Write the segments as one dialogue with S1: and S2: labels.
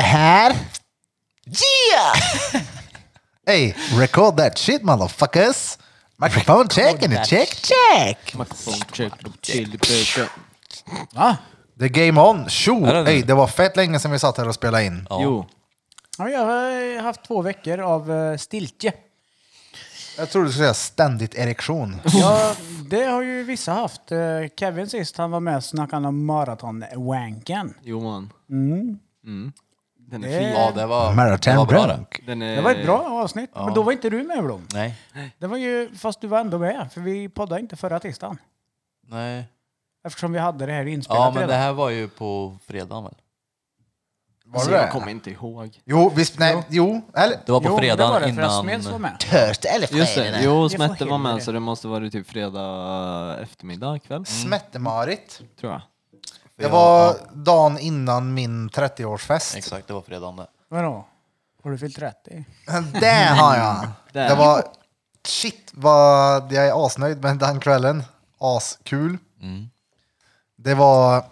S1: här. Yeah!
S2: Hey, record that shit motherfuckers. Microphone check and a check check.
S3: Ah.
S1: Va?
S2: The game on. Tjo!
S3: Är det det?
S2: Hey, det var fett länge sedan vi satt här och spelade in.
S3: Jo.
S1: Ja, jag har haft två veckor av eh, stiltje.
S2: Jag trodde du skulle säga ständigt erektion.
S1: Ja, det har ju vissa haft. Eh, Kevin sist han var med och snackade om maratonwanken.
S4: Jo man. Mm. Den är
S1: Det-
S4: fin.
S3: Ja, det var, det var
S2: Marathon
S3: bra det.
S2: Brunk.
S4: Den är...
S1: Det
S3: Eh,
S1: var ett bra avsnitt, men då var inte du med Blom.
S3: Nej.
S1: Det var ju, fast du var ändå med, för vi poddade inte förra tisdagen.
S3: Nej.
S1: Eftersom vi hade det här inspelat
S3: Ja, men det
S1: redan.
S3: här var ju på fredagen väl?
S2: Var
S4: Så
S2: det
S4: jag
S2: det?
S4: kommer inte ihåg.
S2: Jo, visst, nej, jo, eller?
S3: Det var på
S1: Jo, det
S3: fredagen
S1: var det, för att
S3: innan...
S1: Smeds var med.
S2: Törst eller
S4: Just det, jo
S1: får
S4: Smette var med
S1: helvete.
S4: så det måste varit typ fredag eftermiddag kväll.
S2: Smättemarit.
S4: Tror jag.
S2: Det var dagen innan min 30-årsfest.
S3: Exakt, det var fredagen det.
S1: Vadå? Har du fyllt 30?
S2: Det har jag.
S4: Där.
S2: Mm. Det var... Shit, vad jag är asnöjd med den kvällen. Askul. Det var...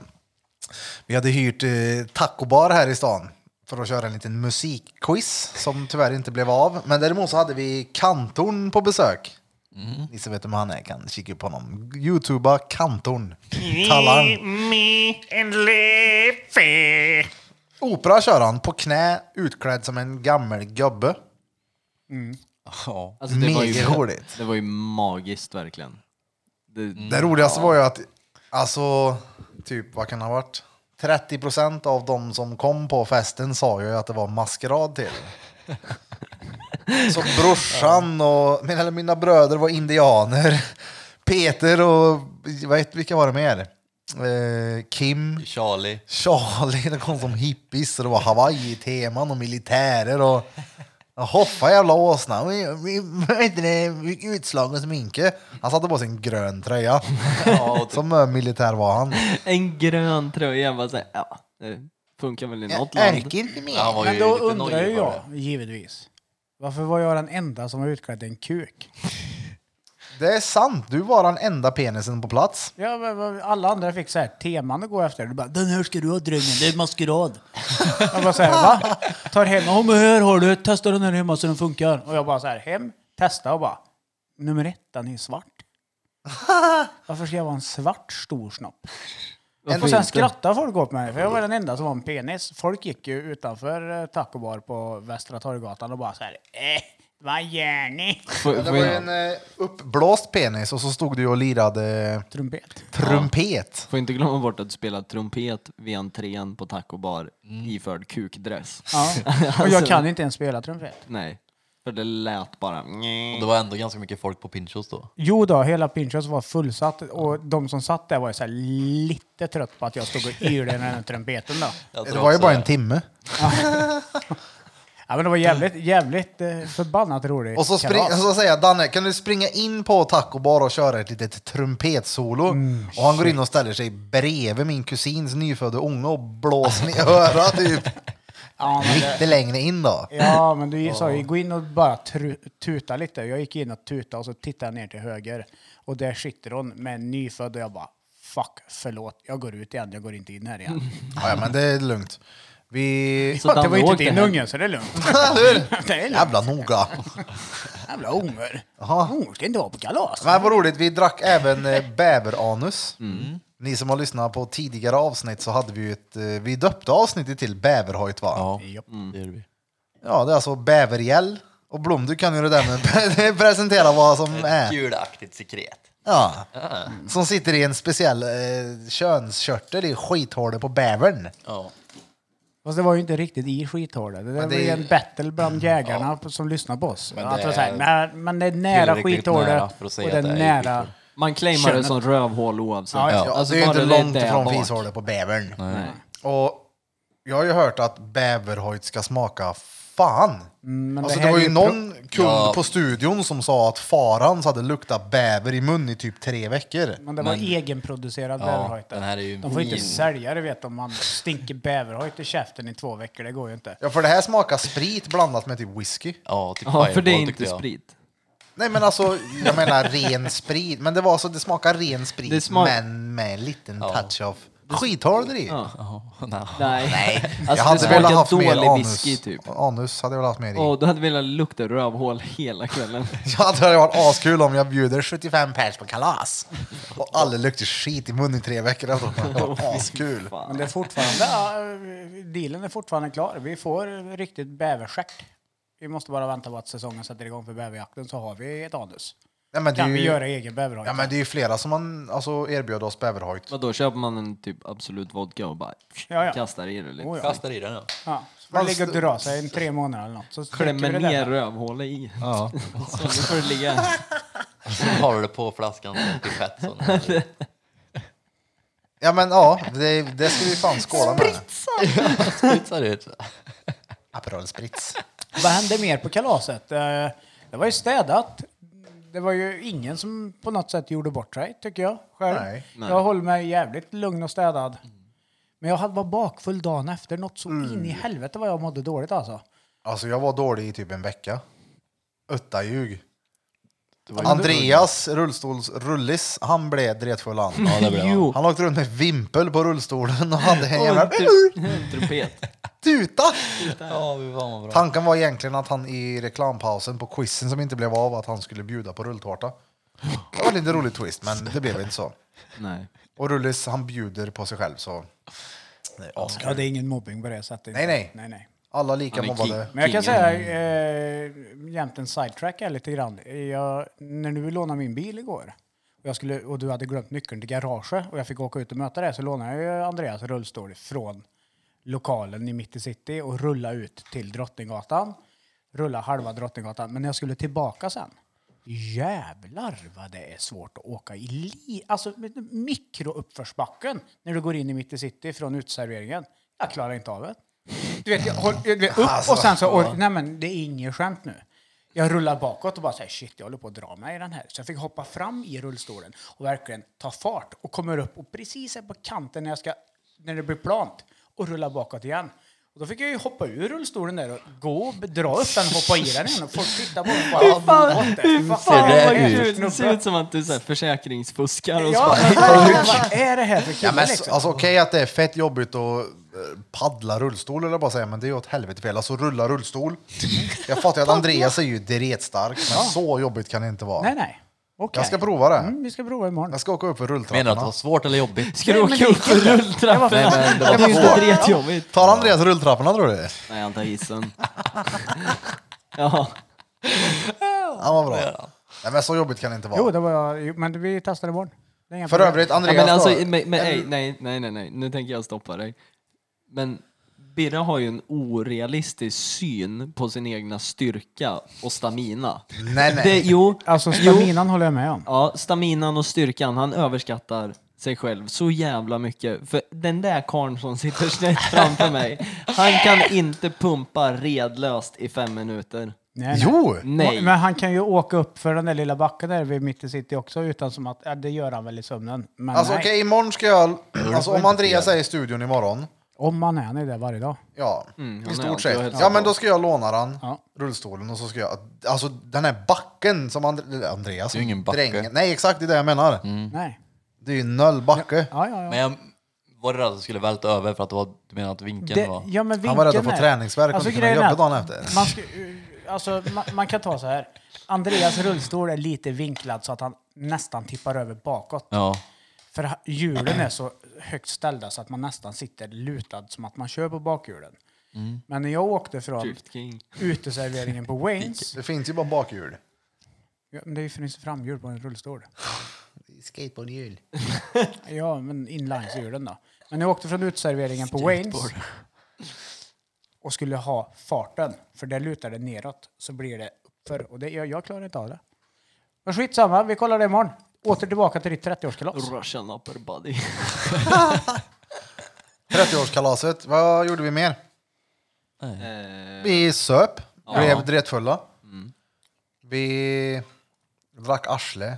S2: Vi hade hyrt eh, tacobar här i stan för att köra en liten musikquiz som tyvärr inte blev av. Men däremot så hade vi Kantorn på besök. Nisse vet vem han är, kan kika på honom. Youtuba Kantorn. Talang. Opera kör han, på knä, utklädd som en gammal gubbe.
S3: Ja.
S4: Alltså, det, var
S2: Mega
S4: ju,
S2: roligt.
S4: det var ju magiskt verkligen. Det,
S2: Det roligaste var ju att, alltså, typ vad kan det ha varit? 30 procent av de som kom på festen sa ju att det var maskerad till. Så brorsan och mina, eller mina bröder var indianer. Peter och vad het- vilka var det mer? Eh, Kim,
S3: Charlie.
S2: Charlie, de kom som hippies och det var hawaii-teman och militärer och hoppa jävla åsna. Vi, vi, vad heter det, vi utslagen som minke. Han satte på sig en grön tröja.
S3: Ja, och typ-
S2: Som eh, militär var han.
S4: En grön tröja, bara såhär, ja, det funkar väl i något land.
S2: Ärker inte mer.
S3: han var
S1: Men
S3: ju
S1: då
S3: lite
S1: undrar ju
S3: nojig för
S1: jag, givetvis. Varför var jag den enda som var utklädd till en kuk?
S2: Det är sant, du var den enda penisen på plats.
S1: Ja, men vad- alla andra fick så här teman att gå efter. Du bara, den här ska du ha drängen, det är maskerad. jag bara så här, va? Tar hem, ja men här har du, testa den här hemma så den funkar. Och jag bara så här, hem, testa och bara, nummer ett, den är svart. Varför ska jag vara en svart stor snopp?
S4: Varför
S1: Och sen
S4: inte?
S1: skrattade folk åt mig, för jag var den enda som var en penis. Folk gick ju utanför eh, Taco Bar på Västra Torggatan och bara så här, eh, vad gör ni?
S4: Får,
S2: Det
S4: får
S2: var ju
S4: jag,
S2: en eh, uppblåst penis och så stod du och lirade
S1: Trumpet.
S2: trumpet.
S4: får inte glömma bort att spela trumpet vid entrén på taco bar iförd kukdress.
S1: Ja. Och
S4: Alltså.
S1: jag kan inte ens spela trumpet.
S4: Nej, för det lät bara...
S3: Och det var ändå ganska mycket folk på Pinchos då.
S1: Jo då, hela Pinchos var fullsatt och de som satt där var ju så här lite trött på att jag stod och yrde den här trumpeten då.
S3: Jag
S2: Det
S3: tror
S2: var ju
S3: också
S2: bara
S3: det.
S2: en timme.
S1: Ja, men det var jävligt, jävligt eh, förbannat roligt.
S2: Och så, spring, alltså-
S1: kalas.
S2: och så säger jag, Danne, kan du springa in på Taco Bar och köra ett litet trumpetsolo?
S1: Mm,
S2: och han går in och ställer sig bredvid min kusins nyfödda unge och blåser i örat typ.
S1: Ja, men det,
S2: Lite längre in då.
S1: ja, men du sa ju gå in och bara tru, tuta lite. Jag gick in och tutade och så tittade jag ner till höger och där sitter hon med en nyfödd och jag bara fuck, förlåt, jag går ut igen, jag går inte in här igen.
S2: Ja, ja, men det är lugnt. Vi...
S4: Så
S1: det
S4: Danne
S1: var ju
S4: åkte
S1: inte din
S4: hem.
S1: unge så det är lugnt.
S2: Eller hur?
S1: Det är lugnt.
S2: Jävla noga.
S1: Jävla unger.
S2: Jaha.
S1: Hon ska inte vara på kalas.
S2: Men vad roligt, vi drack även eh, bäveranus. Ni som har lyssnat på tidigare avsnitt så hade vi ju ett, eh, vi döpte avsnittet till bäverhojt va? Ja.
S3: Ja,
S1: Japp.
S3: det gjorde vi.
S2: det är alltså bävergäll. Och Blom, du kan ju det där med presentera vad som är.
S3: Gulaktigt sekret.
S2: Ja. Som sitter i en speciell eh, könskörtel i skithålet på bävern.
S3: Ja.
S1: Fast det var ju inte riktigt i skithålet. Det, där
S2: Men
S1: var
S2: det
S1: ju
S2: är-
S1: en battle bland jägarna på- som lyssnar på oss.
S3: Men
S1: Men det,
S3: det
S1: är... Så här,
S3: är
S1: nej, men det är nära
S3: tillräckligt
S1: skithålet
S3: nära
S1: och
S3: för att
S1: det
S3: säga
S1: är
S3: att det är
S1: nära.
S3: skithålet.
S4: Man claimar det som rövhål oavsett. Alltså,
S1: Ja,
S2: Ja, det är ju inte
S4: bara
S2: långt
S4: där
S2: ifrån
S4: bak.
S2: fishålet på bävern.
S4: Nej.
S2: Och jag har ju hört att bäverhojt ska smaka fan.
S1: Mm, Men
S2: Alltså,
S1: här
S2: det var
S1: är
S2: ju
S1: pro-
S2: någon kund
S3: Ja.
S2: på studion som sa att farans hade luktat bäver i mun i typ tre veckor.
S1: Men det var egenproducerad
S3: Ja,
S1: bäverhojt. där.
S3: den här är ju
S1: De får inte
S3: fin.
S1: sälja det vet om man stinker bäverhojt i käften i två veckor. Det går ju inte.
S2: Ja, för det här smakar sprit blandat med typ whisky.
S3: Ja, typ
S4: Ja, för det är
S3: Fireball,
S4: inte
S3: tyckte jag.
S4: sprit.
S2: Nej men alltså, jag menar ren sprit. Men det var så, det smakar ren sprit
S4: Det smak-
S2: men med en liten touch av Skithål i. Ja.
S3: Jaha, nej.
S4: Nej. Alltså,
S2: jag hade
S4: det
S2: velat
S4: smakar
S2: haft
S4: dålig
S2: mer
S4: whisky
S2: anus.
S4: typ.
S2: Anus hade jag velat haft mer i.
S4: Och du hade velat lukta rövhål hela kvällen.
S2: Ja, det hade varit askul om jag bjuder 75 pers på kalas. Och alla luktar skit i munnen i tre veckor efteråt. Det hade varit askul.
S1: Men det är fortfarande, ja, dealen är fortfarande klar. Vi får riktigt bäverstjärt. Vi måste bara vänta på att säsongen sätter igång för bäverjakten så har vi ett anus.
S2: Ja, men det är
S1: Kan vi
S2: ju,
S1: göra egen bäverhoj?
S2: ja, men det är ju flera som man alltså, erbjöd oss bäverhojt.
S4: Vadå, köper man en typ Absolut Vodka och bara
S1: Ja, ja.
S4: kastar i det liksom? lite?
S1: Oh, ja.
S3: Kastar i den ja.
S1: Ja, så får det ligga och dra sig i tre månader eller något. Så steker vi
S4: Klämmer
S1: det
S4: ner
S1: där.
S4: rövhålet i.
S3: ja.
S4: Så nu får det ligga.
S3: Så har du det på flaskan som till Petson.
S2: Ja, men ja, det, det ska vi fan skåla med.
S3: Spritsar ut.
S2: Aperol Spritz.
S1: Vad hände mer på kalaset? Eh, Det var ju städat. Det var ju ingen som på något sätt gjorde bort sig, tycker jag. Själv.
S2: Nej.
S1: Jag håller mig jävligt lugn och städad. Men jag hade- var bakfull dagen efter. Något så
S2: Mm.
S1: in i helvete vad jag mådde dåligt alltså.
S2: Alltså, jag var dålig i typ en vecka. Utta ljug.
S3: Det var ju-
S2: Andreas, rullstolsrullis, han blev dretfull han.
S3: Ja, det blev han.
S4: Jo,
S2: Han åkte runt med vimpel på rullstolen och hade en jävla
S4: en trumpet.
S2: tuta.
S3: Ja, vi var bra.
S2: Tanken var egentligen att han i reklampausen på quizen som inte blev av, att han skulle bjuda på rulltårta. Det var en lite rolig twist, men det blev inte så.
S4: Nej.
S2: Och Rullis, han bjuder på sig själv, så det är askul.
S1: Ja, det är ingen mobbing på det sättet.
S2: Nej, nej.
S1: nej, nej.
S2: alla lika
S4: Han är
S2: mobbade.
S1: Men jag
S4: Kingen.
S1: kan säga, eh, jämt en sidetrack här lite grann. Jag, när du lånade min bil igår och, jag skulle, och du hade glömt nyckeln till garaget och jag fick åka ut och möta dig så lånade jag ju Andreas rullstol från lokalen i mitt i city och rulla ut till Drottninggatan. Rulla halva Drottninggatan. Men när jag skulle tillbaka sen, jävlar vad det är svårt att åka i li- alltså, med mikrouppförsbacken när du går in i mitt i city från uteserveringen. Jag klarar inte av det. Du vet, jag håll, du vet upp
S2: Alltså,
S1: och sen så... Och, nej men det är inget skämt nu. Jag rullar bakåt och bara säger shit, jag håller på att dra mig i den här. Så jag fick hoppa fram i rullstolen och verkligen ta fart och kommer upp och precis är på kanten när jag ska, när det blir plant och rulla bakåt igen. Och då fick jag ju hoppa ur rullstolen där och gå och dra upp den och hoppa i den igen. Och folk tittar på mig och bara, vad är det? Vad
S4: Fan,
S1: är
S4: vad
S1: det här för
S4: kul. Det ser
S1: snubbe?"
S4: ut som att du så här, försäkringsfuskar och så
S1: Ja,
S4: bara,
S1: vad är det här för
S2: Ja,
S1: kille
S2: men,
S1: liksom?
S2: alltså, Okej att det är fett jobbigt att eh, paddla rullstol, eller bara säga, men det är ju åt helvete fel. Alltså rulla rullstol. Jag fattar ju att Andreas är ju dretstark, men så jobbigt kan det inte vara.
S1: Nej, nej. Okej.
S2: Jag ska prova det.
S1: Mm, vi ska prova imorgon.
S2: Jag ska åka upp för
S3: Menar du att det
S2: rulltrapporna.
S3: var svårt eller jobbigt?
S4: Ska du
S1: Nej,
S4: åka
S1: men det
S4: upp för rulltrappan?
S1: Det
S4: Det
S1: var fan-
S4: är ju inte dretjobbigt.
S2: Tar Andreas rulltrapporna tror du?
S4: Nej, han tar hissen. Ja,
S2: Han var bra. Nej, men så jobbigt kan det inte vara.
S1: Jo, det var jag. Jo, Men vi testar imorgon. Det är inga
S2: För
S1: problem.
S2: övrigt,
S4: ja
S2: Andreas
S4: men alltså,
S2: då?
S4: men, men, nej, nej, nej, nej, nej, nu tänker jag stoppa dig. Men Birra har ju en orealistisk syn på sin egna styrka och stamina.
S2: Nej, nej.
S4: Det, jo,
S1: Alltså staminan håller jag med om.
S4: Ja, staminan och styrkan. Han överskattar sig själv så jävla mycket. För den där karln som sitter snett framför mig, han kan inte pumpa redlöst i fem minuter.
S1: Nej, nej.
S2: Jo!
S4: Nej.
S1: Men han kan ju åka upp för den där lilla backen där vid mitt i city också utan som att, ja, det gör han väl i sömnen. Men
S2: Alltså
S1: nej,
S2: okej, imorgon ska jag...
S4: Mm.
S2: Alltså om Andreas är i studion imorgon,
S1: om man är, han är där varje dag.
S2: ja,
S4: Mm, han
S2: i
S4: är
S2: stort
S4: alltid och
S2: sett.
S4: hälsar
S2: Ja
S4: på.
S2: men då ska jag låna den,
S1: Ja.
S2: rullstolen, och så ska jag... Alltså den här backen som Andre, Andreas...
S3: Det är ju ingen backe. Mm.
S2: nej exakt, det är det jag menar.
S1: Nej.
S2: Det är ju noll backe.
S1: Ja, ja, ja.
S3: Men jag var det rädd att du skulle välta över för att det var, du menar att vinkeln
S1: Det,
S3: var...
S1: ja men vinkeln
S2: Han var rädd att få
S1: är-
S2: träningsvärk och
S1: Alltså,
S2: inte kunna
S1: grejen är
S2: jobba
S1: att
S2: dagen efter.
S1: Man, ska, eh, alltså, man, man kan ta så här. Andreas rullstol är lite vinklad så att han nästan tippar över bakåt.
S3: Ja.
S1: För ha- hjulen är så högt ställda så att man nästan sitter lutad som att man kör på bakhjulen. Men när jag åkte från
S4: Drift King.
S1: uteserveringen på Waynes,
S2: Det finns ju bara bakhjul.
S1: ja, men det finns framhjul på en rullstol.
S2: Skateboardhjul.
S1: Ja, men inlineshjulen då. Men jag åkte från utserveringen på Waynes och skulle ha farten, för där lutar det neråt, så blir det uppför. Och det, jag, jag klarar inte av det. Men skitsamma, vi kollar det imorgon. Åter tillbaka till ditt 30-årskalas.
S4: Russian upper body.
S2: 30-årskalaset, vad gjorde vi mer? Vi söp, blev dretfulla.
S3: Mm.
S2: Vi drack arsle.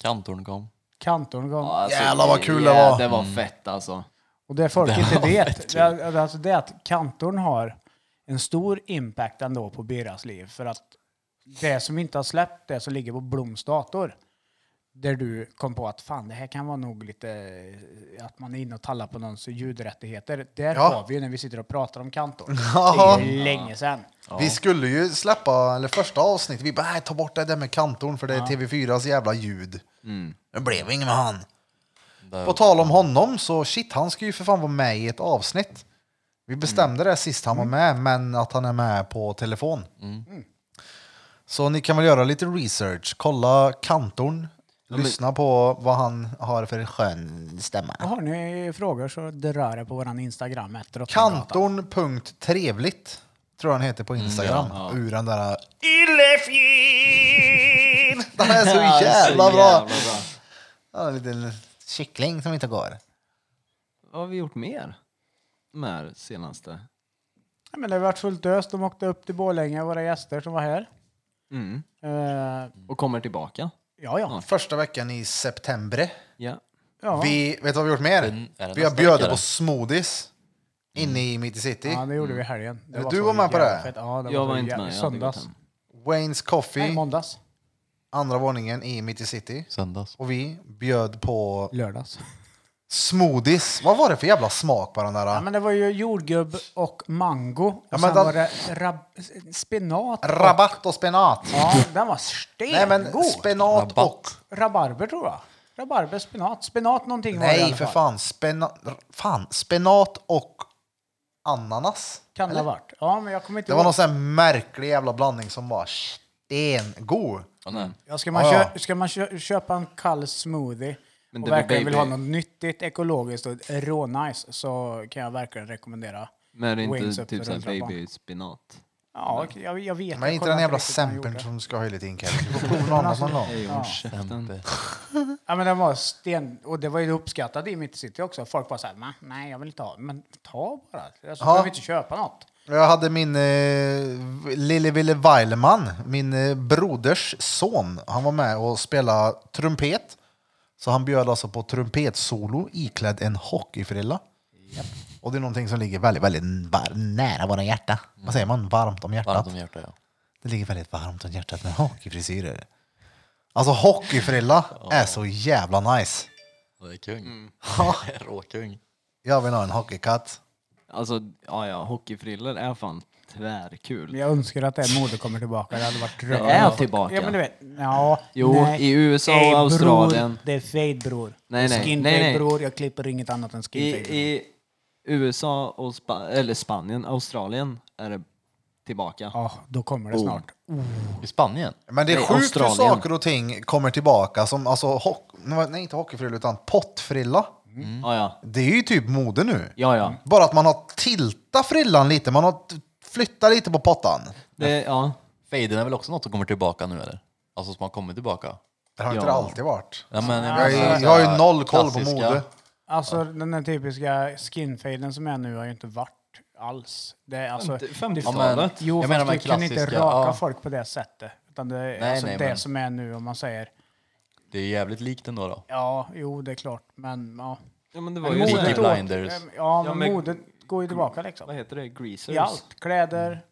S3: Kantorn kom.
S1: Kantorn kom.
S2: Jävlar, vad kul det var.
S4: alltså, Det var fett alltså.
S1: Och det folk inte vet, det, är- alltså det är att kantorn har en stor impact ändå på Birras liv. För att det som inte har släppt, det som ligger på Bloms dator, Där du kom på att fan, det här kan vara nog lite eh, att man är inne och tallar på någons ljudrättigheter. Där
S2: Ja.
S1: har vi ju när vi sitter och pratar om kantor.
S2: Ja.
S1: Det är ju länge sedan.
S2: Vi skulle ju släppa, eller första avsnittet, vi bara "Nej, ta bort det där med kantorn för det är TV4s jävla ljud.
S3: Mm.
S2: Det blev inget med han.
S3: Där-
S2: På tal om honom så shit, han ska ju för fan vara med i ett avsnitt. Vi bestämde det sist han var med, men att han är med på telefon. Så ni kan väl göra lite research, kolla kantorn, lyssna på vad han har för skön stämma.
S1: Och har ni frågor så drar det på våran Instagram efter och
S2: Kantorn.trevligt tror jag han heter på Instagram. Ur den där... Illefjäll! Den är så
S4: Ja, det är så
S2: jävla bra!
S4: jävla bra.
S2: Ja, en liten kyckling som inte går.
S4: Vad har vi gjort mer? De här senaste.
S1: Ja, men det har varit fullt ös. De åkte upp till Borlänge, våra gäster som var här.
S4: Mm.
S1: Eh,
S4: Och kommer tillbaka.
S1: ja, ja.
S2: Första veckan i september.
S4: Ja.
S1: ja.
S2: Vi, vet du vad vi gjort mer?
S3: Mm, är det
S2: Vi har
S3: nästa
S2: bjödit
S3: vecka,
S2: på
S3: eller?
S2: smoothies inne i Mitt i City.
S1: Ja, det gjorde vi i helgen. Det
S2: Mm. Du
S1: så
S2: var med på
S1: jävla
S2: det?
S1: fett. Ja, det
S4: Jag
S1: så
S4: var inte
S1: jävla-
S4: med. Jag hade gått
S1: Söndags.
S4: hem.
S2: Wayne's
S1: Nej,
S2: Coffee,
S1: måndags.
S2: andra våningen i Mitt i City.
S3: Söndags.
S2: Och vi bjöd på
S1: Lördags.
S2: smoothies. Vad var det för jävla smak på den där?
S1: Ja, men det var ju jordgubb och mango. Och
S2: men
S1: sen
S2: den-
S1: var det rab- spenat. och-
S2: Rabatt och spenat.
S1: Ja, den var
S2: Nej men
S1: stengod.
S2: spenat
S3: Rabatt.
S2: och...
S1: Rabarber tror jag. Rabarber, spenat. Spenat någonting var det i
S2: Nej
S1: alla
S2: för
S1: fall.
S2: fan, spenat, fan, spenat och ananas.
S1: Kan det ha varit. Ja, men jag kommer inte
S2: Det var
S1: ihåg.
S2: någon sån här märklig jävla blandning som var stengod.
S3: Åh, nej.
S1: Ja, ska man,
S2: Ja, ja.
S1: kö- ska man kö- köpa en kall smoothie
S4: Men
S1: och
S4: det var
S1: verkligen vill ha
S4: baby.
S1: något nyttigt, ekologiskt och rånice så kan jag verkligen rekommendera.
S4: Men är det
S1: Wings
S4: inte
S1: upp
S4: typ
S1: för
S4: såhär
S1: rullarna.
S4: baby-spinat?
S2: Mm.
S1: Ja, och jag, jag vet.
S2: Men
S1: jag
S2: inte
S1: kollar
S2: den jävla
S1: riktigt vad han
S2: sempern
S1: gjorde.
S2: som ska ha lite inkall. Vi får prova något annat någon gång.
S4: Nej, håll käften.
S3: Tempe.
S1: Ja, men den var sten... Och det var ju uppskattat i mitt city också. Folk bara såhär, "Nej, nej jag vill inte ha. Men ta bara. Alltså,
S2: Ja.
S1: behöver inte köpa något.
S2: Jag hade min eh, lille Wille Weileman, min eh, broders son. Han var med och spelade trumpet. Så han bjöd alltså på trumpetsolo iklädd en hockeyfrilla. Och det är någonting som ligger väldigt, väldigt var- nära våra hjärta. Vad säger man? Varmt om hjärtat.
S3: Varmt om hjärtat, ja.
S2: Det ligger väldigt varmt om hjärtat med hockeyfrisyrer. Alltså hockeyfrilla är så jävla nice.
S3: Det är kung. Råkung.
S2: Jag vill ha en hockeykatt.
S4: Alltså, ja ja, hockeyfrillor är fan tvärkul.
S1: Men jag önskar att det här modet kommer tillbaka. Det hade varit
S4: Det
S1: drömmen.
S4: är tillbaka.
S1: Ja, men du vet. Ja,
S4: Jo, i USA och
S1: bror.
S4: Australien.
S1: Det är fade bror.
S4: Nej, nej,
S1: Skin
S4: nej,
S1: fade,
S4: nej.
S1: bror. Jag klipper inget annat än skin
S4: I,
S1: fade.
S4: I USA och Spa- eller Spanien, Australien är det tillbaka.
S1: Ja, då kommer
S4: Oh.
S1: det snart.
S3: I Spanien?
S2: Men det är
S4: Nej,
S2: sjukt hur
S4: Australien.
S2: saker och ting kommer tillbaka. Som, alltså, hock, nej, inte hockeyfrilla utan pottfrilla.
S4: Ja ja.
S2: Det är ju typ mode nu.
S4: Ja ja.
S2: Bara att man har tiltat frillan lite, man har t- flyttat lite på pottan.
S4: Det, ja.
S3: Fejden är väl också något som kommer tillbaka nu eller? Alltså som har kommit tillbaka?
S2: Det har inte
S4: Ja.
S2: det alltid varit.
S3: Ja, men,
S2: Jag, är, jag har ju noll koll på mode.
S1: Alltså den där typiska skinfaden som är nu har ju inte varit alls. Det är alltså...
S4: Femti-
S3: Ja, men-
S4: 50-talet.
S1: Jo,
S3: Jag
S1: jag
S3: menar
S1: fast
S3: de här
S1: du kan inte
S3: klassiska,
S1: raka
S3: ja.
S1: folk på det sättet. Utan det är
S3: Nej,
S1: alltså
S3: nej,
S1: det
S3: men-
S1: som är nu om man säger
S3: Det är jävligt likt ändå då.
S1: ja, jo det är klart, men ja.
S4: Ja men det var
S1: Men
S4: ju
S3: Peaky
S4: så
S1: modet
S4: här,
S3: Blinders.
S1: åter- Ja, men
S4: Ja, men-
S1: modet går ju tillbaka liksom.
S4: vad heter det? Greasers?
S1: I allt. Kläder,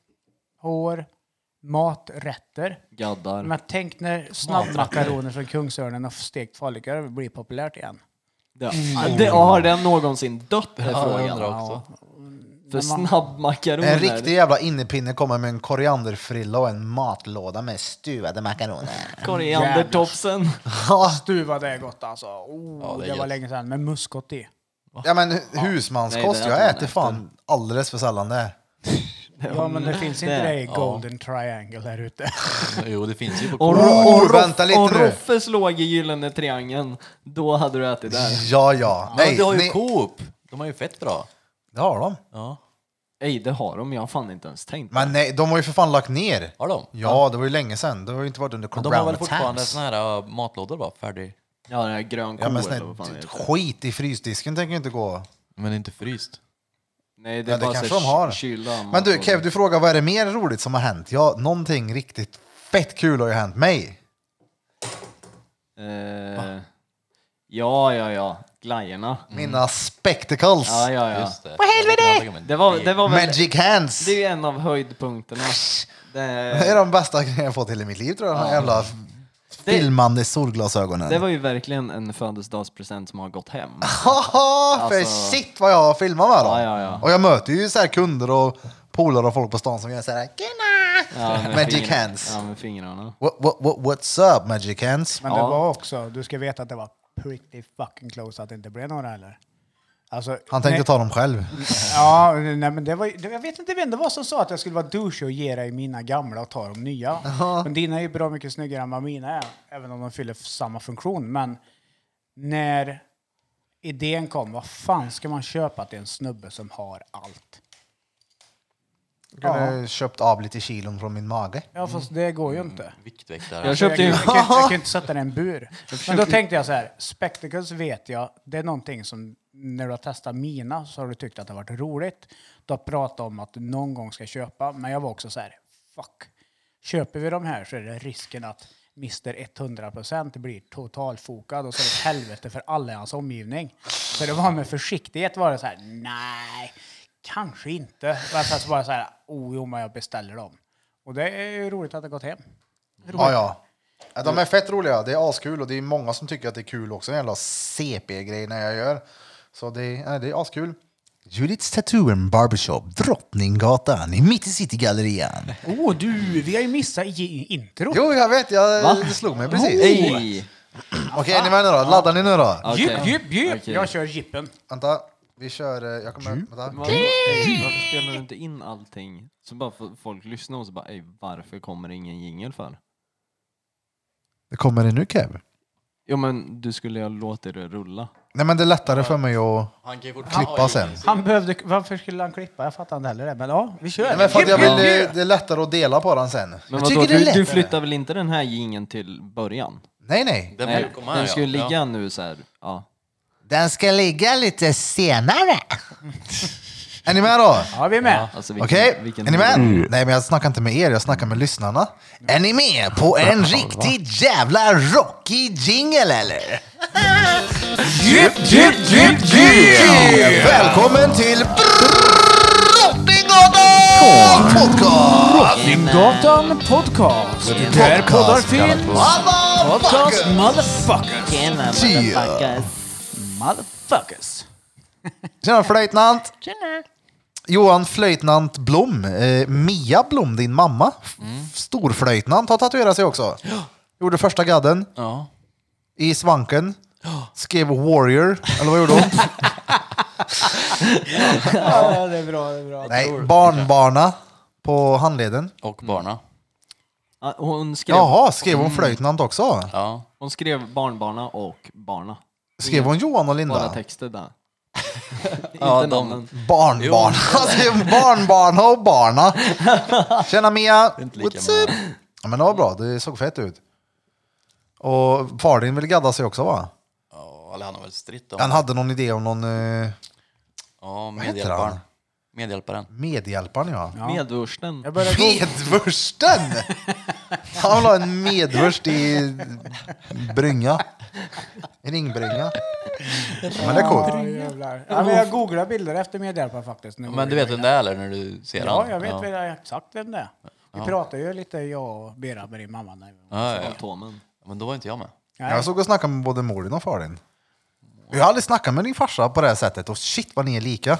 S1: hår, maträtter.
S4: Gaddar.
S1: Men tänk när snabbmakaroner från Kungsörnen och stekt falukorv blir populärt igen.
S4: Det,
S2: Mm.
S4: det, har den någonsin dött? Är
S3: Ja, jag
S4: frågan.
S3: undrar också.
S4: För
S1: När man-
S4: snabbmakaroner.
S2: En riktig jävla innepinne kommer med en korianderfrilla och en matlåda med stuvade makaroner.
S4: Koriandertopsen.
S1: Stuvade är gott alltså. Oh,
S3: Ja, det
S1: det,
S3: är
S1: var
S3: gött.
S1: länge sedan. Med muskot i.
S2: Ja men hu- husmanskost,
S4: Nej, det
S2: jag
S4: äter man
S2: äter fan alldeles för sällan det.
S1: Ja, men det finns inte
S4: det-
S1: det i Golden Triangle här ute.
S3: Jo, det finns ju på
S4: Och,
S3: Coop.
S2: Oh,
S4: och, och,
S2: vänta lite
S4: och
S2: nu.
S4: Roffes låg i Gyllene Triangeln. Då hade du ätit där.
S2: Ja ja.
S3: Nej, det har ju
S2: ni-
S3: Coop. De har ju fett bra.
S2: Det har de.
S3: Ja.
S4: Nej det har de, jag har fan inte ens tänkt.
S2: Men nej, de har ju för fan lagt ner.
S3: Har de?
S2: Ja, det var ju länge sedan. Det har ju inte varit under
S3: Men de har väl
S2: corona
S3: fortfarande
S2: times.
S3: såna här äh, matlådor va? Färdig.
S4: Ja den här grön ko
S2: Ja, men sån
S4: eller vad fan det
S2: här
S4: heter.
S2: skit i frysdisken tänker jag inte gå.
S3: Men inte fryst.
S4: Nej det
S2: Ja,
S4: är
S2: det
S4: bara
S2: kanske
S4: så här
S2: de har.
S4: ky- kylda
S2: Men du
S4: matlådor.
S2: Kev, du frågar vad är det mer roligt som har hänt? Ja, någonting riktigt fett kul har ju hänt
S4: Mm.
S2: mig.
S4: Eh, ja ja ja, glajjorna.
S2: Mina spectacles.
S4: Ja ja ja.
S3: Just det. På helvete!
S4: Det var, det var väl,
S2: Magic hands!
S4: det är ju en av höjdpunkterna.
S2: Det
S4: Det,
S2: är de bästa grejerna jag fått i hela mitt liv tror jag. Den här jävla Filmande solglasögonen.
S4: Det var ju verkligen en födelsedagspresent som har gått hem.
S2: Haha, för
S4: Alltså-
S2: shit vad jag har filmat med dem.
S4: Ja, ja, ja.
S2: Och jag möter ju så här kunder och polare och folk på stan som gör så här "Tjena!"
S4: Ja, med
S2: Magic
S4: fingrarna.
S2: hands.
S4: Ja, med fingrarna.
S2: What, what, what, what's up magic hands?
S1: Men det
S4: Ja.
S1: var också, du ska veta att det var pretty fucking close att det inte blev några heller. Alltså,
S2: Han tänkte
S1: nej-
S2: ta dem själv.
S1: Ja, nej, men det var, ju- det- jag vet inte vem det var som sa att jag skulle vara douche och ge dig mina gamla och ta de nya. Men dina är ju bra mycket snyggare än vad mina är, även om de fyller f- samma funktion. Men när idén kom, vad fan ska man köpa till en snubbe som har allt?
S2: Jag kunde köpt av lite kilon från min mage.
S1: Ja, fast det går ju
S2: Mm.
S1: inte.
S3: Viktväktare.
S4: Jag köpte ju...
S1: Alltså, Jag, kan, jag, kan, jag kan inte sätta den i en bur. Men då tänkte jag så här, spectacles vet jag, det är någonting som när du har testat mina så har du tyckt att det har varit roligt. Du har pratat om att du någon gång ska köpa, men jag var också så här, fuck. Köper vi de här så är det risken att Mr 100% blir totalfokad och så är det ett helvete för alla i hans omgivning. Så det var med försiktighet var det så här, nej, kanske inte. Men sen så bara så här, oh jo men jag beställer dem. Och det är ju roligt att det gått hem.
S2: Ja, ja. Ja, De är fett roliga, det är askul och det är många som tycker att det är kul också, den jävla CP-grejerna jag gör. Så det, är- ja, det är askul. Judiths Tattoo and Barbershop, Drottninggatan, i mitt i Citygallerian.
S1: Åh oh, du, vi har ju missat i- intro.
S2: Jo, jag vet, jag,
S4: Va?
S2: det slog mig precis. Oh!
S4: Hej!
S2: Okej, är ni med nu då? Laddar ni nu då?
S4: Ja.
S1: Jipp,
S4: Okej.
S1: jipp, jipp.
S4: Okej.
S1: Jag kör jippen.
S2: Vänta, vi kör... eh, Jag kommer... Vänta.
S4: Varför, ey, varför spelar du inte in allting? Så bara får folk lyssnar och så bara, ey, varför kommer det ingen jingel för?
S2: Det kommer det nu Kev?
S4: Jo men du skulle ju ha låtit det rulla.
S2: Nej men det är lättare för mig att...
S3: Han kan ju fortfarande
S2: Klippa
S3: ha
S2: sen.
S3: egen-
S1: Han behövde, varför skulle han klippa? Jag fattar inte heller det. Men ja, vi kör.
S2: Nej, men för att jag
S1: Jipp,
S2: vill,
S1: jipp,
S2: eh,
S1: jipp.
S2: det är lättare att dela på den sen.
S4: Men
S2: jag
S4: vadå,
S2: tycker det
S4: du,
S2: är
S4: du
S2: lättare.
S4: flyttar väl inte den här jingeln till början?
S2: Nej, nej.
S3: Den
S4: Nej,
S3: borde komma här
S4: den ska ju
S3: ja.
S4: ligga
S3: Ja.
S4: nu så här. Ja.
S2: Den ska ligga lite senare. är ni med då?
S1: Ja, vi är med.
S4: Alltså, vilken-
S2: Okej,
S4: vilken-
S2: är ni med? Nej, men jag snackar inte med er, jag snackar med lyssnarna. Är ni med på en riktigt jävla rockig jingle eller? Välkommen till Drottninggatan Podcast!
S1: Drottninggatan podcast. Där poddar finns. Podcast motherfuckers. Motherfuckers.
S2: Tjena flöjtnant! Johan Flöjtnant Blom, eh, Mia Blom, din mamma, mm. storflöjtnant, har tatuerat sig också. Gjorde första gadden
S3: Ja.
S2: i svanken. Skrev Warrior, eller vad gjorde hon?
S1: Ja, det är bra, det är bra.
S2: Nej, barnbarna på handleden.
S3: Och
S4: Mm.
S3: barna.
S4: Ja, Hon skrev,
S2: Jaha, skrev
S1: Mm.
S2: hon flöjtnant också?
S3: Ja.
S4: hon skrev barnbarna och barna.
S2: Skrev hon Johan och
S4: Bara
S2: Linda?
S4: texter där.
S3: Ja,
S4: Inte
S3: de-
S4: namnen.
S2: Barnbarna, skrev barnbarna och barna. Tjena Mia!
S3: Inte lika
S2: What's up? Ja, men det var bra, det såg fett ut. Och far din vill gadda sig också va?
S3: Ja, eller han har väl stritt om.
S2: Han hade någon idé om någon eh,
S3: Ja,
S2: heter
S3: medhjälparen.
S2: han?
S3: Medhjälparen.
S2: medhjälparen ja.
S4: Medvursten.
S1: Jag börjar gå.
S2: Medvursten! Han vill ha en medvurst i brynga. En ringbrynga. Men det är coolt.
S1: Ja, jävlar. ja, men jag googlar bilder efter medhjälparen faktiskt. Nu
S3: Men du vet vem det är eller när du ser
S1: Ja,
S3: han?
S1: jag vet
S3: Ja.
S1: väl exakt vem det är. Vi pratade ju lite, jag och Bera, med din mamma. när vi var-
S3: Ja, ja,
S4: Fantomen.
S3: ja. Men då var inte jag med.
S2: Jag såg och snackade med både mor din och far din. Jag har aldrig snackat med din farsa på det här sättet och shit vad ni är lika.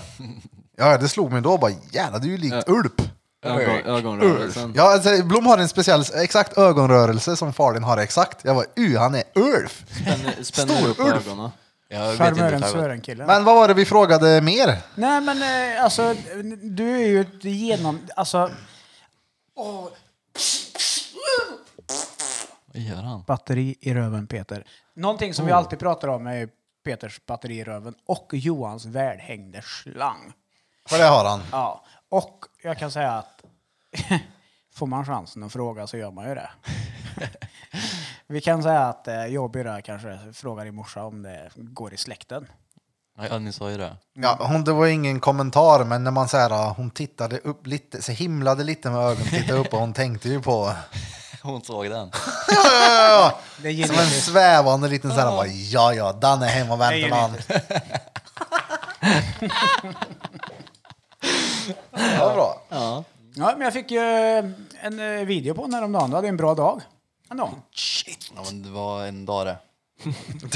S2: Ja, det slog mig då bara jävlar du är ju likt Ulp.
S4: Ögon, ögonrörelsen.
S2: Ja, alltså, Blom har en speciell, exakt ögonrörelse som far din har exakt. Jag var u han är Ulf.
S4: Spänner, spänner
S2: Stor
S4: upp
S2: Ulf.
S4: ögonen.
S3: Jag vet inte
S1: Charmören
S3: hur det
S1: Sören-killen.
S2: Men vad var det vi frågade mer?
S1: Nej men eh, alltså, du är ju ett genom... Alltså,
S3: Vad gör han?
S1: batteri i röven Peter. Någonting
S2: Oh.
S1: som vi alltid pratar om är ju Peters batteri i röven och Johans välhängde slang.
S2: För det har han.
S1: Ja, och jag kan säga att får man chansen att fråga så gör man ju det. vi kan säga att eh, jag och Birra kanske frågar din morsa om det går i släkten.
S3: Ja, Ja, ni sa ju det.
S2: Ja, hon, det var ingen kommentar, men när man så här, hon tittade upp lite, så himlade lite med ögonen, tittade upp och hon tänkte ju på
S3: Hon såg den.
S1: Det är
S2: som en
S1: genetiskt.
S2: svävande liten så här, bara, ja ja, Dan är hemma och
S1: Nej,
S2: väntar man. Ja, bra.
S4: Ja.
S1: Ja, men jag fick ju en eh, video på den häromdagen. Du hade en bra dag. Ändå.
S3: Ja, men det var en dag det.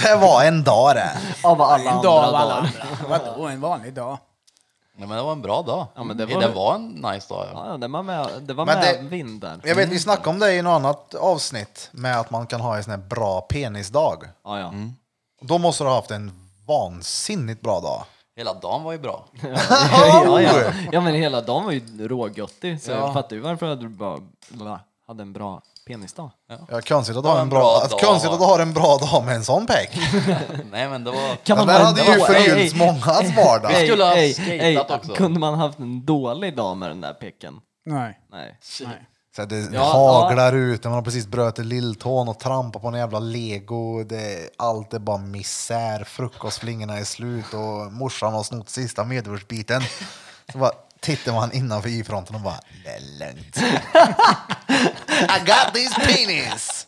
S2: Det var en dag det.
S4: Av alla
S1: En
S4: andra
S1: dag av alla
S4: dagar.
S1: andra. Vadå, en vanlig dag?
S3: Nej, men det var en bra dag.
S4: Ja, men det
S3: Ja,
S4: var-
S3: det var en nice dag. Ja.
S4: Ja, ja, det var, med, det var
S2: Men det-
S4: medvind där.
S2: Jag vet, vi snackade om det i något annat avsnitt med att man kan ha en sån här bra penisdag.
S4: Ja, ja.
S3: Mm.
S2: Då måste du ha haft en vansinnigt bra dag.
S3: Hela dagen var ju bra.
S4: ja, ja. ja, men hela dagen var ju rågöttig. Så jag fattar ju varför du bara bla, hade en bra penisdag.
S2: Ja, konstigt att du har en bra,
S3: bra dag.
S2: Konstigt att du har en bra dag med en sån peck.
S3: Nej, men det var...
S4: Kan
S2: Den
S4: ha
S2: där
S4: en
S2: hade
S4: då-
S2: ju
S4: Ey,
S2: förgyllt
S4: ey,
S2: mångas vardag.
S4: ey,
S3: skulle ha
S4: ey,
S3: skatat
S4: ey,
S3: också.
S4: Kunde man haft en dålig dag med den där picken?
S1: Nej.
S4: Nej.
S1: Nej.
S2: Så att det
S4: Ja,
S2: haglar ut, man har precis bröt lilltån och trampar på en jävla lego. Det, allt är bara misär, frukostflingorna är slut och morsan har snott sista medvurstbiten. Så bara tittar man innanför y-fronten och bara, det är lugnt. I got this penis!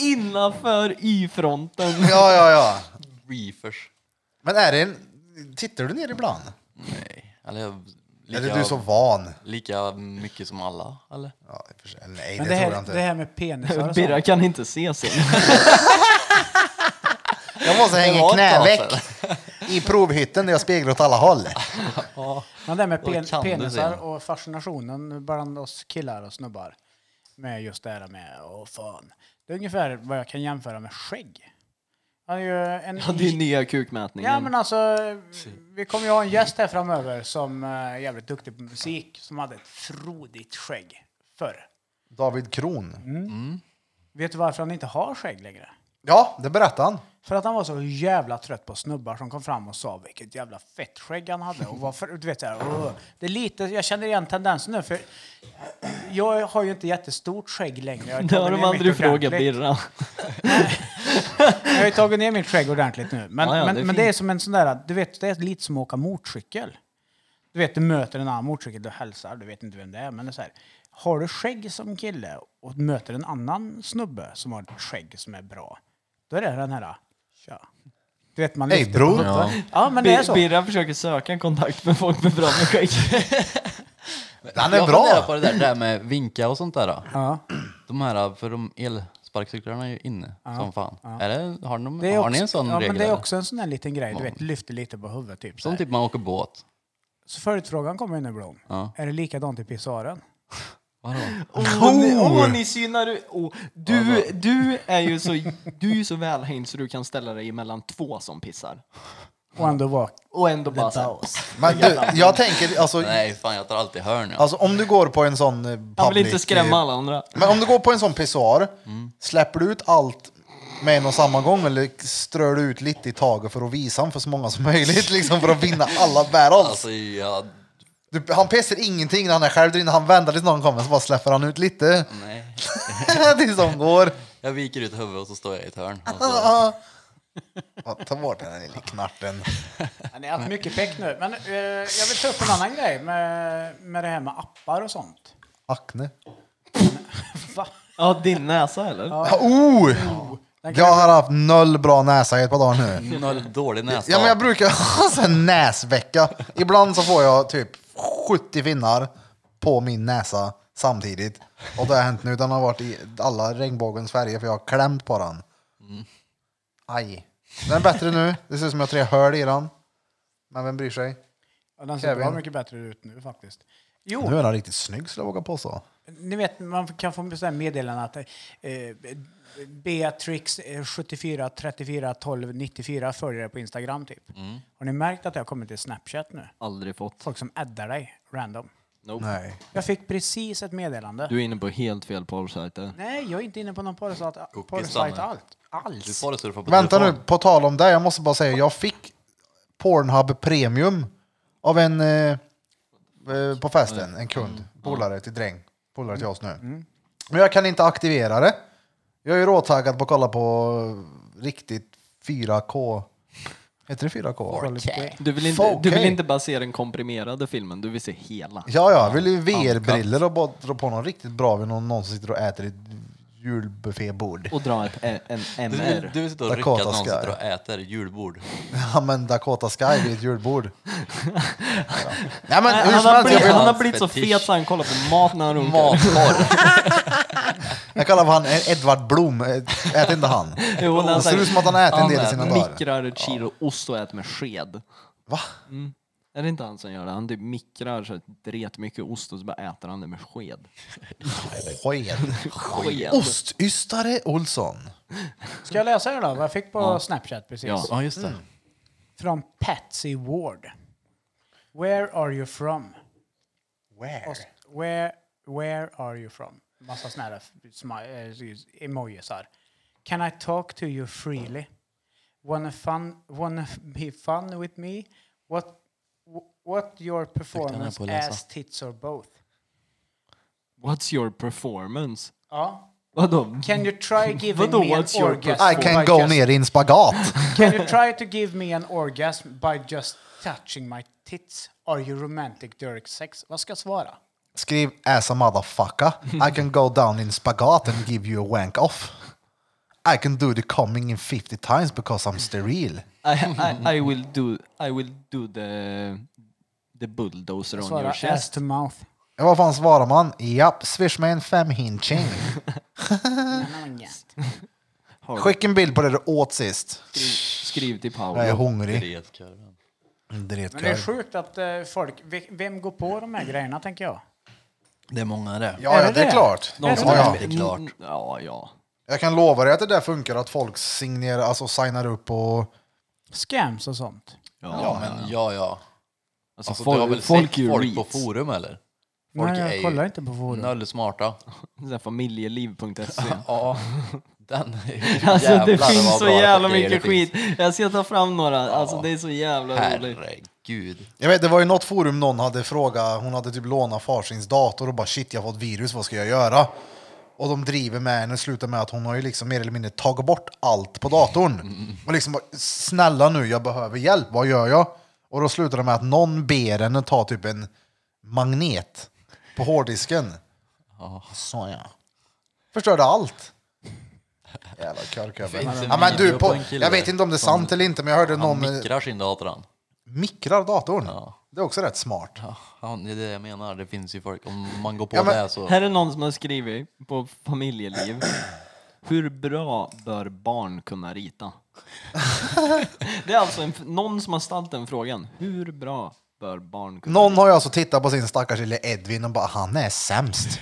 S4: Innanför Y-fronten.
S2: Ja, ja, ja.
S3: Reefers.
S2: Men är det en, tittar du ner ibland?
S3: Nej. Eller jag- lika,
S2: Eller är du så van?
S3: lika mycket som alla, eller?
S2: Ja, i och för sig. Nej, det,
S1: Men det,
S2: tror jag
S1: här,
S2: inte.
S1: det här med penisar och
S4: Birra
S1: sånt.
S4: kan inte se sig.
S2: Jag måste hänga
S3: var ett tag
S2: knäveck i provhytten där jag speglar åt alla håll.
S1: Men det här med
S3: Vad
S1: pen,
S3: kan du
S1: penisar
S3: sen?
S1: och fascinationen bland oss killar och snubbar. Med just det här med, åh fan. Det är ungefär vad jag kan jämföra med skägg. Han är ju en
S4: Ja, det är nya kukmätningen.
S1: Ja men alltså, vi kommer ju ha en gäst här framöver som eh, är jävligt duktig på musik, som hade ett frodigt skägg förr.
S2: David Kron.
S1: Vet du varför han inte har skägg längre?
S2: Ja, det berättade han.
S1: För att han var så jävla trött på snubbar som kom fram och sa vilket jävla fett skägg han hade. Och var för, du vet, så här, "Åh." det är lite, jag känner igen tendensen nu, för jag har ju inte jättestort skägg längre. Jag
S4: Det har
S1: tagit
S4: de
S1: ner
S4: aldrig
S1: mitt
S4: frågat
S1: ordentligt.
S4: Birra.
S1: Jag har ju tagit ner mitt skägg ordentligt nu. Men,
S4: Ja, ja,
S1: men,
S4: det är
S1: det, men det är
S4: fint.
S1: som en sån där, du vet, det är lite som att åka motorcykel. Du vet, du möter en annan motorcykel, du hälsar, du vet inte vem det är, men det är så här. Har du skägg som kille och möter en annan snubbe som har ett skägg som är bra, då är det den här, tja. Du vet, man
S2: Hej,
S1: lyfter på
S2: bror.
S1: huvudet. Ja, men det är så.
S4: Birra försöker söka kontakt med folk med bra med skägg.
S2: Han är
S3: jag
S2: bra.
S3: funderar på det där, det där med vinka och sånt där. Då.
S1: Ja.
S3: De här, för de elsparkcyklarna är ju inne som fan. Är det, har, de,
S1: Det är
S3: har
S1: också,
S3: ni en sån
S1: ja,
S3: regel?
S1: men det är
S3: eller?
S1: också en sån där liten grej, du vet, lyfter lite på huvudet typ. Så,
S3: Som
S1: här.
S3: typ man åker båt.
S1: så förutfrågan kommer ju nu Blom.
S3: Ja.
S1: Är det likadant i pissoaren?
S3: Vadå?
S4: Åh, ni, åh, ni synar ut- åh, du, du är ju så, du är ju så välhängd så du kan ställa dig mellan två som pissar.
S1: Och ändå var
S4: Och ändå bara såhär...
S2: Men du, jag tänker, alltså,
S3: Nej, fan jag tar alltid hörn. Ja.
S2: alltså om du går på en sån eh, public...
S4: Han vill inte skrämma alla andra.
S2: Men om du går på en sån pissoar,
S3: Mm.
S2: släpper du ut allt med en och samma gång eller strör du ut lite i taget för att visa honom för så många som möjligt, liksom för att vinna alla battles?
S3: Alltså, jag,
S2: Du, han pissar ingenting när han är själv, där inne. han väntar tills någon kommer så bara släpper han ut lite
S3: nej.
S2: tills de går.
S3: jag viker ut huvudet och så står jag i ett hörn. Och
S2: Ah,
S3: så,
S2: ah. Ja, Ta bort den där lilla knarten.
S1: Ja, Ni har haft mycket peck nu. Men eh, jag vill ta upp en annan grej med, med det här med appar och sånt.
S2: Acne.
S1: Va?
S4: Ja, din näsa eller? Ja.
S2: Ah, Oh!
S1: Den kan
S2: Jag har haft noll bra näsa i ett par dagar nu.
S3: Noll dålig näsa.
S2: Ja, men jag brukar ha sån här näsvecka. Ibland så får jag typ 70 finnar på min näsa samtidigt. Och det har hänt nu. Den har varit i alla regnbågens färger för jag har klämt på den. Mm. Aj. Den är bättre nu. Det ser ut som jag har tre hål i den. Men vem bryr sig?
S1: Ja, den ser bra
S2: Kevin.
S1: mycket bättre ut nu faktiskt.
S2: Nu
S1: Jo,
S2: är den riktigt snygg skulle jag våga påstå.
S1: ni vet man kan få sådana meddelanden att eh, Beatrix eh, 74 34 12 94 följare på Instagram typ.
S3: Mm.
S1: Har ni märkt att det har kommit till Snapchat nu?
S4: Aldrig fått.
S1: Folk som addar dig random.
S4: Nope.
S2: Nej.
S1: Jag fick precis ett meddelande.
S4: Du är inne på helt fel porrsajter.
S1: Nej, jag är inte inne på någon porrsajt
S3: stannar.
S1: porrsajt allt.
S3: Du
S1: Alls.
S3: får surfa på
S2: Vänta nu,
S3: telefon.
S2: på tal om det. Jag måste bara säga, jag fick Pornhub Premium av en eh, eh, på festen, en kund, polare till dräng, polare till oss nu. Men jag kan inte aktivera det. Jag är ju råtaggad på att kolla på riktigt 4K. Heter det 4K?
S1: Quality.
S4: Du vill,
S2: Fan,
S4: inte, du vill
S2: okej.
S4: inte bara se den komprimerade filmen, du vill se hela.
S2: Ja, ja, jag vill ju VR-briller och bara dra på något riktigt bra vid någon, någon som sitter och äter ett julbuffébord.
S4: Och dra ett, en, en
S3: Du, vill-
S4: MR.
S3: du vill sitta och rycka
S2: Dakota
S3: att någon
S2: Sky.
S3: sitter och äter julbord.
S2: Ja men Dakota Sky vid ett julbord. Nej men
S4: Nej,
S2: hur
S4: han,
S2: som
S4: har
S2: helst, jag,
S4: blivit,
S2: vill,
S4: han har blivit så
S3: Fetisch.
S4: fet så han kollar på mat när han runkar.
S3: Matkorv.
S2: jag kallar han Edvard Blom, ät inte han.
S4: Jo, när han
S2: Det ser ut som att han äter en del i sina dagar.
S4: mikrar ett kilo ost och äter med sked.
S2: Va?
S4: Är det inte han som gör det? Han typ mikrar så ret mycket ost och så bara äter han det med sked.
S2: Sked.
S4: Sked.
S2: Ostystare Olsson.
S1: Ska jag läsa det då? Vad jag fick på Snapchat precis.
S4: Ja.
S3: Ja, just det.
S1: Från Patsy Ward. Where are you from?
S2: Where?
S1: Och s- Where, where are you from? Massa såna här smi- eh, emojisar. Can I talk to you freely? Wanna, fun, wanna be fun with me? What, wh- what your
S3: på att
S1: performance
S3: läsa.
S1: as tits or both?
S4: What's your performance?
S1: Ja.
S4: Vadå?
S1: Can you try giving
S4: Vadå,
S1: me an
S4: what's your
S1: orgasm?
S2: I can
S1: by
S2: go
S1: just-
S2: ner i en spagat.
S1: Can you try to give me an orgasm by just touching my tits? Are you romantic during sex? Vad ska jag svara?
S2: Skriv as a motherfucker. I can go down in spagat and give you a wank off. I can do the coming in 50 times because I'm sterile.
S4: I, I, I will do, I will do the, the bulldozer on your
S1: Svara ass
S4: chest.
S1: to mouth.
S2: Ja, Vad fan svarar man? Japp, swish mig en femhinching.
S4: Har-
S2: Skicka en bild på det du åt sist.
S4: Skriv till
S2: Jag är
S4: Paolo.
S2: hungrig.
S3: Gretkorven.
S1: Men det är
S2: Dretkör.
S1: sjukt att eh, folk, ve- vem går på de här grejerna tänker jag?
S3: Det är många det.
S2: Ja,
S1: Är
S2: ja,
S1: det
S2: det är
S1: det?
S2: klart.
S1: Är
S4: Någon som
S2: Ja, ja.
S4: har-
S3: Det är klart.
S4: Mm, Ja, ja.
S2: Jag kan lova dig att det där funkar, att folk signerar, alltså signar upp och...
S1: Scams och sånt.
S4: ja.
S3: Ja, men ja, ja.
S4: Alltså,
S3: Alltså, du har väl
S4: folk, folk Mm. är
S3: sett
S4: ju
S3: folk på
S4: reads.
S3: forum eller? Folk
S1: Nej,
S3: är ju
S1: jag kollar inte på forum.
S3: Noll smarta.
S4: Så här Familjeliv.se.
S3: Ja, den är ju
S4: E. Alltså det
S3: jävlar vad
S4: finns så
S3: bra
S4: jävla
S3: grejer
S4: mycket
S3: det finns.
S4: skit. Jag ska ta fram några. Alltså det är så jävla roligt.
S3: Herregud.
S2: Jag vet, det var ju något forum någon hade frågat, hon hade typ lånat farsins dator och bara shit jag har fått virus, vad ska jag göra? Och de driver med henne, slutar med att hon har ju liksom mer eller mindre tagit bort allt på datorn. Och liksom bara, snälla nu, jag behöver hjälp, vad gör jag? Och då slutar det med att någon ber henne ta typ en magnet på hårddisken. Så ja. Förstörde allt. Jävla
S3: Finns
S2: körkubbe.
S3: en
S2: Ja, men du,
S3: video på
S2: på,
S3: en kille
S2: jag vet inte om det är sant eller inte, men jag hörde
S3: Han
S2: någon eh,
S3: mikrar sin dator han.
S2: mikrar datorn.
S3: Ja.
S2: Det är också rätt smart.
S3: Ja, han- det är det jag menar. Det finns ju folk. Om man går på
S2: Ja, men-
S3: det så...
S4: Här är någon som har skrivit på familjeliv. Hur bra bör barn kunna rita? det är alltså en, någon som har ställt den frågan. Hur bra bör barn kunna
S2: Någon har ju alltså tittat på sin stackars lille Edvin och bara han är sämst.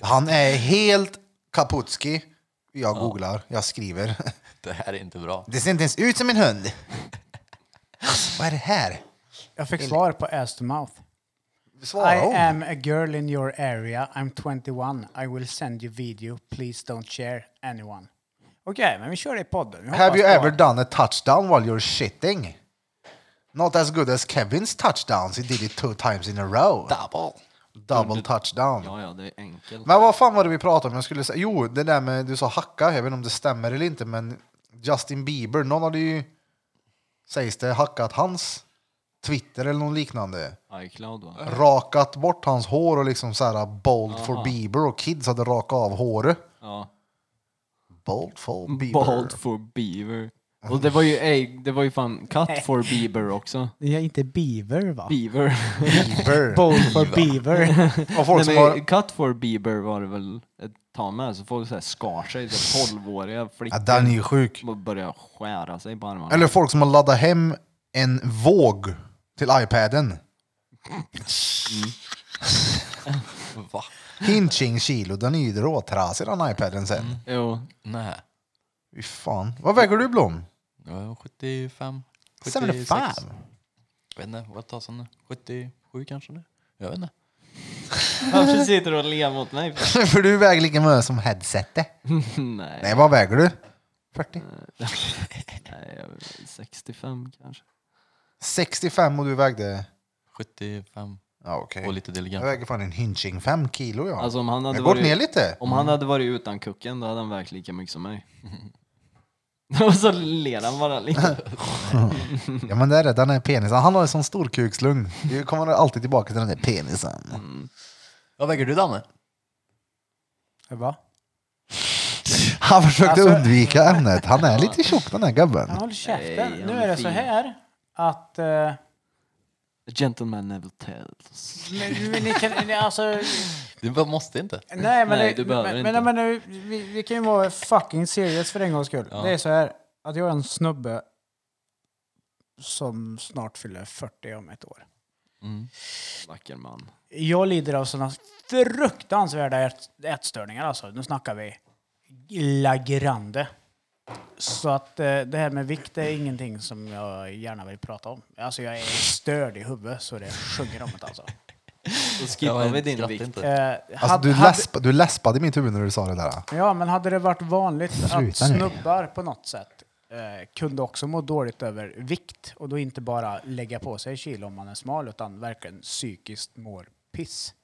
S2: Han är helt kaputski. Jag googlar, jag skriver.
S3: Det här är inte bra.
S2: Det ser inte ens ut som en hund. Vad är det här?
S1: Jag fick svar på ass to mouth.
S2: Svara
S1: I
S2: hon.
S1: am a girl in your area. I'm 21. I will send you video. Please don't share anyone. Okej, men vi kör det i podden. Vi
S2: Have
S1: hoppas
S2: you
S1: på-
S2: ever done a touchdown while you're shitting? Not as good as Kevins touchdowns. He did it two times in a row.
S3: Double.
S2: Double touchdown.
S4: Ja, ja, det är enkelt.
S2: Men vad fan var det vi pratade om? Jag skulle säga, jo, det där med, du sa hacka, jag vet inte om det stämmer eller inte, men Justin Bieber, någon hade ju, sägs det, hackat hans Twitter eller något liknande.
S4: iCloud va?
S2: Rakat bort hans hår och liksom så här bold for Bieber och kids hade rakat av håret.
S4: Ja.
S2: Bold for Bieber.
S4: Bald for Beaver. Och det var ju, ej, det var ju fan Cut for Bieber också.
S1: Det är inte beaver va?
S4: Beaver.
S2: Bieber.
S1: Bold for beaver.
S2: och folk som
S4: Nej, men,
S2: var,
S4: Cut for Bieber var det väl ett tag med, så folk så här skar sig, så här 12-åriga
S2: ja, den är
S4: flickor
S2: ju sjuk.
S4: och började skära sig på armarna.
S2: Eller folk som har laddat hem en våg till iPaden.
S3: Mm. Va?
S2: Hinching kilo, den är ju råtrasig den iPaden sen.
S3: Mm.
S4: Jo,
S3: Nej.
S2: Fy fan. Vad väger du Blom?
S3: Jag är 75, 76.
S2: 75?
S3: Jag vet inte, vad tar sen nu? 77 kanske nu? Jag vet inte.
S4: varför sitter du och ler mot mig? för?
S2: För du väger lika mycket som headsetet.
S4: Nej,
S2: Nej, vad väger du? 40.
S3: Mm.
S4: nej, jag är 65 kanske.
S2: 65 och du vägde...
S3: 75
S2: Ja, okej.
S3: och lite
S2: Jag
S3: delegant.
S2: väger fan en hinching 5 kilo jag.
S4: Alltså om han
S2: jag
S4: hade
S2: har gått ner
S4: varit,
S2: lite.
S4: om han hade varit utan kucken, då hade han vägt lika mycket som mig. och så ler han bara lite.
S2: Ja men det är det, den här penisen. Han har en sån stor kukslugn. Vi kommer alltid tillbaka till den där penisen.
S3: Vad väger du Danne?
S1: va?
S2: Han försökte
S1: Alltså-
S2: undvika ämnet. Han är lite tjock den här gubben.
S1: Håll käften.
S4: Nej, han är
S1: nu är det så
S4: fin.
S1: här att... eh,
S4: A gentleman never tells.
S1: men, men ni kan, ni, alltså,
S3: Du bara måste inte.
S1: Nej, men,
S4: Nej,
S1: det,
S4: du behöver
S1: men,
S4: inte.
S1: Men, men, nu, vi, vi kan ju vara fucking serious för en gångs skull. Det är så här att jag är en snubbe som snart fyller 40 om ett år.
S4: Vacker man.
S1: Jag lider av sådana fruktansvärda ät, ätstörningar alltså. Nu snackar vi lagrande. Så att eh, det här med vikt är ingenting som jag gärna vill prata om. Alltså jag är störd i huvudet så det sjunger om det alltså.
S4: Då skippar vi din
S3: skratta
S4: vikt.
S3: inte.
S1: Eh,
S2: Alltså,
S1: hade-
S2: du,
S1: hade-
S2: läsp, du läspade i mitt huvud när du sa det där.
S1: Ja, men hade det varit vanligt att
S2: Sluta nu.
S1: snubbar på något sätt eh, kunde också må dåligt över vikt och då inte bara lägga på sig kilo om man är smal utan verkligen psykiskt mår piss.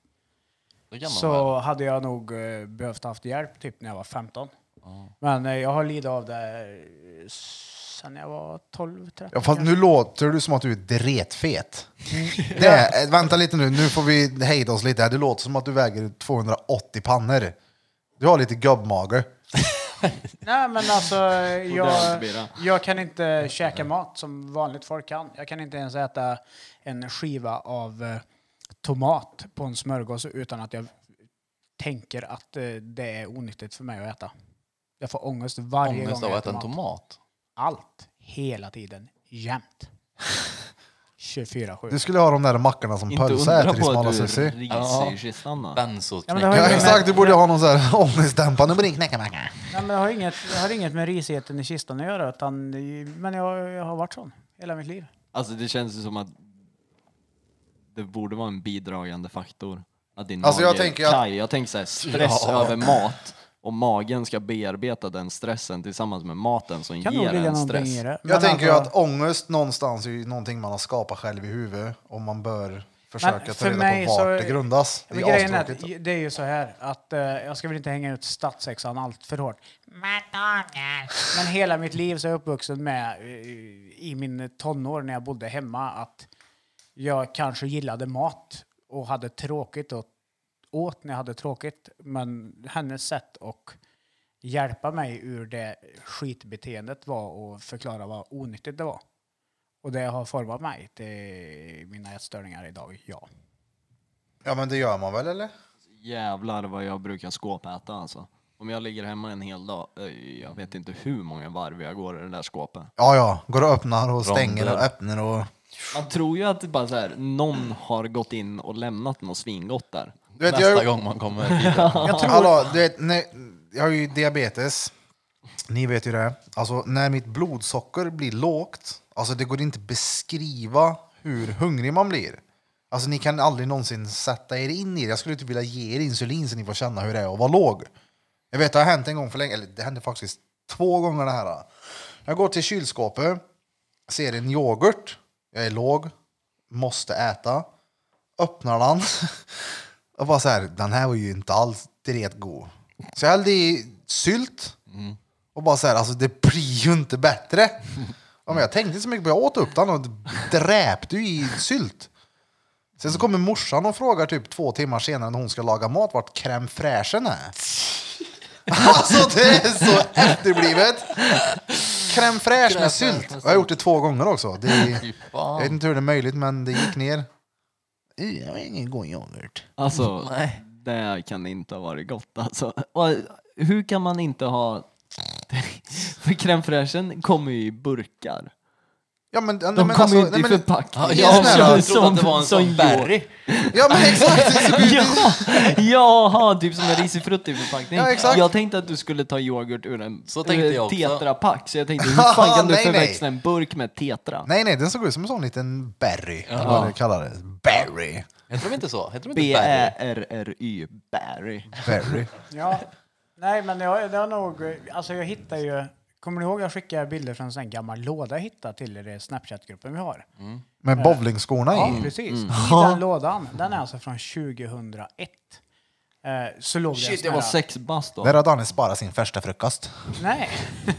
S3: Då kan man väl.
S1: Så hade jag nog eh, behövt haft hjälp typ när jag var 15. Men eh, jag har lidit av det eh, sen jag var 12, 13.
S2: Ja, fast nu låter du som att du är dretfet.
S1: Mm.
S2: Det är, eh, vänta lite nu, nu får vi hejda oss lite här. Det låter som att du väger 280 pannor. Du har lite gubbmage.
S1: Nej, men alltså jag,
S4: Bira.
S1: jag kan inte käka mat som vanligt folk kan. Jag kan inte ens äta en skiva av eh, tomat på en smörgås utan att jag tänker att eh, det är onyttigt för mig att äta. Jag får ångest varje
S3: Ångest
S1: gång
S3: av
S1: jag
S3: att äta
S1: äter
S3: en
S1: mat.
S3: tomat.
S1: Allt. Hela tiden. Jämt. 24-7.
S2: Du skulle ha de där mackorna som
S4: Inte
S2: Pölsa
S4: undra
S2: äter i
S4: på
S2: smala
S4: att du
S2: sussi.
S4: risig
S3: Ja.
S4: i kistan då.
S1: Ja, men det har
S3: Bensoknäck.
S1: ju
S2: Ja,
S1: inget
S2: exakt, du
S1: med-
S2: borde ha någon sån här ångestdämpande på din knäckemacka.
S1: Nej, men det, har inget, det har inget med risigheten i kistan att göra. Utan, men jag, jag har varit sån hela mitt liv.
S4: Alltså det känns ju som att det borde vara en bidragande faktor. Att din
S2: Alltså, jag
S4: mage
S2: tänker att-
S4: kajar. Jag tänker så här, stress över mat och magen ska bearbeta den stressen tillsammans med maten som
S1: Kan nog
S4: ger
S1: ligga
S4: en
S1: någonting
S4: stress.
S1: i det. men
S2: Jag tänker ju
S1: alltså-
S2: att ångest någonstans är ju någonting man har skapat själv i huvudet och man bör försöka
S1: för
S2: ta
S1: mig
S2: reda på
S1: så-
S2: vart det grundas. Det
S1: Men
S2: är
S1: grejen är
S2: astråkigt.
S1: att det är ju så här att eh, jag ska väl inte hänga ut statssexan allt för hårt. Men hela mitt liv så är jag uppvuxen med eh, i min tonår när jag bodde hemma att jag kanske gillade mat och hade tråkigt och åt när jag hade tråkigt. Men hennes sätt att hjälpa mig ur det skitbeteendet var att förklara vad onyttigt det var. Och det har format mig till mina ätstörningar idag, ja.
S2: Ja men det gör man väl eller?
S4: Jävlar vad jag brukar skåpäta alltså. Om jag ligger hemma en hel dag, eh, jag vet inte hur många varv jag går i det där skåpet.
S2: Ja ja, går och öppnar och
S3: Ronder.
S2: stänger och öppnar och...
S4: Man tror ju att det bara så här, någon har gått in och lämnat något svingott där.
S2: Du vet,
S3: Nästa
S2: jag,
S3: gång man kommer hit.
S2: jag tror... Hallå, du vet, när, jag har ju diabetes. Ni vet ju det. Alltså när mitt blodsocker blir lågt, alltså det går inte beskriva hur hungrig man blir. Alltså ni kan aldrig någonsin sätta er in i det. Jag skulle typ vilja ge er insulin så ni får känna hur det är att vara låg. Jag vet, det har hänt en gång för länge, eller det hände faktiskt två gånger det här. Jag går till kylskåpet, ser en yoghurt, jag är låg, måste äta, öppnar den och bara så här, den här var ju inte alls direkt god. Så jag hällde i sylt och bara så här, alltså det blir ju inte bättre. Ja, men jag tänkte inte så mycket på jag åt upp den och dräpte ju i sylt. Sen så kommer morsan och frågar typ två timmar senare när hon ska laga mat vart crème fraîchen är. Alltså det är så efterblivet! Crème fraîche med sylt. Och Jag har gjort det två gånger också. Det är,
S3: Fy
S2: jag vet
S3: fan.
S2: inte hur det är möjligt men det gick ner. Uh, Det var ingen god yoghurt.
S4: Alltså,
S3: Nej.
S4: det kan inte ha varit gott alltså. Och hur kan man inte ha... För crème fraîchen kommer ju i burkar.
S2: Ja men, nej,
S4: De
S2: men
S4: kommer
S2: alltså,
S4: ju inte
S2: nej,
S4: i
S2: men,
S4: förpackning. Alltså,
S2: Ja, jag
S3: trodde
S4: Som-
S3: att det var en
S4: som
S3: sån berry.
S2: ja men exakt! Det ser ut-
S4: Ja, jaha, typ som en risifrutti förpackning.
S2: Ja, exakt.
S4: Jag tänkte att du skulle ta yoghurt ur en eh,
S3: Så tänkte jag också.
S4: tetrapack, så jag tänkte hur fan kan du
S2: Nej, nej.
S4: förväxla en burk med tetra?
S2: Nej nej, den såg ut som en sån liten berry. eller Vad det kallades. Berry.
S3: Heter de inte så? Heter de inte
S4: E
S3: berry?
S4: B-E-R-R-Y, berry.
S2: Berry.
S1: Ja. Nej, men jag, det har nog... Alltså jag hittar ju... Kommer ni ihåg jag skickade bilder från en sån här gammal låda jag hittade till er i Snapchat-gruppen vi har?
S2: Med bowlingskorna i.
S1: Ja, precis. I den lådan. Den är alltså från 2001. Eh, så låg det en
S4: Shit,
S1: sån
S4: jag var
S1: här-
S4: sex bast då.
S2: Där har Danne sparat sin första frukost.
S1: Nej.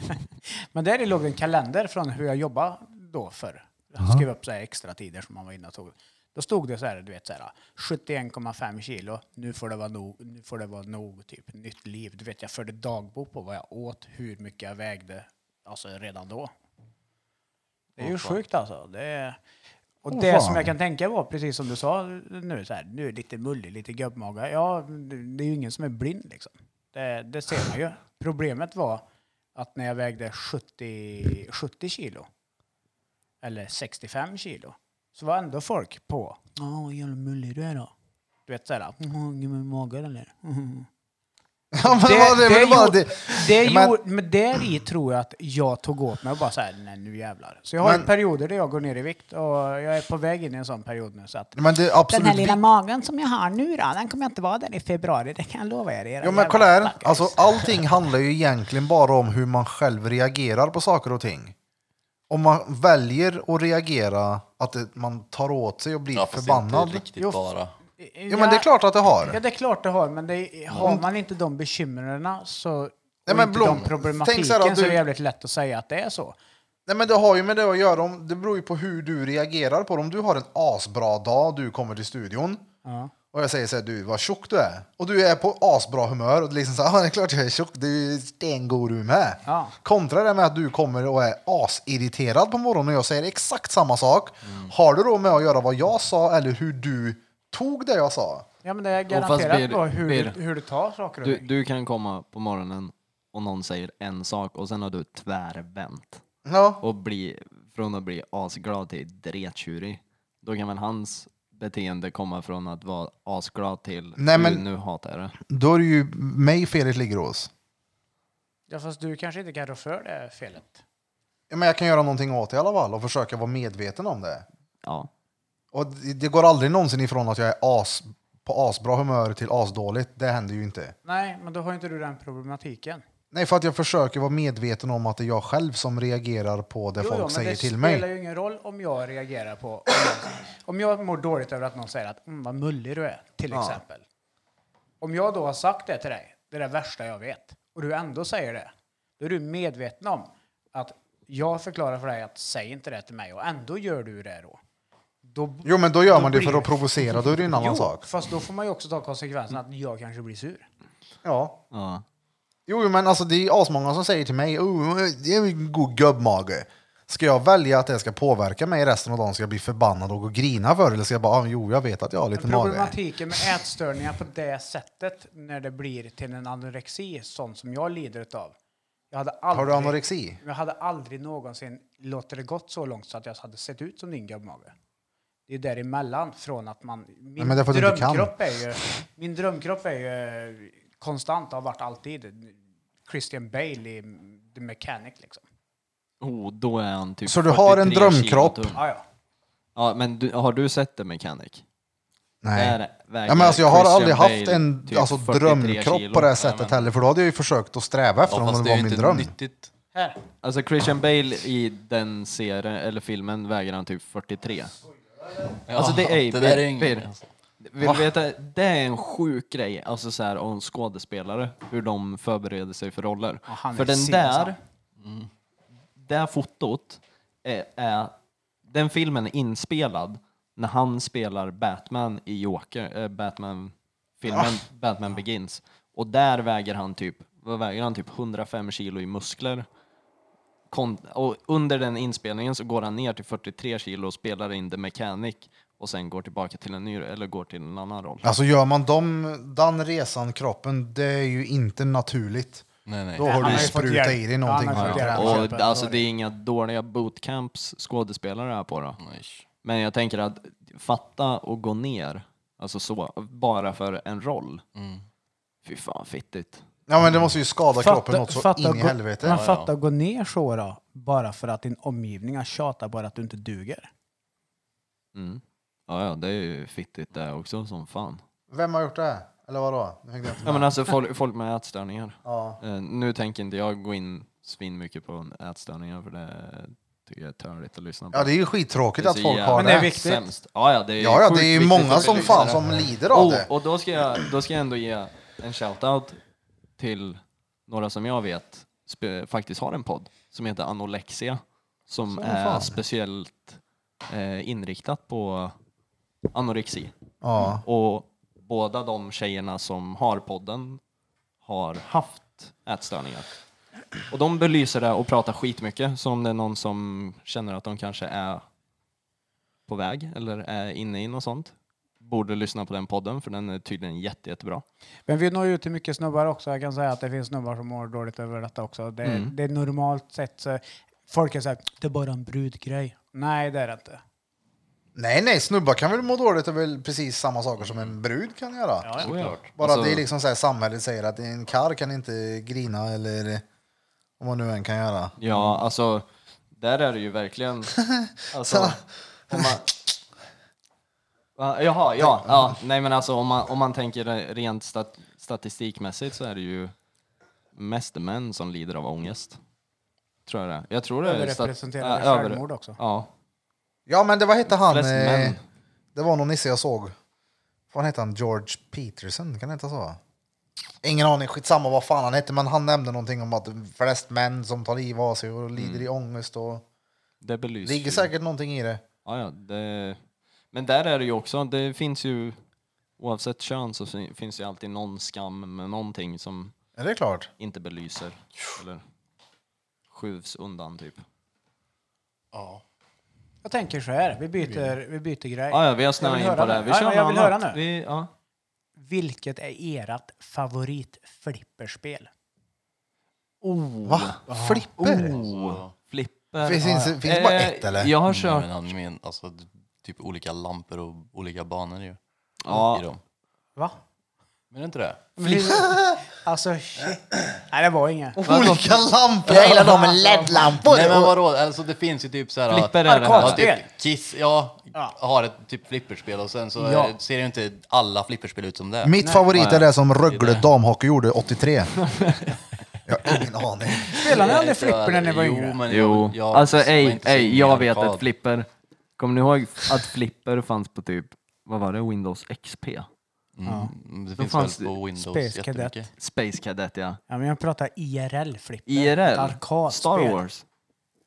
S1: Men där i låg en kalender från hur jag jobbade då förr. Jag skrev upp så här extra tider som man var inne och tog. Då stod det så här, du vet, så här 71,5 kilo. Nu får, det vara nog, nu får det vara nog, typ nytt liv. Du vet, jag förde dagbok på vad jag åt, hur mycket jag vägde, alltså redan då. Det är ju sjukt alltså. Det är, och
S2: Åh,
S1: det
S2: fan.
S1: som jag kan tänka var precis som du sa nu, så här, nu är det lite mullig, lite gubbmaga. Ja, det är ju ingen som är blind liksom. Det, det ser man ju. Problemet var att när jag vägde 70, 70 kilo, eller 65 kilo, så var ändå folk på. Ja, vad jävla mullig du är då. Du vet såhär, med magen eller? Mhm.
S2: Ja, men det, var det, men det, var
S1: gjorde-
S2: det.
S1: det
S2: Men-
S1: gjorde- men där i tror jag att jag tog åt mig och bara såhär, nej nu jävlar. Så jag har
S2: Men-
S1: ju perioder där jag går ner i vikt och jag är på väg in i en sån period nu. Så att
S2: Men det är absolut...
S1: magen som jag har nu då, den kommer jag inte vara där i februari, det kan jag lova er. era
S2: Ja, men
S1: jävla
S2: kolla här.
S1: stackare.
S2: Alltså, allting handlar ju egentligen bara om hur man själv reagerar på saker och ting. Om man väljer att reagera, att det, man tar åt sig och blir
S3: Ja, fast det är
S2: förbannad.
S3: Inte riktigt
S1: Jo,
S3: bara.
S2: Jo, men det är klart att det
S1: Ja,
S2: har. Mm.
S1: det är klart det har, men det, har man inte de bekymren så, och
S2: men
S1: inte
S2: Blom,
S1: de problematiken
S2: tänk
S1: så,
S2: så här att
S1: är
S2: du-
S1: det jävligt lätt att säga att det är så.
S2: Nej, men det har ju med det att göra. Om, det beror ju på hur du reagerar på det. Om du har en asbra dag, du kommer till studion
S1: Ja.
S2: och jag säger så här, du vad tjock du är. Och du är på asbra humör och liksom så här, "Ja, det är klart jag är tjock, du är ju stengod du med.
S1: Ja.
S2: Kontra det med att du kommer och är asirriterad på morgonen och jag säger exakt samma sak.
S1: Mm.
S2: Har det då med att göra vad jag sa eller hur du tog det jag sa?
S1: ja, men det är
S4: fast
S1: garanterat
S4: blir-
S1: på hur,
S4: blir-
S1: hur du tar saker och
S4: Du,
S1: ting.
S4: du kan komma på morgonen och någon säger en sak och sen har du tvärvänt
S2: Ja,
S4: och bli, från att bli asglad till drettjurig. Då kan väl hans beteende komma från att vara asglad till
S2: Nej,
S4: "Du,
S2: men-
S4: nu hatar jag det.
S2: då är det ju mig felet ligger hos.
S1: Ja, fast du kanske inte kan rå för det felet.
S2: Ja, Men jag kan göra någonting åt det i alla fall och försöka vara medveten om det.
S4: Ja.
S2: Och det det går aldrig någonsin ifrån att jag är as, på asbra humör till asdåligt. Det händer ju inte.
S1: Nej, men då har inte du den problematiken.
S2: Nej, för att jag försöker vara medveten om att det är jag själv som reagerar på det
S1: Jo,
S2: folk
S1: jo, men
S2: säger
S1: det
S2: till
S1: spelar
S2: mig.
S1: ju ingen roll om jag reagerar på... om jag- Om jag mår dåligt över att någon säger att mm, vad mullig du är, till
S2: Ja.
S1: exempel. Om jag då har sagt det till dig, det är det värsta jag vet, och du ändå säger det, då är du medveten om att jag förklarar för dig att säg inte det till mig, och ändå gör du det då. då
S2: Jo, men då gör
S1: Då
S2: man det
S1: blir
S2: för att
S1: det.
S2: provocera. Då är det en annan sak.
S1: fast då får man ju också ta konsekvensen att jag kanske blir sur.
S2: Ja.
S4: ja.
S2: Jo, jo, men alltså det är asmånga som säger till mig oh, det är en god gubbmage. Ska jag välja att det ska påverka mig resten av dagen? Ska jag bli förbannad och gå och grina för det? Eller ska jag bara, ah, jo, jag vet att jag har lite
S1: Men
S2: mage.
S1: problematiken med ätstörningar på det sättet, när det blir till en anorexi, sån som jag lider utav. Jag hade
S2: Har
S1: aldrig,
S2: du anorexi?
S1: Jag hade aldrig någonsin låtit det gått så långt så att jag hade sett ut som din gubbmage. Det är däremellan från att man...
S2: Nej,
S1: Min,
S2: men det är för att du inte kan.
S1: drömkropp, är ju, min drömkropp är ju konstant, har varit alltid. Christian Bale i The Mechanic liksom.
S4: Oh, då är han typ
S2: Så du har en
S4: 43 kilo
S2: drömkropp?
S4: tung.
S1: Ah, ja.
S4: Ja, men du, har du sett det Mechanic?
S2: Nej.
S4: Där väger
S2: Ja, men alltså, jag har
S4: Christian
S2: aldrig haft
S4: Bale
S2: en
S4: typ
S2: alltså,
S4: 43
S2: drömkropp
S4: kilo.
S2: på det
S4: Ja,
S2: här sättet
S4: men-
S2: heller, för då hade jag ju försökt att sträva efter
S3: Ja,
S2: om
S3: fast
S2: det
S3: det är
S2: var
S3: ju
S2: min
S3: inte
S2: dröm.
S3: nyttigt.
S1: Här.
S4: Alltså Christian Bale i den serien, eller filmen, väger han typ 43. Alltså det är,
S3: det där är alltså.
S4: Pir-
S3: inget.
S4: Pir, Vill du veta, det är en sjuk grej, alltså så här om skådespelare, hur de förbereder sig för roller.
S1: han är alltså.
S4: för den
S1: sinnessam.
S4: där, mm, det här fotot, är, är, den filmen är inspelad när han spelar Batman i Joker, eh, Batman-filmen
S1: Ah.
S4: Batman Begins. Och där väger han typ, vad väger han? Typ 105 kilo i muskler. Kon- och under den inspelningen så går han ner till 43 kilo och spelar in The Mechanic och sen går tillbaka till en ny, eller går till en annan roll.
S2: Alltså gör man dem, den resan, kroppen, det är ju inte naturligt.
S3: Nej, nej.
S2: Då har
S1: han
S2: du
S1: har
S2: ju
S1: ju fått
S2: sprutat
S1: hjälp.
S2: i dig
S1: Ja,
S2: någonting.
S1: han har
S2: för
S1: fått
S2: att
S1: hjälp.
S2: träna.
S1: Ja,
S4: Och
S1: köper
S4: d- alltså
S1: en
S4: det är inga dåliga bootcamps skådespelare här på då.
S3: Nej.
S4: Men jag tänker att fatta och gå ner, alltså så, bara för en roll.
S3: Mm.
S4: Fy fan fittigt.
S2: Ja, men det måste ju skada kroppen något så in i
S1: gå-
S2: helvete.
S1: Men fatta att gå ner så då, bara för att din omgivning har tjatat bara att du inte duger.
S4: Mm. Ja, ja, det är ju fittigt det också som fan.
S2: Vem har gjort det? här? Eller vadå? Nu hängde jag inte
S4: Ja
S2: med.
S4: men alltså folk, folk med ätstörningar.
S2: Ja.
S4: Eh, nu tänker inte jag gå in svin mycket på ätstörningar för det tycker jag är törligt att lyssna på.
S2: ja, det är ju skittråkigt
S4: Det är
S2: att
S4: så
S2: folk
S4: jävla
S2: har
S1: Men det är
S2: det.
S1: viktigt.
S4: Sämst. Ja, ja, det är
S2: Ja, ja,
S4: sjukt
S2: det är ju
S4: viktigt
S2: många
S4: att
S2: som
S4: belysa
S2: fan
S4: det.
S2: som lider av
S4: Oh,
S2: det.
S4: Och då ska, jag, då ska jag ändå ge en shoutout till några som jag vet spe, faktiskt har en podd som heter Anorexia som är speciellt eh, inriktat på anorexi.
S2: Ja.
S4: Och båda de tjejerna som har podden har haft ätstörningar. Och de belyser det och pratar skitmycket. Så om det är någon som känner att de kanske är på väg eller är inne i något sånt borde lyssna på den podden för den är tydligen jätte, jättebra.
S1: Men vi når ju ut till mycket snubbar också. Jag kan säga att det finns snubbar som mår dåligt över detta också. Det,
S2: Mm.
S1: det är normalt sett så folk är såhär, det är bara en brudgrej. Nej, det är det inte.
S2: Nej, nej, snubbar kan väl må dåligt över precis samma saker som en brud kan göra.
S3: Såklart.
S2: Bara
S4: Alltså-
S2: det är liksom så här, samhället säger att en karl kan inte grina eller vad man nu än kan göra.
S4: Ja, alltså där är det ju verkligen... Alltså, om man... Va? Jaha, ja, ja. Nej men alltså om man, om man tänker rent stat statistikmässigt så är det ju mest män som lider av ångest. Tror jag det är. Jag tror det är... stat-
S1: Överrepresenterade
S4: ja, över-
S1: självmord också.
S4: Ja.
S2: Ja, men det var hette han...
S4: Flest
S2: Eh,
S4: män.
S2: det var någon nisse jag såg. Vad hette han? George Peterson? Kan det heta så? Ingen aning, skitsamma vad fan han hette, men han nämnde någonting om att flest män som tar livet av sig och lider i ångest och...
S4: Mm. Det
S2: Det
S4: belyser
S2: ligger
S4: ju.
S2: säkert någonting i det.
S4: Ja, ja, det... Men där är det ju också, det finns ju... Oavsett kön så fin- finns ju alltid någon skam med någonting som
S2: Är det klart?
S4: inte belyser. Eller skjuvs undan typ.
S1: Jag tänker så här, vi byter, vi byter grej.
S4: Ja, ja, vi har
S1: Jag
S4: snöat
S1: vill
S4: in på
S1: höra
S4: det. här. Vi
S1: nu. Ja,
S4: kör
S1: men jag vill
S4: något
S1: höra
S4: annat.
S1: nu.
S4: Vi, ja.
S1: Vilket är ert favoritflipperspel?
S4: Oh.
S2: Va? Flipper?
S4: Oh. Flipper.
S2: Finns,
S4: Ja,
S2: finns,
S4: ja.
S2: finns det bara
S4: Eh,
S2: ett eller?
S4: Jag har
S3: Nej,
S4: kört...
S3: men han men, alltså, d- typ olika lampor och olika banor ju. I
S4: Ja,
S3: dem.
S1: Va?
S3: Men är det inte det?
S1: alltså shit. Nej, det var inget.
S2: Olika lampor! Jag gillar de med LED-lampor!
S3: Nej men vadå, alltså det finns ju typ såhär...
S4: Flipper är det
S3: Ja,
S4: här.
S1: Arkadspel.
S3: typ Kiss, ja,
S1: Ja.
S3: har ett typ flipperspel och sen så
S1: Ja.
S3: är- ser ju inte alla flipperspel ut som det.
S2: Mitt favorit är
S4: Ja, ja.
S2: det som Rögle damhockey gjorde 83. jag har ingen aning.
S1: Spelade ni aldrig flipper när ni var
S3: Eh, Jo,
S1: yngre?
S3: men
S4: jo.
S3: jag- jag
S4: alltså
S3: var
S4: ej,
S3: inte så
S4: ej, jag
S3: arkad.
S4: vet att flipper... Kommer ni ihåg att flipper fanns på typ, vad var det, Windows XP?
S1: Ja.
S3: Mm, Det
S4: Då
S3: finns
S4: fanns
S3: väl på Windows
S1: Space
S3: jättemycket.
S1: Cadet.
S4: Space Cadet ja.
S1: Ja, men jag pratar IRL-flipper.
S4: IRL? Star
S1: Arkadspel.
S4: Wars?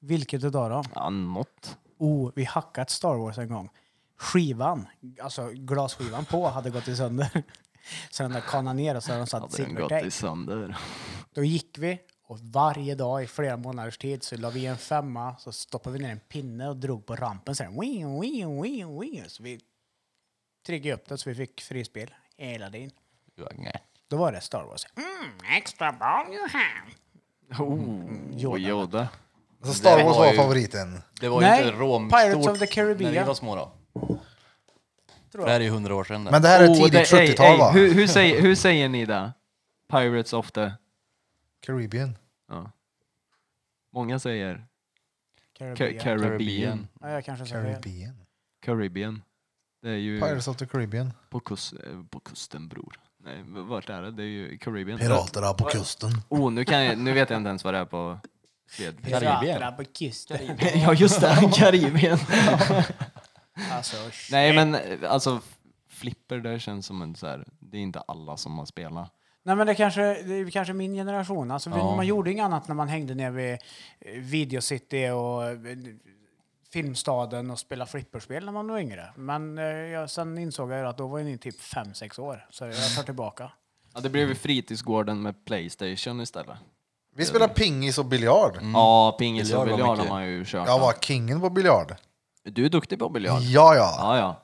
S1: Vilket utav dem?
S4: Ja, något.
S1: Oh, vi hackade ett Star Wars en gång. Skivan, alltså glasskivan på, hade gått i sönder. Så den där kanade ner och så hade de satt
S4: Hade den gått
S1: silvertejp.
S4: i sönder.
S1: Då gick vi och varje dag i flera månaders tid så la vi en femma, så stoppade vi ner en pinne och drog på rampen så den wing, wing, wing, wing. Så vi triggade upp det så vi fick frispel hela dagen.
S3: Jag- nej.
S1: Då var det Star Wars. Mm, extra ball you have.
S4: Oh,
S1: Mm, Yoda.
S4: Yoda.
S2: Så Alltså, Star
S3: Det
S2: Wars
S3: var
S2: var
S3: ju-
S2: favoriten.
S3: Det var
S1: Nej,
S3: ju inte rom
S1: Pirates
S3: stort
S1: of the Caribbean.
S3: när vi var små då.
S1: Tror
S3: För det här är ju hundra år sedan. där.
S2: Men det här är
S4: Oh,
S2: tidigt
S4: det- ej,
S2: 70-tal
S4: ej,
S2: va?
S4: Hur, hur, säger, hur säger ni det? Pirates of the...
S2: Caribbean.
S4: Ja. Många säger Ca-
S1: Caribbean.
S4: Caribbean.
S1: Ja, jag kanske sa fel.
S2: Caribbean.
S4: Caribbean. Det är ju
S2: Pirates of the Caribbean.
S4: på, kus, eh, på kusten bror. Nej, v- vart är det? Det är ju Caribbean.
S2: Piraterna på kusten.
S4: Oh, nu, kan jag, nu vet jag inte ens vad det är på fred.
S3: Caribbean.
S1: Piraterna på kusten.
S4: ja just det, Karibien.
S1: Alltså, shit.
S4: Nej men eh, alltså flipper det känns som en så här, det är inte alla som har spelat.
S1: Nej men det kanske, det är kanske min generation. Alltså, vi-
S4: Ja.
S1: Man gjorde inget annat när man hängde ner vid eh, Video City och eh, Filmstaden och spelade flipperspel när man var yngre. Men eh, jag, sen insåg jag ju att då var jag ju typ fem sex år. Så jag tar tillbaka.
S4: Ja, det blev ju fritidsgården med Playstation istället.
S2: Vi spelar pingis och biljard.
S4: Ja, pingis och
S3: Biljard var
S4: biljard har
S3: mycket.
S4: man ju kört.
S2: Jag var Mm. kingen på biljard.
S4: Du är duktig på biljard.
S2: Ja, ja.
S4: Ja, ja.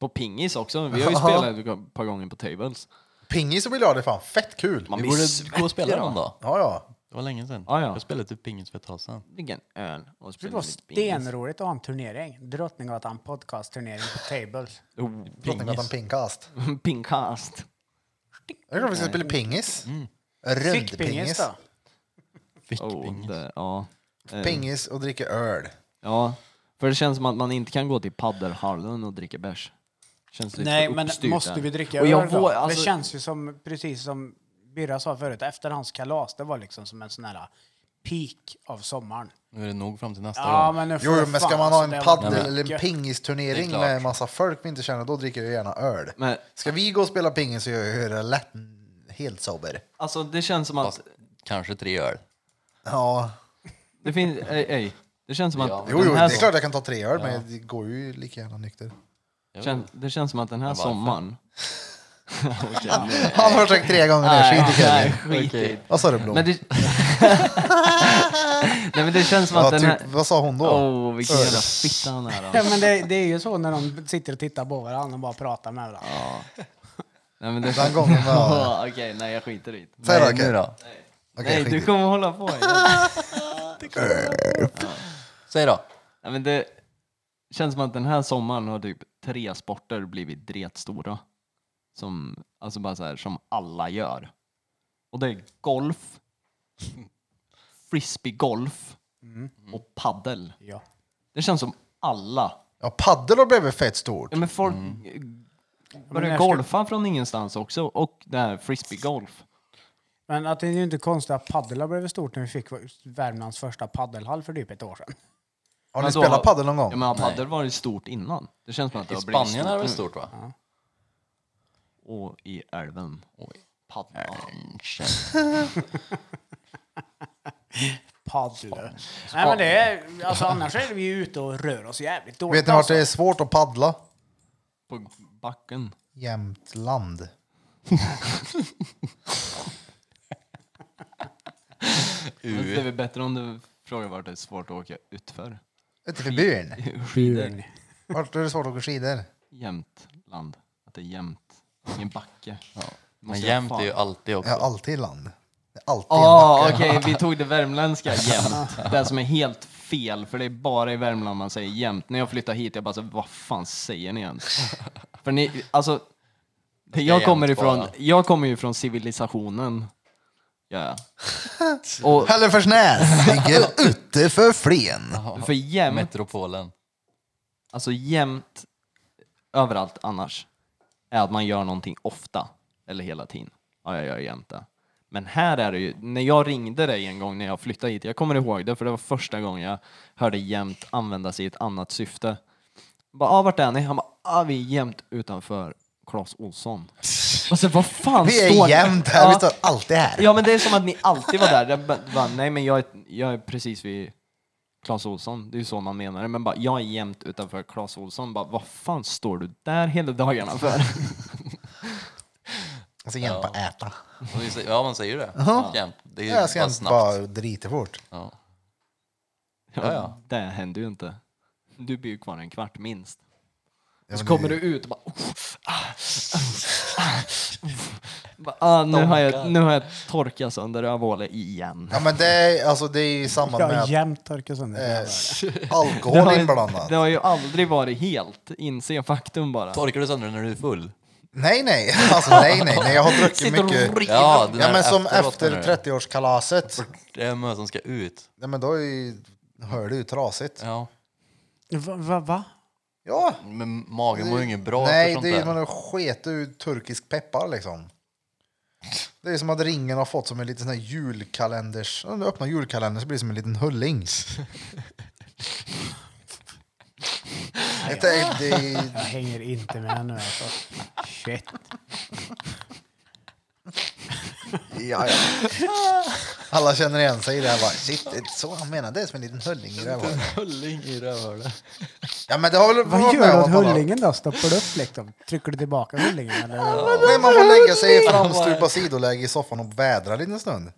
S4: På pingis också. Vi har ju
S2: Ja.
S4: spelat ett par gånger på tables.
S2: Pingis och biljard är fan fett kul.
S4: Man
S3: Vi
S4: blir
S3: borde gå och spela
S4: svettig
S3: någon dag.
S2: Ja, ja.
S3: Det var länge sedan.
S4: Ja, ja.
S3: Jag spelade typ pingis för ett tag sedan.
S4: Dricka en öl och
S1: Det
S4: spela
S1: var
S4: lite pingis.
S1: stenroligt att ha en turnering. Drottninggatan podcast-turnering på Tables.
S4: Oh,
S2: Drottninggatan pingkast.
S4: Pingcast.
S2: Det är klart vi ska spela pingis.
S1: Fickpingis
S2: Rundpingis.
S1: då?
S3: Fick
S4: Oh,
S3: pingis.
S4: det, ja. Eh,
S2: Pingis och dricka öl.
S4: ja. För det känns som att man inte kan gå till paddelhallen och dricka bärs. Känns lite
S1: Nej men
S4: typ uppstyrt
S1: måste
S4: där.
S1: vi dricka
S4: Och
S1: öl
S4: jag
S1: då?
S4: vå- alltså-
S1: Det känns ju som, precis som Birra sa förut, efter hans kalas, det var liksom som en sån här peak av sommaren.
S3: Nu är det nog fram till nästa
S1: Ja,
S3: då.
S1: men nu
S2: Jo,
S1: för
S2: jo, men ska
S1: fan,
S2: man ha
S1: alltså,
S2: en
S1: det var
S2: paddel
S1: mycket.
S2: eller en
S3: Det är
S2: pingisturnering
S3: klart.
S2: med en massa folk vi inte känner, då dricker jag gärna öl.
S4: Men
S2: Ska vi gå och spela pingis så gör jag det lätt mm, helt sober.
S4: alltså det känns som att...
S3: Fast kanske tre öl.
S2: Ja,
S4: Det finns... Ej, ej. Det känns som att...
S3: Ja.
S2: jo, jo,
S4: den
S2: det
S4: här-
S2: är klart jag kan ta tre öl, men det går ju lika gärna nykter.
S3: Jag
S4: Kän, det känns som att den här
S3: varför?
S4: sommaren... Okej, nej.
S2: Han har försökt tre gånger nu, skit i
S4: nej,
S2: Kelly.
S4: skit i
S3: Okej.
S2: Vad sa du Blom?
S4: men det... Nej men det känns som
S2: ja,
S4: att den här...
S2: typ, vad sa hon då?
S4: Åh, oh, vilken jävla fitta han är.
S1: Ja,
S4: Alltså.
S1: men det, det är ju så när de sitter och tittar på varandra och bara pratar med varandra.
S4: Nej, men det
S2: Den gången var...
S4: Åh, Okej, nej jag skiter i det.
S2: Säg då,
S3: Nej,
S2: okej.
S3: nu då.
S2: Okej,
S4: nej,
S2: skit i
S4: du
S2: det.
S4: kommer hålla på. igen.
S3: Säg då.
S4: Nej, men det känns som att den här sommaren har typ tre sporter blivit dretstora. Som, alltså bara så här, som alla gör. Och det är golf, frisbeegolf
S2: Mm.
S4: och paddel.
S1: Ja.
S4: Det känns som alla.
S2: Ja, paddel har blivit fett stort.
S4: Ja, men folk
S3: Mm.
S4: börjar
S1: när ska-
S4: golfa från ingenstans också och det här frisbeegolf.
S1: Men att det är ju inte konstigt att paddel har blivit stort när vi fick Värmlands första paddelhall för typ ett år sedan.
S2: Har ni
S4: Men då-
S2: spelat paddel någon
S4: Alltså, Ja,
S2: gång?
S4: men har paddel varit stort innan? Det känns som att det
S3: I
S4: har blivit
S3: Spanien är det väl
S4: nu.
S3: stort va?
S4: Och i älven. Och i paddan.
S1: Paddel. Nej men det är, alltså annars är vi ju ute och rör oss jävligt dåligt.
S2: Vet ni vart
S1: alltså.
S2: det är svårt att paddla?
S4: På backen.
S2: Jämtland.
S4: Men Det är väl bättre om du frågar vart det är svårt att åka utför.
S2: Ute för byn.
S4: Skidor.
S2: Vart är det svårt att åka skidor?
S4: Jämnt land. Att det är jämnt. Ingen backe.
S3: Men jämt är ju alltid
S2: Ja,
S3: också.
S2: alltid land. Det är Alltid en
S4: Ja,
S2: backe.
S4: Ah, okej, vi tog det värmländska jämt. Det som är helt fel, för det är bara i Värmland man säger jämt. När jag flyttade hit, jag bara så, vad fan säger ni ens? För ni, alltså, jag
S3: jämt
S4: kommer ifrån,
S3: bara.
S4: jag kommer ju från civilisationen. Ja. Och
S2: Hälleforsnäs ligger ute för Flen.
S4: för jämt
S3: Metropolen.
S4: alltså jämt överallt annars är att man gör någonting ofta eller hela tiden. Ja, jag gör jämt det. Men här är det ju, när jag ringde dig en gång när jag flyttade hit, jag kommer ihåg det för det var första gången jag hörde jämt användas i ett annat syfte. Bara, ah, vart är ni? Han bara, ah, vi är jämt utanför Clas Olsson. Och så, vad fan
S2: Vi är
S4: står det?"
S2: jämt här, vi står alltid här.
S4: Ja men det är som att ni alltid var där. Jag bara, bara, nej men jag är, jag är precis vid Clas Olsson, det är ju så man menar det. Men bara, jag är jämt utanför Clas Olsson. Bara, vad fan står du där hela dagarna för?
S2: Jag ska jämt bara äta.
S3: Och vi säger- Ja, man säger ju det. Jämt. Det är ju
S2: Jag ska
S3: bara
S2: jämt
S3: snabbt.
S2: bara drita fort.
S3: Ja. Ja, ja.
S4: Det händer ju inte. Du blir ju kvar en kvart minst.
S2: Ja,
S4: Så
S2: men
S4: kommer
S2: det-
S4: du ut och bara... ah, Bara, ah, nu, har jag, nu har jag torkat sönder rövhålet igen.
S2: Ja men det är, alltså, det är i samband med
S1: Ja,
S2: att
S1: jämt torkar sönder.
S2: eh, alkohol
S4: det
S2: inblandat.
S4: har ju aldrig varit helt, inse faktum bara.
S3: Torkar du sönder när du är full?
S2: Nej nej, alltså nej nej, nej jag har druckit mycket.
S3: Ja, den
S2: Ja
S3: här
S2: men som
S3: efteråt
S2: efter
S3: menar du?
S2: 30-årskalaset,
S3: Det är mö som ska ut.
S2: ja, men då är ju, hör det ju trasigt.
S3: Ja.
S2: Eh.
S1: Va, va, va?
S2: Ja,
S3: Men magen mår ju inget bra
S2: nej
S3: efter
S2: det är ju
S3: sånt där.
S2: man har sket ur turkisk peppar liksom. Det är som att ringen har fått som en liten sån här julkalenders, om du öppnar julkalendern så blir det som en liten hulling. Det är, det är,
S1: Jag hänger inte med nu alltså. Shit.
S2: Ja, ja. Alla känner igen sig i det här. Bara, Shit, det är så han menar. Det är som en liten hulling i det här. bara.
S3: Hulling i rövhålet.
S2: Ja, men det har väl
S1: Vad
S2: varit
S1: gör du
S2: om
S1: åt
S2: att alla-
S1: hullingen då? Stoppar du upp liksom? Trycker du tillbaka hullingen? Eller?
S2: Nej, man får lägga sig i framstupa sidoläge i soffan och vädra lite en stund.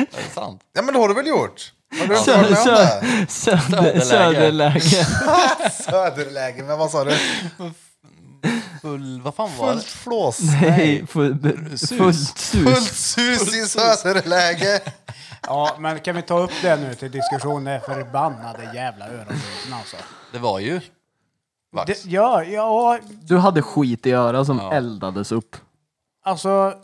S3: Är det sant?
S2: Ja, men det har du väl gjort? Har du inte varit
S4: Sö-
S2: med om
S4: sö-
S2: det?
S4: söder- Söderläge.
S2: Söderläge, men vad sa du?
S3: Full... Vad fan var
S2: Fullt
S3: det?
S2: flås.
S4: Nej, full, fullt
S2: Fullt
S4: sus.
S2: sus i söderläge.
S1: Ja, men kan vi ta upp det nu till diskussion? Det är förbannade jävla öronbryten alltså.
S3: Det var ju... Vax.
S1: Det, ja, ja,
S4: Du hade skit i örat som
S3: Ja.
S4: eldades upp.
S1: alltså.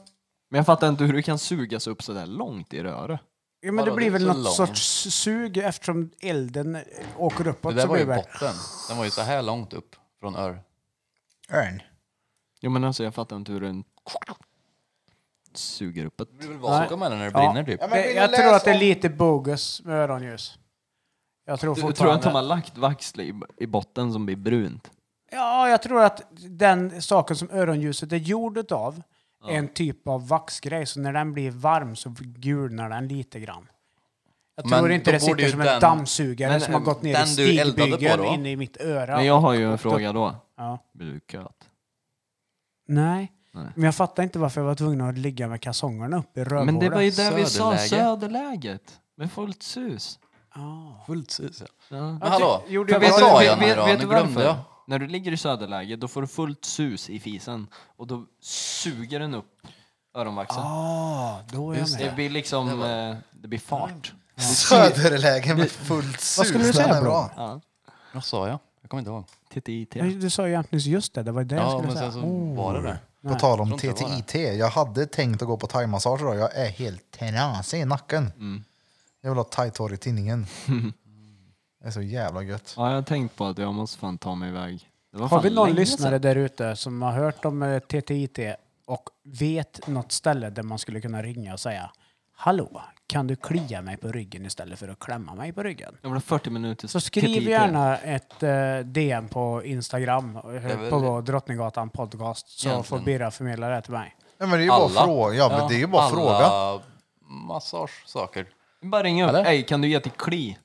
S4: Men jag fattar inte hur du kan sugas upp sådär långt i röret.
S1: Ja, men
S3: Vadå,
S1: det blir
S3: det är
S1: väl
S3: så
S1: något
S3: lång.
S1: sorts sug eftersom elden åker
S3: Det
S1: uppåt.
S3: där
S1: så
S3: var ju
S1: blir det väl-
S3: botten. Den var ju så här långt upp från ör.
S2: Örn.
S4: Jo men alltså jag fattar inte hur den suger upp ett...
S3: Det blir väl bazooka med den när det
S1: Ja.
S3: brinner typ.
S2: Ja, men
S1: Det,
S2: vill
S1: jag
S2: du
S1: tror
S2: läsa
S1: att det är
S2: om-
S1: lite bogus med öronljus. Jag tror
S4: Du tror
S1: fortfarande...
S4: att de har lagt vaxel i, i botten som blir brunt?
S1: Ja, jag tror att den saken som öronljuset är gjord utav är en typ av vaxgrej. Så när den blir varm så gulnar den lite grann. Jag
S3: Men
S1: tror inte
S3: då
S1: det
S3: borde
S1: sitter
S3: ju
S1: som en
S3: den-
S1: dammsugare
S4: Men,
S1: som har
S4: eh,
S1: gått ner i
S3: den du eldade på
S1: stigbygeln
S3: då?
S1: inne i mitt öra.
S4: Men jag har ju en fråga då.
S1: Ja.
S4: Blir du köt?
S1: Nej.
S4: Nej.
S1: men jag fattar inte varför jag var tvungen att ligga med kalsongerna uppe i rövhålet.
S4: Men det var ju där vi sa,
S3: Söderläge.
S4: söderläget. Med fullt sus.
S1: Ah.
S3: Fullt sus, ja.
S4: Ja.
S3: Men hallå,
S1: ty- gjorde
S3: för
S1: jag-
S3: vad
S1: vet-
S3: sa
S1: vet-
S3: jag nu
S4: vet-
S3: då?
S4: vet
S3: Nu
S4: du varför?
S3: glömde jag.
S4: När du ligger i söderläge då får du fullt sus i fisen och då suger den upp
S3: Alltså.
S4: öronvaxen.
S1: ah, då är jag
S4: det
S1: med.
S4: blir liksom, eh, det blir fart.
S3: Mm.
S2: Söderläge med fullt sus.
S1: Vad skulle du
S2: den
S1: säga,
S2: är
S1: bro?
S2: bra.
S4: Ja.
S3: Vad sa jag? Jag kommer inte ihåg.
S4: TTIT.
S1: Nej, Du sa ju egentligen just det, det var ju det jag
S3: Ja,
S1: skulle
S3: men
S1: säga. Oh.
S3: sen så var det det.
S2: På tal om
S3: jag tror inte det var
S2: TTIT, jag hade tänkt att gå på thaimassage idag. Jag är helt trasig i nacken. Jag vill ha tight hår i tinningen. Det är så jävla gött.
S4: Ja, jag har tänkt på att jag måste fan ta mig iväg. Det var
S1: Har
S4: fan
S1: vi någon
S4: länge
S1: lyssnare
S4: sedan.
S1: där ute som har hört om eh, TTIT och vet något ställe där man skulle kunna ringa och säga Hallå, kan du klia mig på ryggen istället för att klämma mig på ryggen?
S4: Det var 40 minuter.
S1: Så skriv
S4: TTIT.
S1: gärna ett eh, DM på Instagram eh,
S3: är väl-
S1: på vår Drottninggatan podcast så
S3: Egentligen.
S1: får Birra förmedla det till mig.
S2: Ja, men det är ju bara
S3: Alla.
S2: fråga. Ja, men det är ju bara
S3: alla
S2: fråga.
S3: massagesaker.
S4: Bara ringa upp.
S3: Eller? Mm,
S4: Ey, kan du ge till kli?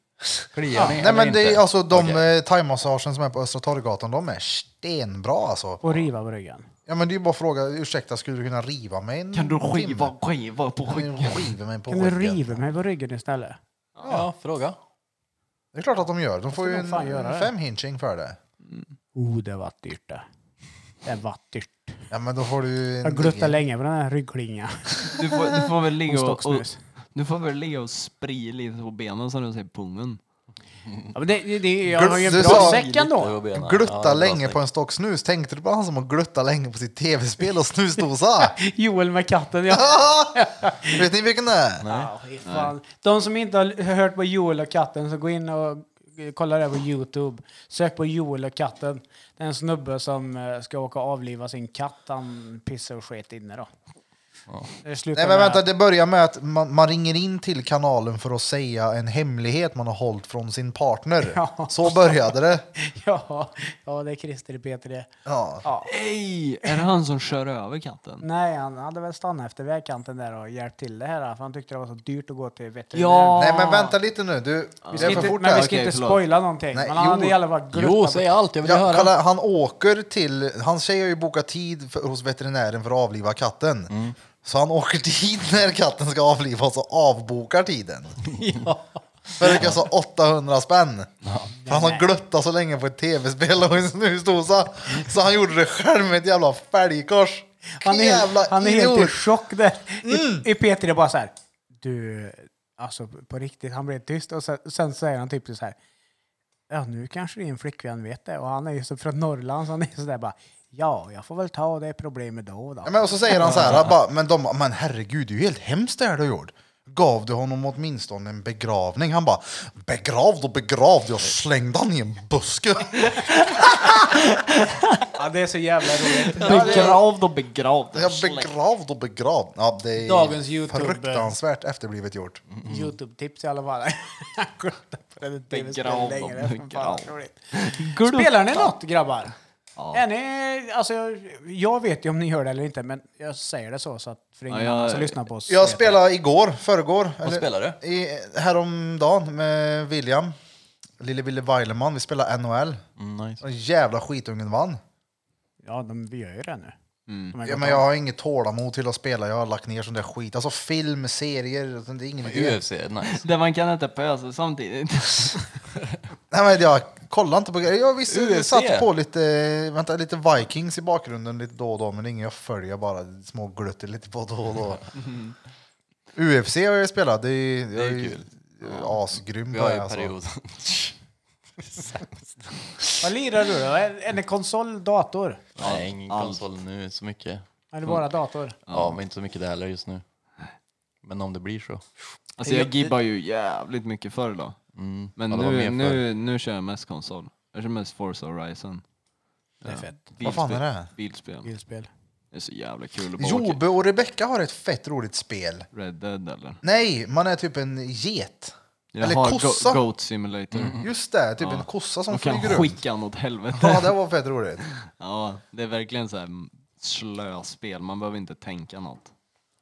S3: Kliar ni eller
S2: Nej men det är
S3: inte?
S2: alltså de
S3: Okej.
S2: okay. thaimassagen som är på Östra Torggatan, de är stenbra alltså.
S1: Och riva på ryggen.
S2: Ja men det är ju bara fråga, ursäkta skulle du kunna riva mig en
S4: Kan du
S2: timme?
S4: skiva, skiva på
S2: Kan du
S4: ryggen?
S2: riva mig på
S1: Kan du
S2: ryggen?
S1: riva mig på ryggen istället?
S3: Ja, fråga.
S2: Det är klart att de gör. De får
S1: ska
S2: ju
S1: de fan
S2: en
S1: göra det.
S2: fem hinching för det.
S1: Oh, det var dyrt det. Det var dyrt.
S2: Ja men då får du ju en
S1: Jag gluttade
S2: nio.
S1: länge på den här ryggklingan.
S4: Du får, du får väl ligga och, och,
S1: Stocksnus.
S4: du får väl ligga och spri lite på benen som du säger pungen.
S1: Ja, men det, det, det, jag har ju en
S2: Du
S1: bra
S2: sa-
S1: säck ändå.
S2: Glutta länge på en stock snus. Tänkte du på han som har gluttat länge på sitt tv-spel och snusdosa?
S1: Joel med katten, ja.
S2: Vet ni vilken det är?
S1: Ja, fy fan. De som inte har hört på Joel och katten så gå in och eh, kolla det på Youtube. Sök på Joel och katten. Det är en snubbe som eh, ska åka och avliva sin katt. Han pissar och sket inne då. Det slutar
S2: Nej men
S1: med
S2: vänta, det börjar med att man, man ringer in till kanalen för att säga en hemlighet man har hållit från sin partner.
S1: Ja.
S2: Så började det.
S1: Ja, ja, det är Christer i P3.
S2: Ja.
S1: Ja.
S4: Ey, är det han som kör över katten?
S1: Nej, han hade väl stannat efter vägkanten där och hjälpt till det här. För han tyckte det var så dyrt att gå till veterinären.
S4: Ja.
S2: Nej men vänta lite nu, du.
S1: Vi
S2: Det är
S1: ska
S2: för
S1: inte,
S2: fort
S1: men vi
S2: här.
S1: ska
S4: Okej,
S1: inte
S4: förlåt.
S1: spoila någonting.
S2: Nej,
S1: men han hade
S2: jo.
S1: i alla fall
S3: Jo,
S1: gluttat.
S3: säg allt. Jag vill
S2: Ja,
S3: höra.
S2: kolla, han åker till, hans tjej har ju bokat tid för, hos veterinären för att avliva katten.
S3: Mm.
S2: Så han åker dit när katten ska avlivas och avbokar tiden.
S3: Ja.
S2: För det kostar 800 spänn. För han har gluttat så länge på ett tv-spel och en snusdosa. Så han gjorde det själv med ett jävla fälgkors.
S1: Han är,
S2: jävla
S1: han är helt i
S2: idiot. Mm.
S1: chock där. I, i Peter är bara så här. Du, alltså på riktigt. Han blev tyst och sen, sen säger han typ så här. Ja, nu kanske din flickvän vet det. Och han är ju så från Norrland så han är så där bara. Ja, jag får väl ta det problemet då och då.
S2: Ja, men och så säger han så här, bara, men, de, men herregud, det är ju helt hemskt det här du har gjort. Gav du honom åtminstone en begravning? Han bara, begravd och begravd, jag slängde han i en buske.
S1: Ja, det är så jävla roligt.
S4: Begravd och begravd.
S2: Jag begravd och begravd. Ja, det är
S1: Dagens YouTube.
S2: fruktansvärt efterblivet gjort.
S1: Youtube-tips i alla fall. Han gluttar på den
S4: Begrav
S1: tv-spelen länge.
S4: dem,
S1: Det är fan
S4: begrav.
S1: roligt.
S4: Glutta.
S1: Spelar ni något grabbar?
S4: Ja.
S1: Är ni, alltså, jag- jag vet ju om ni gör det eller inte, men jag säger det så, så att för ingen
S4: Ja, jag-
S1: annan som lyssnar på oss.
S2: Jag
S1: vet det.
S2: spelade igår, förrgår. eller-
S3: spelade
S2: I, häromdagen med William. Lille Wille Weileman. Vi spelade NHL.
S3: Mm, nice.
S2: Och jävla skitungen vann.
S1: Ja, de, vi gör ju det nu.
S4: Mm.
S1: De har
S2: Ja,
S1: gått
S2: men
S1: av.
S2: jag har inget tålamod till att spela. Jag har lagt ner sån där skit. Alltså film, serier. Det är Mm, ingen idé.
S3: UFC, nice.
S4: Där man kan äta pöser samtidigt.
S2: Nej, men jag kollar inte på grejer. Jag visst,
S3: UFC.
S2: satt på lite, vänta, lite Vikings i bakgrunden lite då och då. Men det är ingen jag följer. Bara små glutter lite på då och då. UFC har jag spelat. Det är,
S3: Det är
S2: jag
S3: kul.
S2: jag är Asgrym
S3: Vi
S2: på
S3: har ju
S2: det.
S3: en
S2: Alltså.
S3: period.
S1: Vad lirar du då? Är, är det konsol, dator?
S3: Nej, ingen
S4: Allt.
S3: konsol nu så mycket.
S1: Eller
S4: Mm.
S1: bara dator?
S3: Ja, men inte så mycket det heller just nu. Men om det blir så.
S4: Alltså jag gibbar ju jävligt mycket förr då. Men
S3: Ja, det var Mm. mer
S4: nu,
S3: förr.
S4: nu, nu kör jag mest konsol. Jag kör mest Forza Horizon.
S1: Det är fett.
S2: Vad fan är det?
S4: Bilspel.
S1: Bilspel.
S4: Det är så jävla kul att bara åka
S2: Jobe och Rebecca har ett fett roligt spel.
S4: Red Dead eller?
S2: Nej, man är typ en get.
S4: Jag
S2: Eller
S4: har
S2: kossa.
S4: Go- Goat Simulator.
S2: Just det, typ en kossa som
S4: De kan
S2: flyger runt.
S4: skicka den åt helvete.
S2: Ja, det var fett roligt.
S4: Ja, det är verkligen så här slöspel. Man behöver inte tänka något.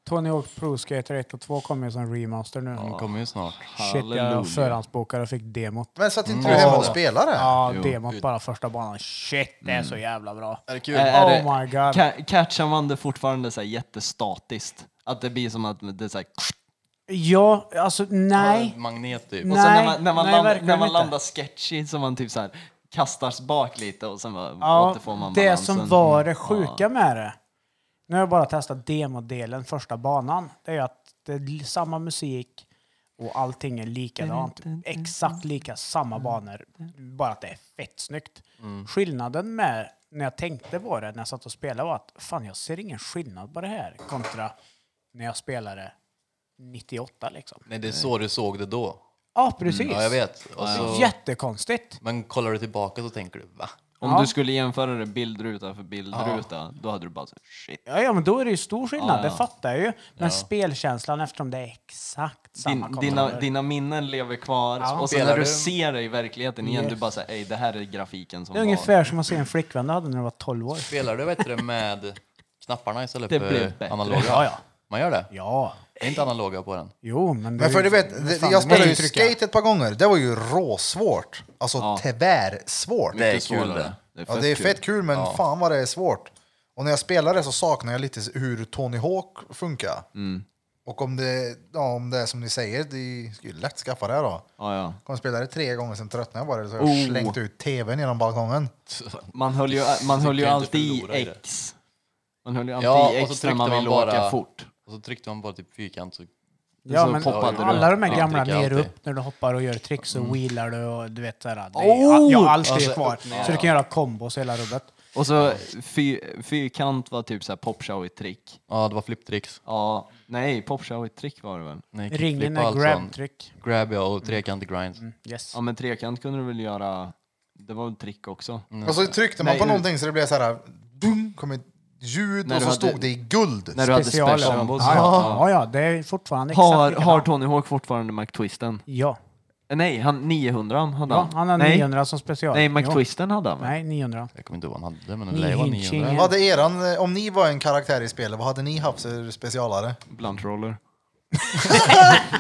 S1: Tony Hawk Pro Skater 1 och 2 kommer ju som remaster nu.
S3: Den kommer ju snart.
S1: Shit,
S4: Halleluja.
S1: jag förhandsbokade och fick demot.
S2: Men satt
S3: Mm.
S2: inte du hemma och spelade?
S1: Ja,
S3: Jo.
S1: demot bara första banan. Shit, det
S4: Mm.
S1: är så jävla bra.
S3: Är det kul?
S2: Äh,
S4: Är det-
S1: Oh my god.
S4: Ca- catchar man det fortfarande så här jättestatiskt? Att det blir som att det är så här,
S1: Ja, alltså nej.
S3: Magnet typ.
S4: Och sen när
S1: Nej,
S4: man, när man,
S1: nej,
S4: landar,
S1: verkligen
S4: när man
S1: inte.
S4: landar sketchy så man typ så här kastas bak lite och sen bara
S1: Ja,
S4: återfår man
S1: det
S4: balansen.
S1: som var det
S4: Mm.
S1: sjuka
S4: Ja.
S1: med det. Nu har jag bara testat demodelen, första banan. Det är ju att det är li- samma musik och allting är likadant. Exakt lika, samma banor. Bara att det är fett snyggt.
S4: Mm.
S1: Skillnaden med när jag tänkte på det, när jag satt och spelade, var att fan, jag ser ingen skillnad på det här kontra när jag spelade 98 liksom.
S3: Nej, det är så du såg det då.
S1: Ja,
S4: Mm,
S1: precis.
S3: Ja, jag vet. Och
S1: Det
S4: Alltså-
S3: så,
S1: är jättekonstigt.
S3: men kollar du tillbaka så tänker du va?
S4: Om
S1: Ja.
S4: du skulle jämföra det bildruta för bildruta, då hade du bara så här, shit.
S1: Ja, ja, men då är det ju stor skillnad,
S4: Ja, ja.
S1: det fattar jag ju. Men spelkänslan eftersom det är exakt samma
S4: Din,
S1: kontroller.
S4: dina, dina minnen lever kvar
S1: Ja.
S4: och sen
S3: Spelar
S4: när du
S3: du-
S4: ser det i verkligheten igen,
S1: Yes.
S4: du bara säger ej det här är grafiken som
S1: Det är ungefär som att se en flickvän du hade när du var 12 år.
S3: Spelar du bättre med knapparna istället
S4: Det blir
S3: för
S4: bättre.
S3: analoga?
S1: Ja, ja.
S3: Man gör det?
S1: Ja,
S3: Det är inte analoga på den.
S1: jo, men... det är
S2: Men för
S1: ju-
S2: du vet, det-
S1: fan,
S2: jag spelade ju
S1: nej, trycka.
S2: skate ett par gånger. Det var ju råsvårt. Alltså
S4: Ja.
S2: tvärsvårt.
S4: var.
S3: Det är kul det.
S4: Typ Det är
S2: Ja, det är fett kul, men fan vad det är svårt. Och när jag spelar det så saknar jag lite hur Tony Hawk funkar.
S4: Mm.
S2: Och om det, ja, om det är som ni säger, det skulle lätt skaffa det här då.
S4: Ja, ja.
S2: Kommer spela det tre gånger, sen tröttnade jag bara. Så jag
S4: Oh.
S2: har slängt ut tvn genom balkongen.
S4: Man höll ju, man höll ju
S3: kan inte
S4: alltid i
S3: förlora i det.
S4: X. Man höll ju alltid
S3: Ja,
S4: i
S3: och så
S4: X när
S3: tryckte
S4: man
S3: man
S4: ville
S3: bara-
S4: åka fort.
S3: Och så tryckte man bara typ fyrkant så...
S1: Ja,
S4: så
S1: men
S4: poppade det
S1: alla
S4: upp.
S1: de här
S3: Ja,
S1: gamla
S3: trycker
S1: ner och
S3: alltid.
S1: upp när du hoppar och gör tricks och wheelar du och du vet sådär.
S4: Mm. Oh!
S1: Oh! Ja, allt är
S3: Alltså,
S1: kvar.
S3: upp, ner,
S1: Så du kan göra kombos hela rubbet.
S4: Och så fy, fyrkant var typ så här popshow-trick.
S3: Ja, det var flipptricks.
S4: Ja, nej, popshow-trick var det väl?
S3: Nej, kickflip
S1: Ringen
S3: och
S1: är Mm.
S3: allt sånt.
S1: grab-tryck.
S3: Grab ja, och trekantig grind.
S1: Yes.
S4: Ja, men trekant kunde du väl göra... Det var väl trick också?
S1: Mm.
S2: Och så tryckte man
S4: Mm. Nej,
S2: på
S4: hur-
S2: någonting så det blev så här, boom, kom ett ljud
S4: När
S2: och
S4: du
S2: så
S4: hade-
S2: stod det i guld.
S4: När du hade
S1: Specialen.
S4: special.
S1: Ja, ja, ja, det är fortfarande exakt
S4: Har,
S1: likadant.
S4: har Tony Hawk fortfarande McTwisten?
S1: Ja.
S4: Eh, Nej, han, 900 hade
S1: ja, han har
S4: nej,
S1: 900 som special.
S4: Nej,
S1: Jo.
S4: McTwisten hade han väl?
S1: Nej, 900.
S3: Jag kommer inte ihåg vad han hade, men det
S1: Ni
S3: lär ju vara
S1: hinching.
S3: 900.
S2: Vad hade eran, om ni var en karaktär i spelet, vad hade ni haft för specialare?
S4: Blantroller.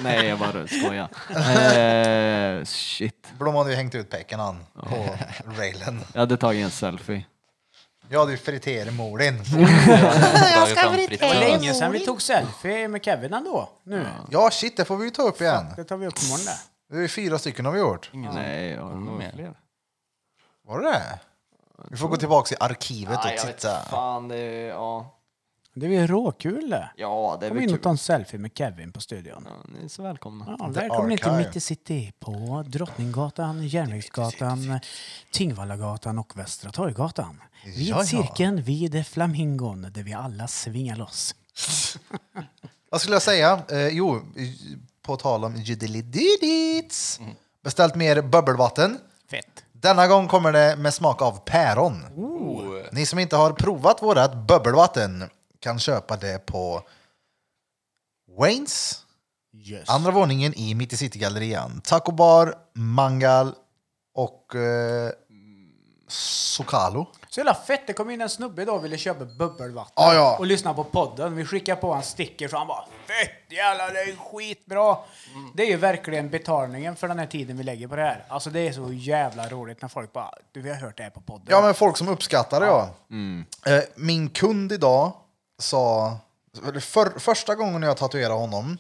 S4: nej, jag bara skojar. Eh, shit.
S2: För de hade ju hängt ut pecken han på railen.
S4: Jag hade tagit en selfie.
S2: Jag hade ju fritermolin.
S3: Jag ska
S1: Det var länge sedan vi tog selfie med Kevin ändå. Nu.
S2: Ja shit, det får vi ju ta upp igen.
S1: Det tar vi upp imorgon det.
S2: Det är ju fyra stycken har vi gjort.
S4: Nej, jag har nog
S3: med.
S4: fler.
S2: Var det det? Vi får gå tillbaka i arkivet
S4: Nej,
S2: och
S4: jag vet
S2: titta.
S4: Fan, det är... Ja,
S1: Det är ju råkul det.
S4: ja det är
S1: Kom
S4: väl
S1: in och
S4: kul.
S1: ta en selfie med Kevin på studion.
S4: Ja, ni är så välkomna.
S1: Ja,
S2: The
S1: välkommen till
S2: Archive.
S1: Mitt i City på Drottninggatan, Järnvägsgatan, Tingvallagatan och Västra Torggatan. Vid
S2: Ja, ja.
S1: cirkeln vid Flamingon där vi alla svingar loss.
S2: Vad skulle jag säga? Eh, jo, i- på tal om jiddelididits.
S4: Mm.
S2: Beställt mer bubbelvatten.
S1: Fett.
S2: Denna gång kommer det med smak av päron. Ni som inte har provat vårat bubbelvatten kan köpa det på Waynes,
S1: Yes.
S2: andra våningen i Mitt i City-gallerian. Taco bar, mangal och eh, Socalo.
S1: Så jävla fett, det kom in en snubbe idag och ville köpa bubbelvatten
S2: Ja, ja.
S1: och lyssna på podden. Vi skickar på han sticker så han bara fett jävlar, det är ju skitbra.
S2: Mm.
S1: Det är ju verkligen betalningen för den här tiden vi lägger på det här. Alltså det är så jävla roligt när folk bara du vi har hört det här på podden.
S2: Ja, men folk som uppskattar det, ja. Eh, Min kund idag sa... För, första gången jag tatuerade honom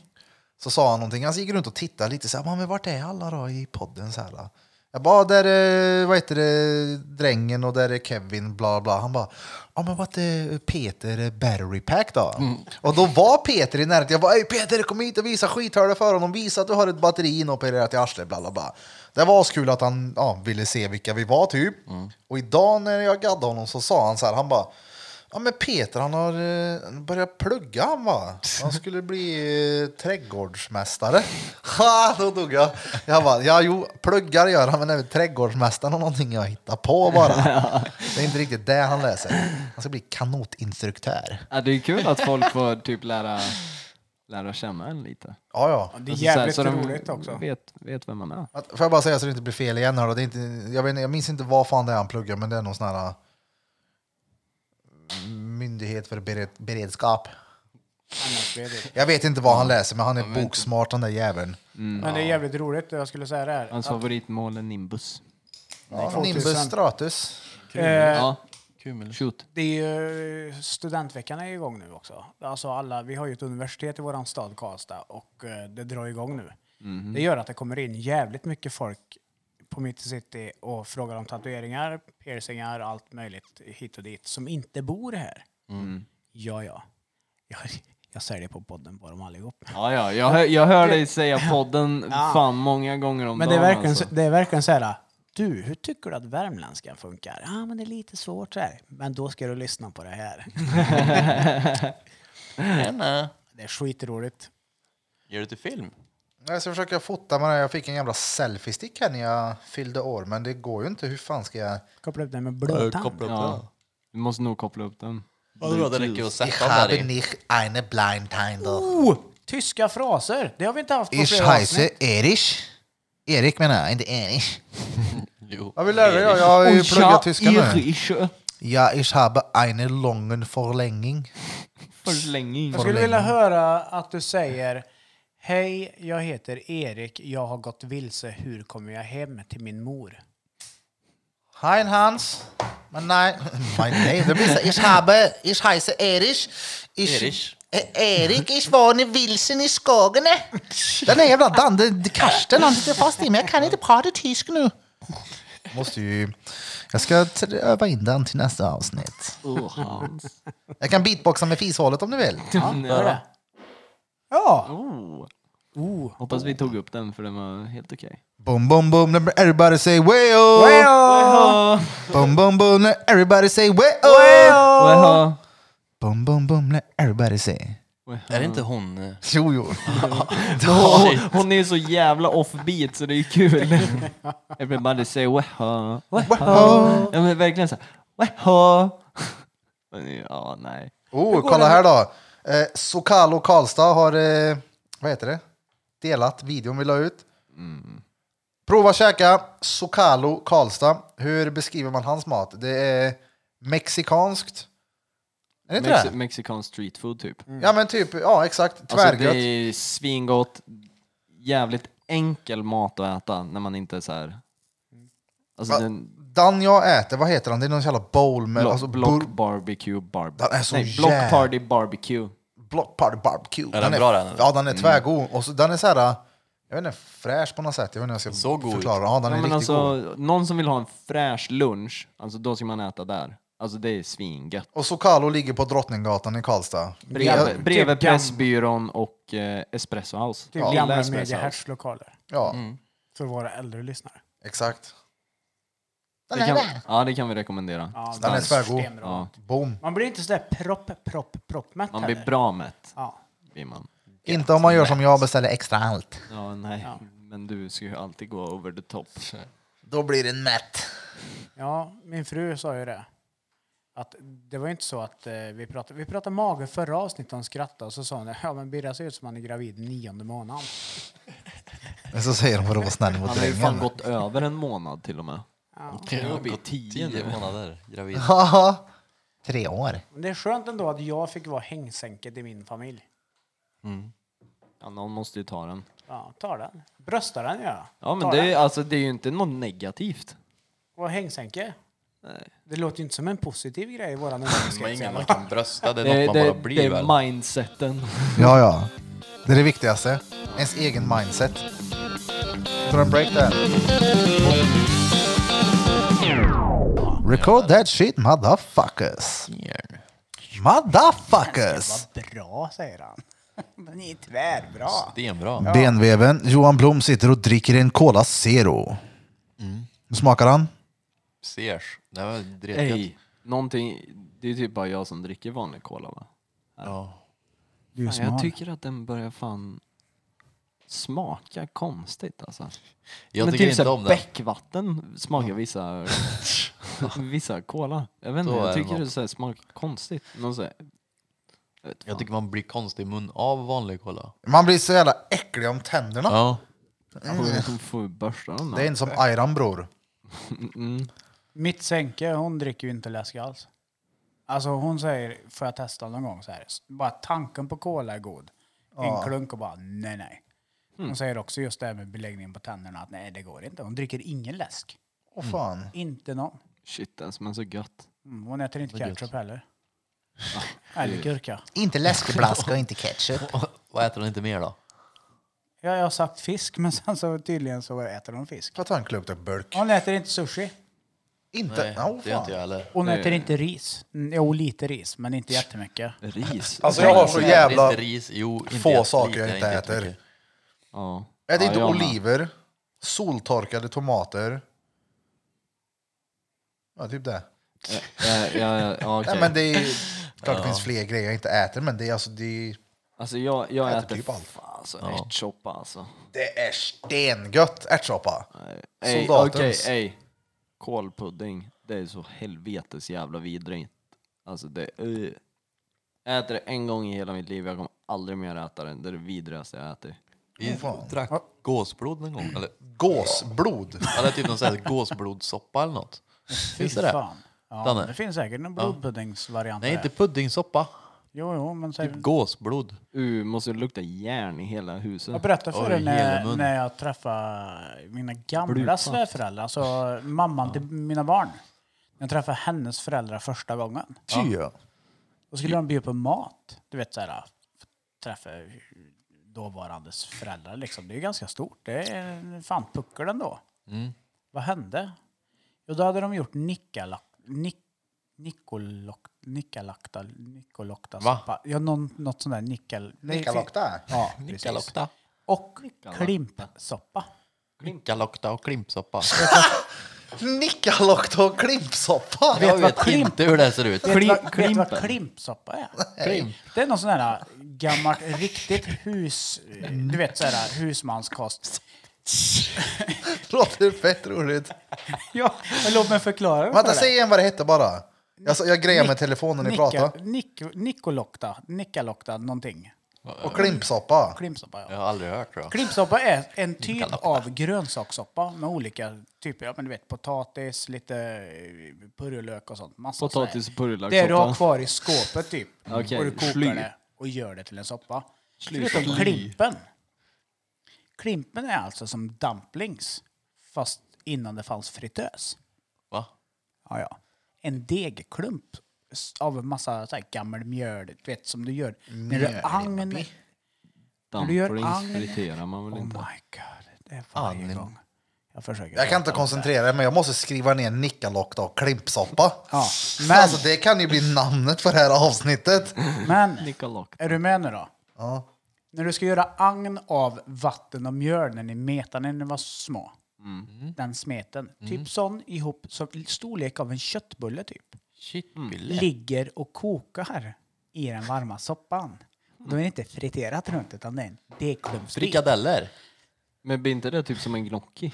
S2: så sa han någonting. Han gick runt och tittade lite så här, "Man, men vart är alla då i podden? Så här, då?" jag bara, där är, vad heter det, drängen och där är Kevin, bla bla. Han bara, ja men vart är Peter Battery Pack då? Och då var Peter i närheten. Jag bara, "Ey, Peter kom hit och visa skithörde för honom, visa att du har ett batteri inopererat i arslet, bla bla bla. Det var askul att han ja, ville se vilka vi var typ. Och idag när jag gaddade honom så sa han så här, han bara, Ja men Peter han har eh, han börjat plugga han va? Han skulle bli eh, trädgårdsmästare. Ha, då dog jag. Jag bara, ja jo, pluggar gör han men även trädgårdsmästaren har någonting jag hittar på bara. Det är inte riktigt det han läser. Han ska bli kanotinstruktör.
S4: Ja, det är kul att folk får typ lära, lära känna en lite.
S2: Ja ja.
S1: det
S4: Alltså, så här,
S1: är jävligt
S4: så de
S1: roligt också.
S2: Mm.
S4: Vet, vet vem man är.
S2: Att- Får jag bara säga så det inte blir fel igen här då. Det är inte, jag, vet, inte- jag minns inte vad fan det är han pluggar men det är någon sån äh, här eh, myndighet för bered, beredskap.
S1: MSB.
S2: Jag vet inte vad han läser, men han är boksmart den där jäveln.
S1: Men det är jävligt roligt, det jag skulle säga det här.
S4: Hans favoritmål är Nimbus.
S2: Ja,
S1: 2000.
S2: Nimbus stratus.
S1: Eh,
S4: Ja,
S3: Kul.
S4: shoot.
S1: Det är ju, studentveckan är igång nu också. Alltså alla, vi har ju ett universitet i våran stad Karlstad och eh, det drar igång nu.
S4: Mhm.
S1: Det gör att det kommer in jävligt mycket folk på Mitt i City och frågar om tatueringar, piercingar, allt möjligt hit och dit som inte bor här.
S4: Mm.
S1: Ja, ja. Jag, jag säger det på podden bara om allihop.
S4: Ja, ja, jag, hör- jag hör dig säga podden
S1: Ja.
S4: fan många gånger om
S1: Men det
S4: dagen.
S1: är verkligen,
S4: alltså.
S1: så- det är verkligen så här. Du, hur tycker du att värmländskan funkar? Ja, ah, men det är lite svårt så här. Men då ska du lyssna på det här.
S3: Nej, nej.
S1: Det är skitroligt.
S3: Gör du till film?
S2: Jag ska försöka fota med den. Jag fick en jävla selfiestick här när jag fyllde år, men det går ju inte. Hur fan ska jag...
S1: Koppla upp den med blötand.
S4: Ja. Vi måste nog koppla upp den.
S3: Vadå, det räcker att
S2: Ich
S3: sätta den där
S2: habe
S3: i.
S2: nicht eine Blindhandel.
S1: Oh, tyska fraser! Det har vi inte haft på
S2: Ich
S1: flera
S2: heiße
S1: avsnitt.
S2: Erich. Erik menar jag, inte Erich.
S3: Jo.
S2: Jag vill lära dig. Jag har ju pluggat tyska nu.
S4: nu.
S2: Ja, ich habe eine lången förlängning.
S4: Förlängning.
S1: Jag skulle vilja höra att du säger Hej, jag heter Erik. Jag har gått vilse. Hur kommer jag hem till min mor?
S2: Hein Hans. Men nej. Mein nej, det blir så. Ich habe, ich heiße Erich. Ich,
S3: Erich.
S2: E- Erik, ich wohne vilsen i Skågene. Den är jävla dan, den- Karsten han sitter fast i mig. Jag kan inte prata tyska nu. Måste ju... Jag ska t- öva in den till nästa avsnitt.
S4: Oh, Hans.
S2: Jag kan beatboxa med fishålet om du vill.
S1: Ja, hör det. Ja!
S4: Oh.
S1: Oh.
S4: Hoppas vi tog upp den för den var helt okej.
S2: Boom, boom, boom, let everybody say way-o!
S1: Wow.
S2: Boom, boom, boom, let everybody say way-o!
S4: Weha.
S2: Boom, boom, boom, let everybody say...
S4: Weha.
S3: Är det inte hon? eh,
S2: Jo, jo.
S4: Hon, hon är ju så jävla offbeat så det är kul. Everybody say weha. Weha. Ja men verkligen så här, weha. Men, Ja, nej.
S2: Oh, kolla här då. Eh, Sokalo Karlstad har, eh, vad heter det? Delat videon vi la ut.
S4: Mm.
S2: Prova käka Sokalo Karlstad. Hur beskriver man hans mat? Det är mexikanskt. Är det inte
S4: Mexi-
S2: det?
S4: Mexican street food typ.
S2: Ja men typ, ja exakt.
S4: Alltså det
S2: Tvärgött.
S4: är svingott, jävligt enkel mat att äta när man inte är så här. Alltså
S2: Mm. Va?
S4: den,
S2: Dan jag äter, vad heter han? Det är någon jävla bowl med...
S4: block,
S2: alltså,
S4: block
S2: bur-
S4: barbecue barbecue.
S2: Den är så
S4: Nej, block
S2: jävla-
S4: party barbecue.
S2: block party barbecue.
S3: Är den bra, den, eller?
S2: Ja den är tvärgod. Och så, den är så här, äh, jag vet inte, fräsch på något sätt. Jag vet inte hur jag ska
S3: Så god ut.
S2: förklara. Ja, den
S4: Ja,
S2: är
S4: men
S2: riktigt
S4: alltså,
S2: god.
S4: någon som vill ha en fräsch lunch, alltså då ska man äta där. Alltså det är svingött.
S2: Och Sokalo ligger på Drottninggatan i Karlstad.
S1: Ja,
S4: Brev, bredvid
S1: typ gam-
S4: Pressbyrån och eh, Espresso House.
S1: Typ
S4: Lilla
S1: gamla
S4: Espresso House.
S1: Mediahertz lokaler.
S2: Ja,
S1: För våra äldre lyssnare.
S2: exakt. Den
S4: Det
S2: är
S4: kan,
S2: där.
S4: ja, det kan vi rekommendera.
S1: Ja,
S2: Den är tvärgod.
S1: stenbra.
S4: Ja.
S2: Boom.
S1: Man blir inte sådär propp, propp, proppmätt
S4: Man
S1: heller.
S4: blir bra mätt.
S1: Ja.
S4: Blir man.
S2: Inte om man gör som jag beställer extra allt.
S4: Ja, nej. Men du ska ju alltid gå over the top.
S2: Då blir den mätt.
S1: Ja, min fru sa ju det. Att det var ju inte så att eh, vi pratade, vi pratade mage förra avsnittet om skratta och så sa hon ja men Birra ser ut som han är gravid nionde månaden.
S2: Men så säger de för att vara snäll mot
S4: Han har ju fan
S2: drängen.
S4: gått över en månad till och med.
S3: Jag har
S4: uppe i
S3: gått
S4: tio
S3: typ tio
S4: nu.
S3: månader gravid.
S2: Haha. Tre år.
S1: Men det är skönt ändå att jag fick vara hängsänket i min familj.
S4: Ja, någon måste ju ta den.
S1: Ja, ta den. Brösta den ja.
S4: Ja, men
S1: Ta
S4: det är,
S1: den.
S4: ju- alltså, det är ju inte något negativt.
S1: Var hängsänke.
S4: Nej.
S1: Det låter ju inte som en positiv grej i våran
S3: Man har ingen
S1: umgängeskrets.
S3: man kan brösta, det är
S4: Det,
S3: något man
S4: det,
S3: bara
S4: det
S3: blir väl.
S4: är mindseten.
S2: Ja, ja. Det är det viktigaste. Ens egen mindset. Tar en break där. Record that shit motherfuckers.
S3: Yeah.
S2: Motherfuckers.
S1: Vad bra säger han. Den är tvärbra.
S3: Stenbra.
S2: Benveven, Johan Blom sitter och dricker en Cola Zero. Hur smakar han?
S3: Sers. Det var dretgött.
S4: Ej, någonting, det är typ bara jag som dricker vanlig cola va?
S3: Ja.
S1: Du
S4: Fan, jag tycker att den börjar fan smaka konstigt alltså.
S3: Jag
S4: men
S3: tycker
S4: typ
S3: inte
S4: såhär
S3: om den.
S4: bäckvatten smakar vissa, vissa cola. Jag vet inte,
S3: Så är det
S4: jag tycker
S3: nog.
S4: det såhär smakar konstigt. Någon såhär, jag vet
S3: Jag
S4: fan.
S3: tycker man blir konstig i mun av vanlig cola.
S2: Man blir så jävla äcklig om tänderna.
S3: Ja.
S4: Hon får ju börsta den
S2: Det är
S4: där.
S2: inte som Ayran bror.
S4: Mm.
S1: Mitt sänke, hon dricker ju inte läsk alls. Alltså hon säger, får jag testa någon gång? Så här, s- bara tanken på cola är god. En klunk och bara, nej nej. Hon säger också just det här med beläggningen på tänderna, att nej det går inte. Hon dricker ingen läsk. Mm.
S2: Åh fan.
S1: Inte någon.
S4: Shit ens, men så gött.
S1: Mm, hon äter inte ketchup heller. Eller gurka.
S2: Inte läskeblaska och inte ketchup.
S3: Vad äter hon inte mer då?
S1: Ja, jag har sagt fisk, men sen så tydligen så äter hon fisk.
S2: För att han klubbte burk.
S1: Hon äter inte sushi.
S2: Inte?
S3: Nej,
S2: Nej, oh,
S3: det gör inte
S2: fan.
S3: jag heller.
S1: Hon
S4: Nej.
S1: äter inte ris. Mm, jo, lite ris, men inte jättemycket.
S4: Ris.
S2: Alltså, jag har så
S3: Ris,
S2: jävla
S3: inte ris, jo, inte
S2: få
S3: jätte-
S2: saker
S3: lite,
S2: jag inte äter.
S3: jättemycket.
S4: Ja.
S2: Är det
S4: Ja,
S2: inte
S4: jag med.
S2: oliver, soltorkade tomater? Ja, typ det.
S4: Ja, ja, ja, ja, okej.
S2: Nej, men det är klart det finns fler grejer jag inte äter, men det är alltså det är,
S4: Alltså jag, jag
S2: Jag äter
S4: äter
S2: typ allt.
S4: fan, alltså, ärtsoppa alltså.
S2: det är stengött ärtsoppa.
S4: Ey, okej,
S2: Soldatens.
S4: ey. Kålpudding, det är så helvetes jävla vidrigt. Alltså det, uh. Jag äter det en gång i hela mitt liv, jag kommer aldrig mer äta den. Det är det vidrigaste jag äter.
S3: Vi
S2: Åh, fan.
S3: drack gåsblod en gång. Eller,
S2: Gåsblod.
S3: ja, det är typ någon sån här gåsblodsoppa eller något.
S1: Fy
S3: Finns det det?
S1: fan. Ja,
S3: Danne?
S1: det finns säkert en blodpuddingsvariant.
S3: Nej,
S1: av det.
S3: inte puddingsoppa.
S1: Jo, jo, men säg...
S3: Typ gåsblod.
S4: Uh, måste det lukta järn i hela
S1: Jag
S4: huset.
S1: berättade för
S3: Oj,
S1: dig
S3: hela
S1: när,
S3: mun.
S1: när jag träffade mina gamla
S4: Blodfast.
S1: svärföräldrar, alltså mamman till mina barn. När jag träffade hennes föräldrar första gången.
S2: Ja.
S1: Då skulle de bjuda på mat. Du vet såhär, träffa dåvarandes föräldrar liksom. Det är ju ganska stort. Det är fan puckel ändå. Vad hände? Jo, då hade de gjort nikkalak... Nik, nikolok, nikkalakta... Nikolokta
S3: Va?
S1: soppa. Ja, någon, något sånt där nikkel...
S2: Nickalokta.
S1: Ja, precis.
S3: Nickalokta.
S1: Och klimpsoppa.
S3: Nickalokta och klimpsoppa.
S2: Nickalokta och klimpsoppa.
S3: Jag
S1: vad
S3: vet
S1: klimp-
S3: inte hur det ser ut.
S1: Vet du vad- vet du vad
S4: klimpen.
S1: klimpsoppa är? Det är någon sån här äh, gammalt, riktigt hus... Du vet så här husmanskost.
S2: Låter fett roligt.
S1: Ja, men låt mig förklara det
S2: Vänta,
S1: för dig.
S2: säg igen vad det hette bara. Jag, sa- jag grejade med
S1: Nick-
S2: telefonen när ni
S1: Nicka-
S2: pratade.
S1: Nick- Nikolokta, Nikalokta någonting.
S2: Och klimpsoppa.
S1: Klimpsoppa,
S3: Jag
S1: ja.
S3: har aldrig hört tror jag.
S1: Klimpsoppa är en typ av grönsakssoppa med olika typer. Ja, men du vet, potatis, lite eh, purjolök och sånt. Massa
S4: Potatis
S1: sådär.
S4: och purjolök,
S1: Det du har
S4: soppa.
S1: kvar i skåpet typ.
S4: Okej,
S1: och du kokar
S4: sly.
S1: det och gör det till en soppa.
S4: Sly.
S1: Förutom
S4: Sly.
S1: klimpen. Klimpen är alltså som dumplings, fast innan det fanns fritös.
S3: Va?
S1: Ja, ja. En degklump s- av en massa så här gammal mjöl, du vet som du gör när du agn... Men du gör
S4: Dumplings
S1: agn-
S4: friterar man väl
S1: Oh
S4: inte?
S1: my god, det är varje gång. Jag försöker.
S2: Jag kan inte
S1: prata.
S2: koncentrera mig, jag måste skriva ner nickalokta och klimpsoppa.
S1: Ja,
S2: Men.
S1: men,
S2: Alltså, det kan ju bli namnet för det här avsnittet.
S1: men,
S4: Nickalok.
S1: är du med nu då?
S2: Ja.
S1: När du ska göra agn av vatten och mjöl när ni metade när ni var små.
S2: Mm.
S1: Den smeten. Typ sån ihop, som storlek av en köttbulle typ.
S2: Mm.
S3: Shit,
S1: ligger och kokar i den varma soppan. Då är det inte friterat runt utan det är en degklumpsbit.
S3: Frikadeller.
S4: Men blir inte det typ som en gnocchi?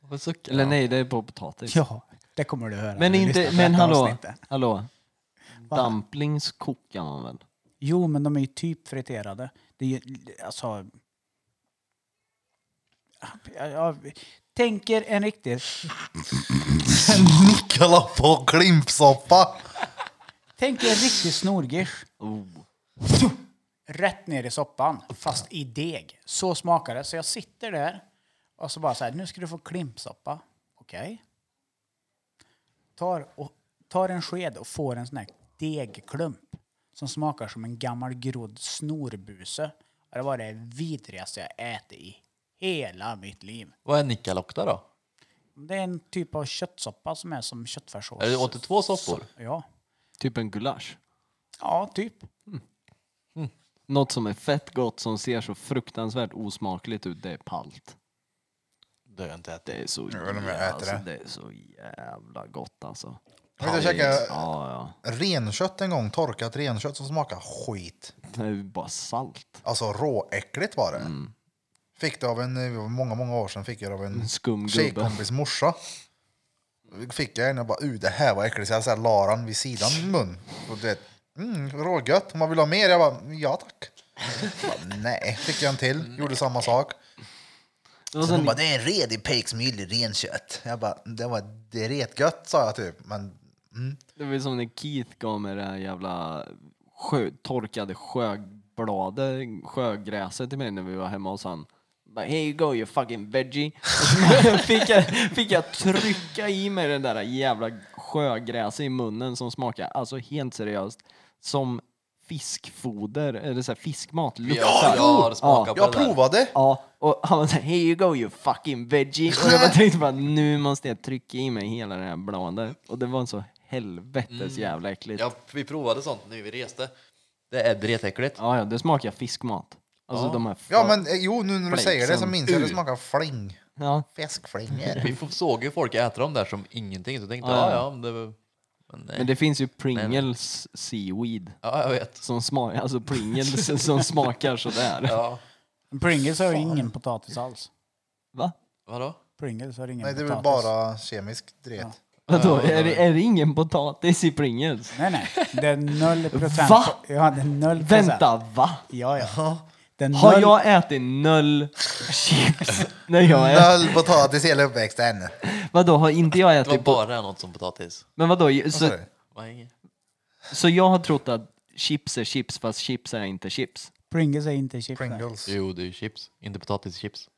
S3: Vad suckar
S4: Eller
S3: han?
S4: nej, det är på potatis.
S1: Ja, det kommer du höra.
S4: Men
S1: när du
S4: inte,
S1: lyssnar på
S4: men
S1: detta
S4: hallå,
S1: avsnittet.
S4: hallå. Dumplings kokar man väl?
S1: Jo, men de är ju typ friterade. Det är ju, alltså... Jag, jag, tänker en riktig...
S2: Nickaloppa och klimpsoppa.
S1: Tänk er en riktig snorgish.
S3: Oh.
S1: Rätt ner i soppan, fast i deg. Så smakar det. Så jag sitter där och så bara så här, nu ska du få klimpsoppa. Okej. Tar, och, tar en sked och får en sån här degklump som smakar som en gammal grodd snorbuse. Det var det vidrigaste jag ätit i hela mitt liv.
S3: Vad är nickalokta då?
S1: Det är en typ av köttsoppa som är som köttfärssås.
S3: Är det åt två soppor?
S1: Ja.
S4: Typ en gulasch.
S1: ja, typ.
S4: Något som är fett gott som ser så fruktansvärt osmakligt ut, det är palt.
S3: Det har jag inte ätit.
S4: Det är så,
S2: vet inte om jag
S4: jävla,
S2: äter
S4: alltså,
S2: det.
S4: det är så jävla gott alltså.
S2: Jag vet, jag käkade
S4: Ja, ja.
S2: renkött en gång, torkat renkött som smakade skit.
S4: Det är ju bara salt.
S2: Alltså råäckligt var det. Fick det av en, eh, det var många, många år sedan fick jag det av en
S4: Mm. En skum gubbe.
S2: tjejkompis morsa. Fick jag en och bara, uh det här var äckligt. Så jag så här la den vid sidan av mun. Och det, mm, rågött, om man vill ha mer? Jag bara, ja tack. Jag Bara, Nej, fick jag en till, gjorde samma sak.
S4: Det var
S2: Så
S4: sån-
S2: hon bara, det är en redig pejksmyll i renkött. Jag bara, det var det är ret gött sa jag typ. Men
S4: Det var ju som när Keith gav mig det här jävla sjö, torkade sjöbladet, sjögräset till mig när vi var hemma hos han. Bara, Here you go you fucking veggie. Och så fick, jag, fick jag trycka i mig det där jävla sjögräset i munnen som smakar, alltså helt seriöst, som fiskfoder, eller så här fiskmat luktar.
S3: Ja, jag har smakat på
S2: Jag
S3: det där.
S2: provade.
S4: Ja, och han var såhär “Here you go you fucking veggie” och jag bara tänkte bara nu måste jag trycka i mig hela det här bladet. Och det var så helvetes jävla äckligt. Ja.
S3: Ja, vi provade sånt när vi reste. Det är dretäckligt.
S4: ja, det smakar fiskmat. Alltså de här...
S2: Ja, men eh, jo, nu när du
S4: Fläng
S2: säger det så
S4: som
S2: minns jag att det
S3: ur.
S2: smakar fling.
S4: Ja.
S2: Fläskflingor.
S3: Vi f- såg ju folk äta dem där som ingenting, så tänkte jag
S4: Ja,
S3: ja,
S4: ja.
S3: ja, men det var... Men nej.
S4: Men det finns ju Pringles seaweed
S3: Ja, jag vet.
S4: som smakar, alltså Pringles som smakar sådär.
S3: Ja.
S1: Pringles har ju ingen potatis alls.
S4: Va?
S3: Vadå?
S1: Pringles har ingen
S2: Nej, det är
S1: potatis.
S2: väl bara kemisk dret.
S4: Vadå, är, det- är det ingen potatis i Pringles?
S1: Nej, nej. Det är noll procent.
S4: Va?
S1: Ja, det är noll procent.
S4: Vänta, va?
S1: Ja, ja. Det är
S4: Har
S1: noll-
S4: jag ätit noll chips när jag är...
S2: Noll potatis hela uppväxten.
S4: Vadå, har inte jag
S3: Alltså, Det var
S4: ätit... po-
S3: bara något som potatis.
S4: Men vadå, så,
S2: sorry.
S3: Vad är inget?
S4: Så jag har trott att chips är chips fast chips är inte chips.
S1: Pringles är inte chips.
S2: Pringles.
S3: Jo, det är ju chips. Inte potatischips.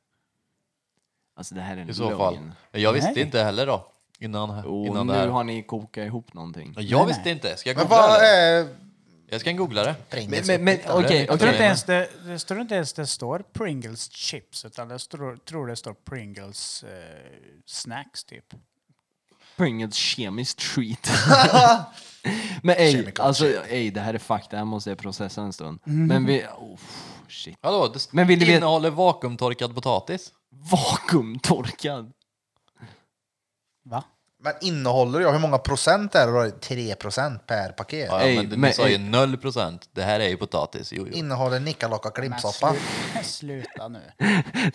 S4: Alltså det här är en
S3: I så
S4: lögn.
S3: fall. Men Jag visste
S1: Nej.
S3: inte heller då. Innan,
S4: Och
S3: innan det
S4: nu
S3: här.
S4: har ni kokat ihop någonting.
S3: Jag visste inte. Ska jag
S2: Men
S3: googla
S2: vad
S3: det?
S2: är
S3: Jag ska googla det.
S4: Men,
S2: Pringles?
S4: men, men
S3: Ja, det är
S4: okej,
S3: riktigt.
S1: Jag tror
S4: okej.
S1: inte ens det, det, står inte ens det står Pringles chips, utan jag tror, tror det står Pringles eh, snacks typ.
S4: Pringles kemiskt skit. Men ej,
S2: Chemical
S4: alltså ej, det här är fakta. Det här måste jag processa en stund.
S3: Mhm.
S4: Men vi... Oh, shit.
S3: Hallå, det
S4: Men vill du veta-
S3: innehåller vakuumtorkad potatis.
S4: Vakuumtorkad.
S1: Va?
S2: Men innehåller jag, hur många procent är det då? 3 procent per paket.
S3: Ja,
S4: Ej,
S3: men du
S4: men-
S3: du sa ju
S4: ej.
S3: 0 procent. Det här är ju potatis. Jo, jo.
S2: Innehåller nickalocka
S1: Men
S2: klimpsoppa.
S1: slu- Sluta nu.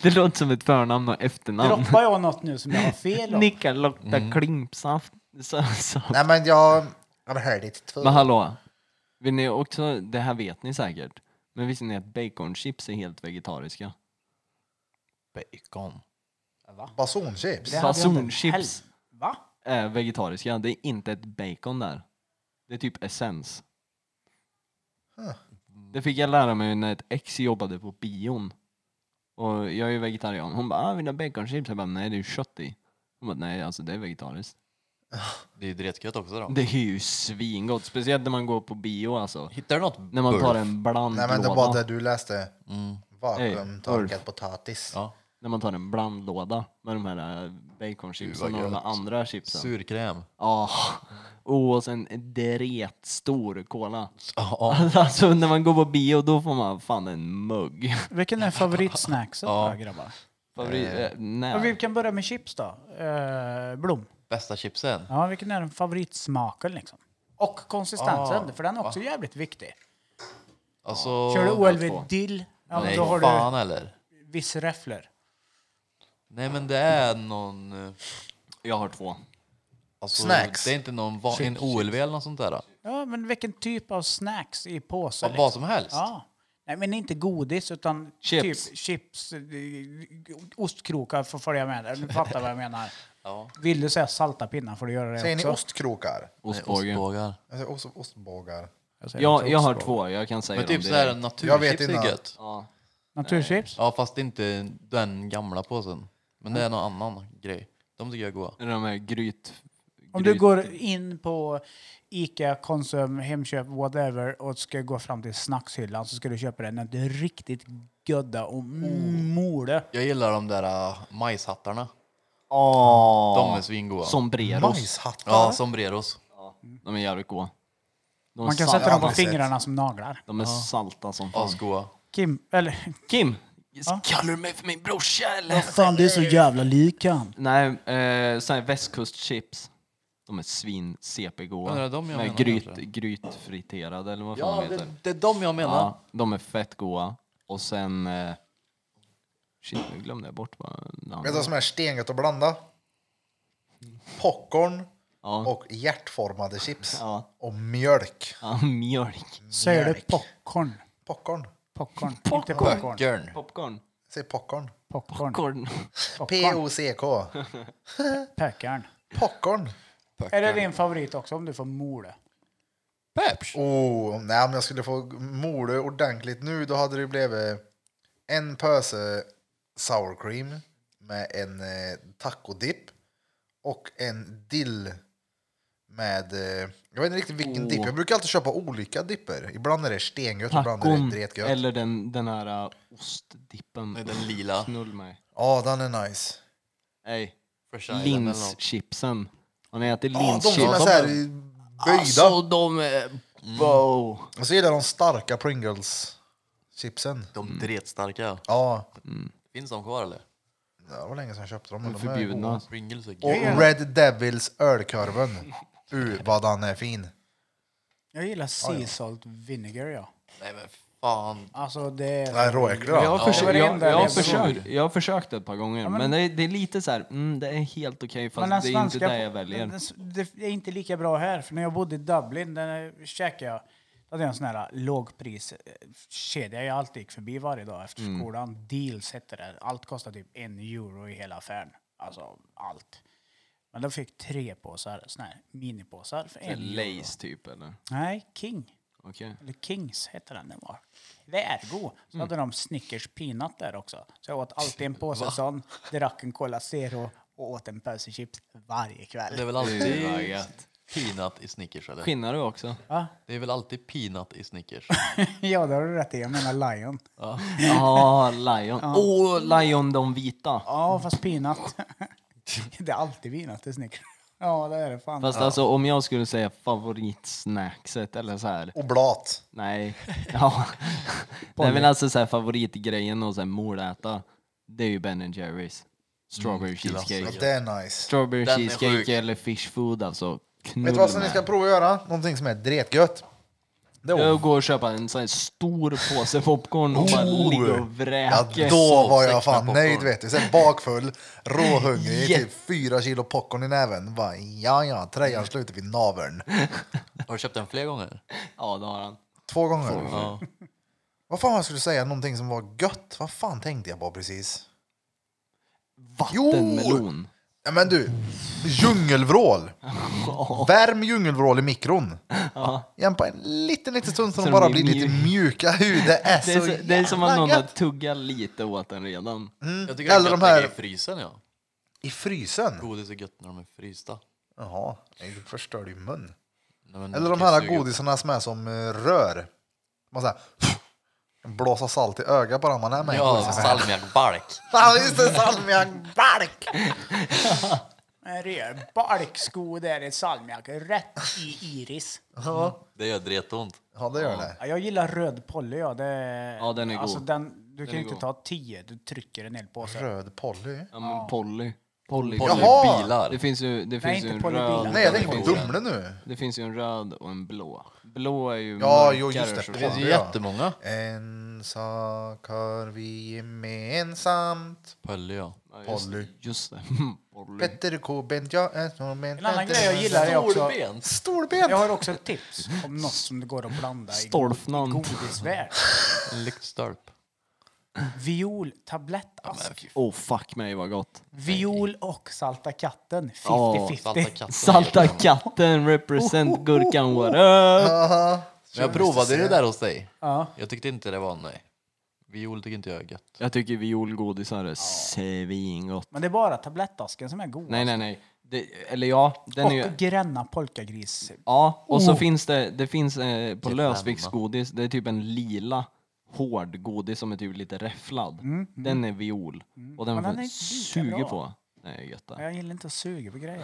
S4: Det låter som ett förnamn och efternamn.
S1: Droppar jag något nu som jag har fel om?
S4: Nickar luktar
S3: Mhm.
S4: klimpsaft. Så, så.
S2: Nej men jag har hört it två.
S4: Men hallå. Vill ni också, det här vet ni säkert. Men visste ni att baconchips är helt vegetariska?
S3: Bacon.
S2: Basonchips.
S1: Det hade jag inte-
S4: Fasonchips.
S1: Hel- Va?
S4: är vegetariska. Det är inte ett bacon där. Det är typ essens. Det fick jag lära mig när ett ex jobbade på bion. Och jag är ju vegetarian. Hon bara, ah, vill du ha baconchips? Jag bara, nej det är ju kött i. Hon bara, nej alltså det är vegetariskt.
S3: Det är ju dretgött också då.
S4: Det är ju svingott. Speciellt när man går på bio alltså.
S3: Hittar du något
S4: När man tar
S3: burf?
S4: en blandlåda.
S2: Nej men det var det du läste.
S3: Mm.
S4: Hey,
S2: Vakuumtorkad potatis.
S3: Ja.
S4: När man tar en blandlåda med de här äh,
S3: Gud,
S4: baconchipsen
S3: vad
S4: och de här
S3: gött.
S4: andra chipsen.
S3: Surkräm.
S4: Ja. Oh, och sen en dretstor cola.
S3: Ja,
S4: Alltså när man går på bio då får man fan en mugg.
S1: Vilken är favoritsnacksen
S3: Ja.
S1: då grabbar?
S4: Favorit, eh,
S1: Ja, Vi
S4: nej.
S1: kan börja med chips då. Eh, blom.
S3: Bästa chipsen.
S1: Ja, vilken är den favoritsmaken liksom? Och
S3: Ah.
S1: konsistensen, för den är också jävligt viktig.
S3: Alltså...
S1: Kör du
S4: två.
S1: OLW dill, ja, men
S3: Nej,
S1: då har
S3: fan
S1: du
S3: eller?
S1: vissräfflor.
S3: Nej men det är någon... eh,
S4: Jag har två.
S3: Alltså,
S2: Snacks.
S3: Det är inte någon va- en OLV eller något sånt där.
S1: Ja, men vilken typ av snacks i påse?
S3: Vad,
S1: Liksom?
S3: vad som helst.
S1: Ja. Nej, men inte godis utan
S4: Chips.
S1: typ chips. eh, Ostkrokar får följa med där. Du fattar vad jag menar.
S3: Ja.
S1: Vill du säga salta pinnar får du göra det
S2: Säger ni
S1: också.
S2: ostkrokar?
S3: Ostbågar.
S4: Ostbåge.
S2: Alltså ost, ostbågar.
S1: Jag säger
S4: Jag,
S1: också
S4: jag har
S1: ostbågar.
S4: två, jag kan säga
S3: Men typ
S4: dem
S3: såhär
S4: direkt.
S2: Jag vet
S3: naturchips är
S2: inte.
S3: gött.
S4: Ja.
S1: Naturchips?
S3: Ja fast inte den gamla påsen. Men det är
S1: Mm.
S3: någon annan grej. De tycker jag är goda.
S4: De här gryt...
S1: Om du
S4: gryt-
S1: går in på Ica, Konsum, Hemköp, whatever och ska gå fram till snackshyllan så ska du köpa den. Den är riktigt gödda och mole.
S3: Jag gillar de där äh, majshattarna.
S4: Åh.
S3: De är svingoda.
S4: Sombreros.
S2: Majshattar?
S3: Ja, sombreros.
S4: De är jävligt goda. De är
S1: Man kan
S4: sal-
S1: sätta dem på
S2: aldrig sett.
S1: fingrarna som naglar.
S4: De är salta som fan.
S3: Asgoda.
S1: Kim, eller...
S4: Kim! Kallar du mig för min brorsa eller?
S1: Fan, du är så jävla lik han.
S4: Nej, eh, sån här västkustchips. De är svin cp goda
S3: Ja, det är de jag
S4: Med
S3: menar,
S4: gryt,
S3: kanske.
S4: grytfriterade eller vad fan
S3: Ja,
S4: de heter.
S3: det, det är de jag menar.
S4: Ja, de är fett goa. Och sen... Eh, shit, nu glömde jag bort vad den
S2: Vet du
S4: andra-
S2: vad som är stengött att blanda? Popcorn
S4: Ja.
S2: och hjärtformade chips.
S4: Ja.
S2: Och mjölk.
S4: Ja, mjölk.
S1: Säger du
S2: Mjölk.
S1: popcorn?
S2: Popcorn.
S1: Popcorn. Inte
S4: Popcorn.
S1: popcorn.
S3: Böckern.
S4: Popcorn.
S2: Säg popcorn.
S1: Popcorn.
S4: Korn.
S1: Popcorn.
S2: P-O-C-K.
S1: Pökern.
S2: Popcorn.
S1: Är det din favorit också om du får mole?
S3: Peps?
S2: Oh, nej, om jag skulle få mole ordentligt nu då hade det blivit en pöse sour cream med en eh, tacodipp och en dill med... Eh, jag vet inte riktigt vilken
S4: Oh.
S2: dipp. Jag brukar alltid köpa olika dipper. Ibland är det stengött, ibland är
S4: Tacon
S2: det retgött.
S4: eller den, den här uh, ostdippen.
S3: Nej, den lila.
S4: Snull mig.
S2: Ja, den är nice.
S4: Nej,
S3: Fresh Island eller något.
S4: linschipsen. Har ni ätit
S2: Ja, de som är
S4: linschips?
S2: så här böjda.
S3: Alltså de... är-
S4: Mm. Wow.
S2: Och så gillar jag de starka Pringles-chipsen.
S3: De dretstarka.
S2: Ja,
S3: Finns de kvar eller?
S2: det var länge sedan jag köpte dem. men de är
S4: Förbjudna.
S3: Pringles är gött.
S2: Och Red Devils ölkorven. Uh, vad han är fin.
S1: Jag gillar sea salt vinegar ja.
S3: Nej men fan.
S1: Alltså det...
S2: Den är råäcklig
S4: Jag
S2: då.
S4: har, försökt,
S1: det var det
S4: jag,
S1: enda
S4: jag, har
S1: jag såg.
S4: försökt, jag har försökt ett par gånger, men,
S1: men-
S4: det, är, det är lite så här, mm, det är helt okej fast
S1: Men
S4: det
S1: den
S4: är inte
S1: svenska-
S4: det jag väljer.
S1: den- den- Det är inte lika bra här, för när jag bodde i Dublin, där käkade jag, då hade jag en sån här äh, lågpriskedja jag alltid gick förbi varje dag efter
S4: Mm.
S1: skolan. Deals hette det. Allt kostade typ en euro i hela affären. Alltså allt. Men de fick tre påsar, såna här minipåsar för en euro.
S4: Lace typ eller?
S1: Nej, King.
S4: Okej.
S1: Eller Kings hette den den var. Värgo.
S4: Mm.
S1: Så hade de Snickers peanut där också. Så jag åt alltid en påse sån, drack en Cola Zero och åt en påse chips varje kväll.
S3: Det är väl
S4: Det var
S3: alltid
S4: gött.
S3: peanut i Snickers eller?
S4: Skinnar du också?
S1: Va?
S3: Det är väl alltid peanut i Snickers?
S1: ja, det har du rätt i. Jag menar Lion.
S4: Ja, Lion. Åh, Lion de vita.
S1: Ja, fast peanut. det är alltid peanut i Snickers. Ja, det är det fan.
S4: Fast alltså om jag skulle säga favoritsnackset eller så här.
S2: Oblat.
S4: Nej. Ja. Nej men alltså så här favoritgrejen och sen moläta. Det är ju Ben Jerrys. Strawberry cheesecake.
S2: Ja, det Mm, är nice.
S4: Strawberry
S3: Den är sjuk.
S4: cheesecake eller fish food alltså. Knull
S2: Vet du vad som ni
S4: med.
S2: ska prova att göra? Någonting som är dretgött. Det är
S4: Jag går och köper en sån här stor påse popcorn och bara
S2: Oh.
S4: ligger och
S2: Ja,
S4: vräker.
S2: då var jag
S3: Sex
S2: fan
S3: med
S2: nöjd
S3: popcorn.
S2: vet du. Sen bakfull, råhungrig,
S4: Yeah.
S2: typ fyra kilo popcorn i näven. Bara, ja, ja, tröjan slutar vid naveln.
S3: Har du köpt den fler gånger?
S4: Ja, det har han.
S2: Två gånger.
S3: Ja.
S2: Vad fan jag skulle säga? Någonting som var gött. Vad fan tänkte jag på precis? Jo!
S4: Vattenmelon.
S2: Ja, men du, djungelvrål. Värm djungelvrål i mikron.
S4: Ja.
S2: Jämpa en liten, liten stund så,
S4: Så
S2: de
S4: de
S2: bara
S4: blir
S2: blir lite
S4: mjuk.
S2: mjuka. Hur det är så
S4: Det är, så, det är som att
S2: jävla
S4: någon har
S2: gött.
S4: tuggat lite åt den redan.
S3: Jag tycker
S2: Eller
S3: det är gött
S2: de
S3: att
S2: här-
S3: lägga i frysen ja.
S2: I frysen?
S3: Godis är gött när de är frysta.
S2: Jaha, nej, du förstör din mun.
S3: Nej, men
S2: Eller
S3: det
S2: de
S3: kan ju
S2: här
S3: suga upp.
S2: godisarna som är som eh, rör. Man såhär, blåsa salt i ögat bara man är med. i
S3: Ja,
S2: godisen.
S3: salmiakbark.
S2: Ja, just det, salmiakbalk!
S1: En rejäl balksko där i salmiak, rätt i iris.
S3: Det gör dretont.
S2: Ja, det gör det.
S1: Ja, jag gillar röd Polly. Ja, det...
S4: Ja, den är
S1: alltså,
S4: god.
S1: Den, du kan
S4: är
S1: ju inte
S4: god.
S1: ta tio, du trycker en hel påse.
S2: Röd Polly.
S4: Ja, men Polly. Polly.
S2: Jaha!
S3: Polybilar.
S4: Det finns ju, det
S1: Nej,
S4: finns ju
S1: inte
S4: en
S1: polybilar.
S4: röd.
S2: Nej, jag
S3: det
S2: tänkte på
S3: finns det.
S2: Dumle nu.
S4: Det finns ju en röd och en blå. Blå är
S2: Ja,
S4: ju mörkare
S2: jo, just det.
S4: choklad.
S3: Det finns ju
S2: Ja, det gör.
S3: jättemånga.
S2: En sak har vi gemensamt.
S3: Polly ja.
S4: Ja, just,
S2: Polly.
S4: just det. Polly.
S2: Petter K. Bent, jag är som Bent.
S1: En annan grej jag gillar är också...
S3: Storben.
S2: Storben!
S1: Jag har också ett tips om något som det går att blanda i
S4: Stolfnamn.
S1: godisvärld.
S3: En lyktstolp.
S1: Violtablettask.
S4: Oh fuck mig vad gott.
S1: Viol och Salta katten. 50-50.
S4: Ja,
S3: Salta katten.
S4: Salta katten
S2: Oh,
S4: represent gurkan what up?
S2: Aha.
S3: Men jag provade det där hos dig.
S1: Ja.
S3: Jag tyckte inte det var nej. Viol tycker inte jag är gött.
S4: Jag tycker violgodisar är svingott.
S1: Men det är bara tablettasken som är god.
S4: Nej
S2: Alltså.
S4: nej nej. Det, eller ja, den
S1: och
S4: är ju...
S1: gränna polkagris.
S4: Ja, och så finns det, det finns eh, på
S3: Typ
S4: lösviktsgodis, det är typ en lila hård godis som är typ lite räfflad.
S1: Mm,
S4: Den är viol. Och den,
S1: Men Mm. den är
S4: den
S1: inte lika
S4: suger
S1: bra.
S4: på. Nej, gött det.
S1: Jag gillar inte att suga på grejer.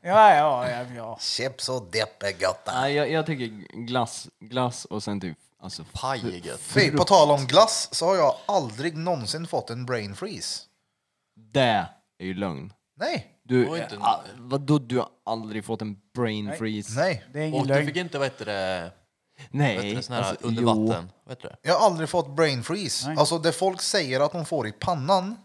S1: ja, ja, ja, ja.
S2: Chips och depp är gott. det.
S4: Nej, jag, jag tycker glass, glass och sen typ alltså,
S3: Paj är gött.
S2: Fy, på tal om glass så har jag aldrig någonsin fått en brain freeze.
S4: Det är ju lögn.
S2: Nej,
S4: Du,
S3: Det var inte en-
S4: ah, vadå, du har aldrig fått en brain freeze?
S2: nej.
S1: Det är ingen
S3: Och du
S1: lögn.
S3: fick inte, vad heter det, vad heter
S4: Nej.
S3: det sån här
S4: alltså,
S3: under
S4: jo.
S3: vatten? Vad heter det?
S2: Jag har aldrig fått brain freeze. Alltså det folk säger att de får i pannan,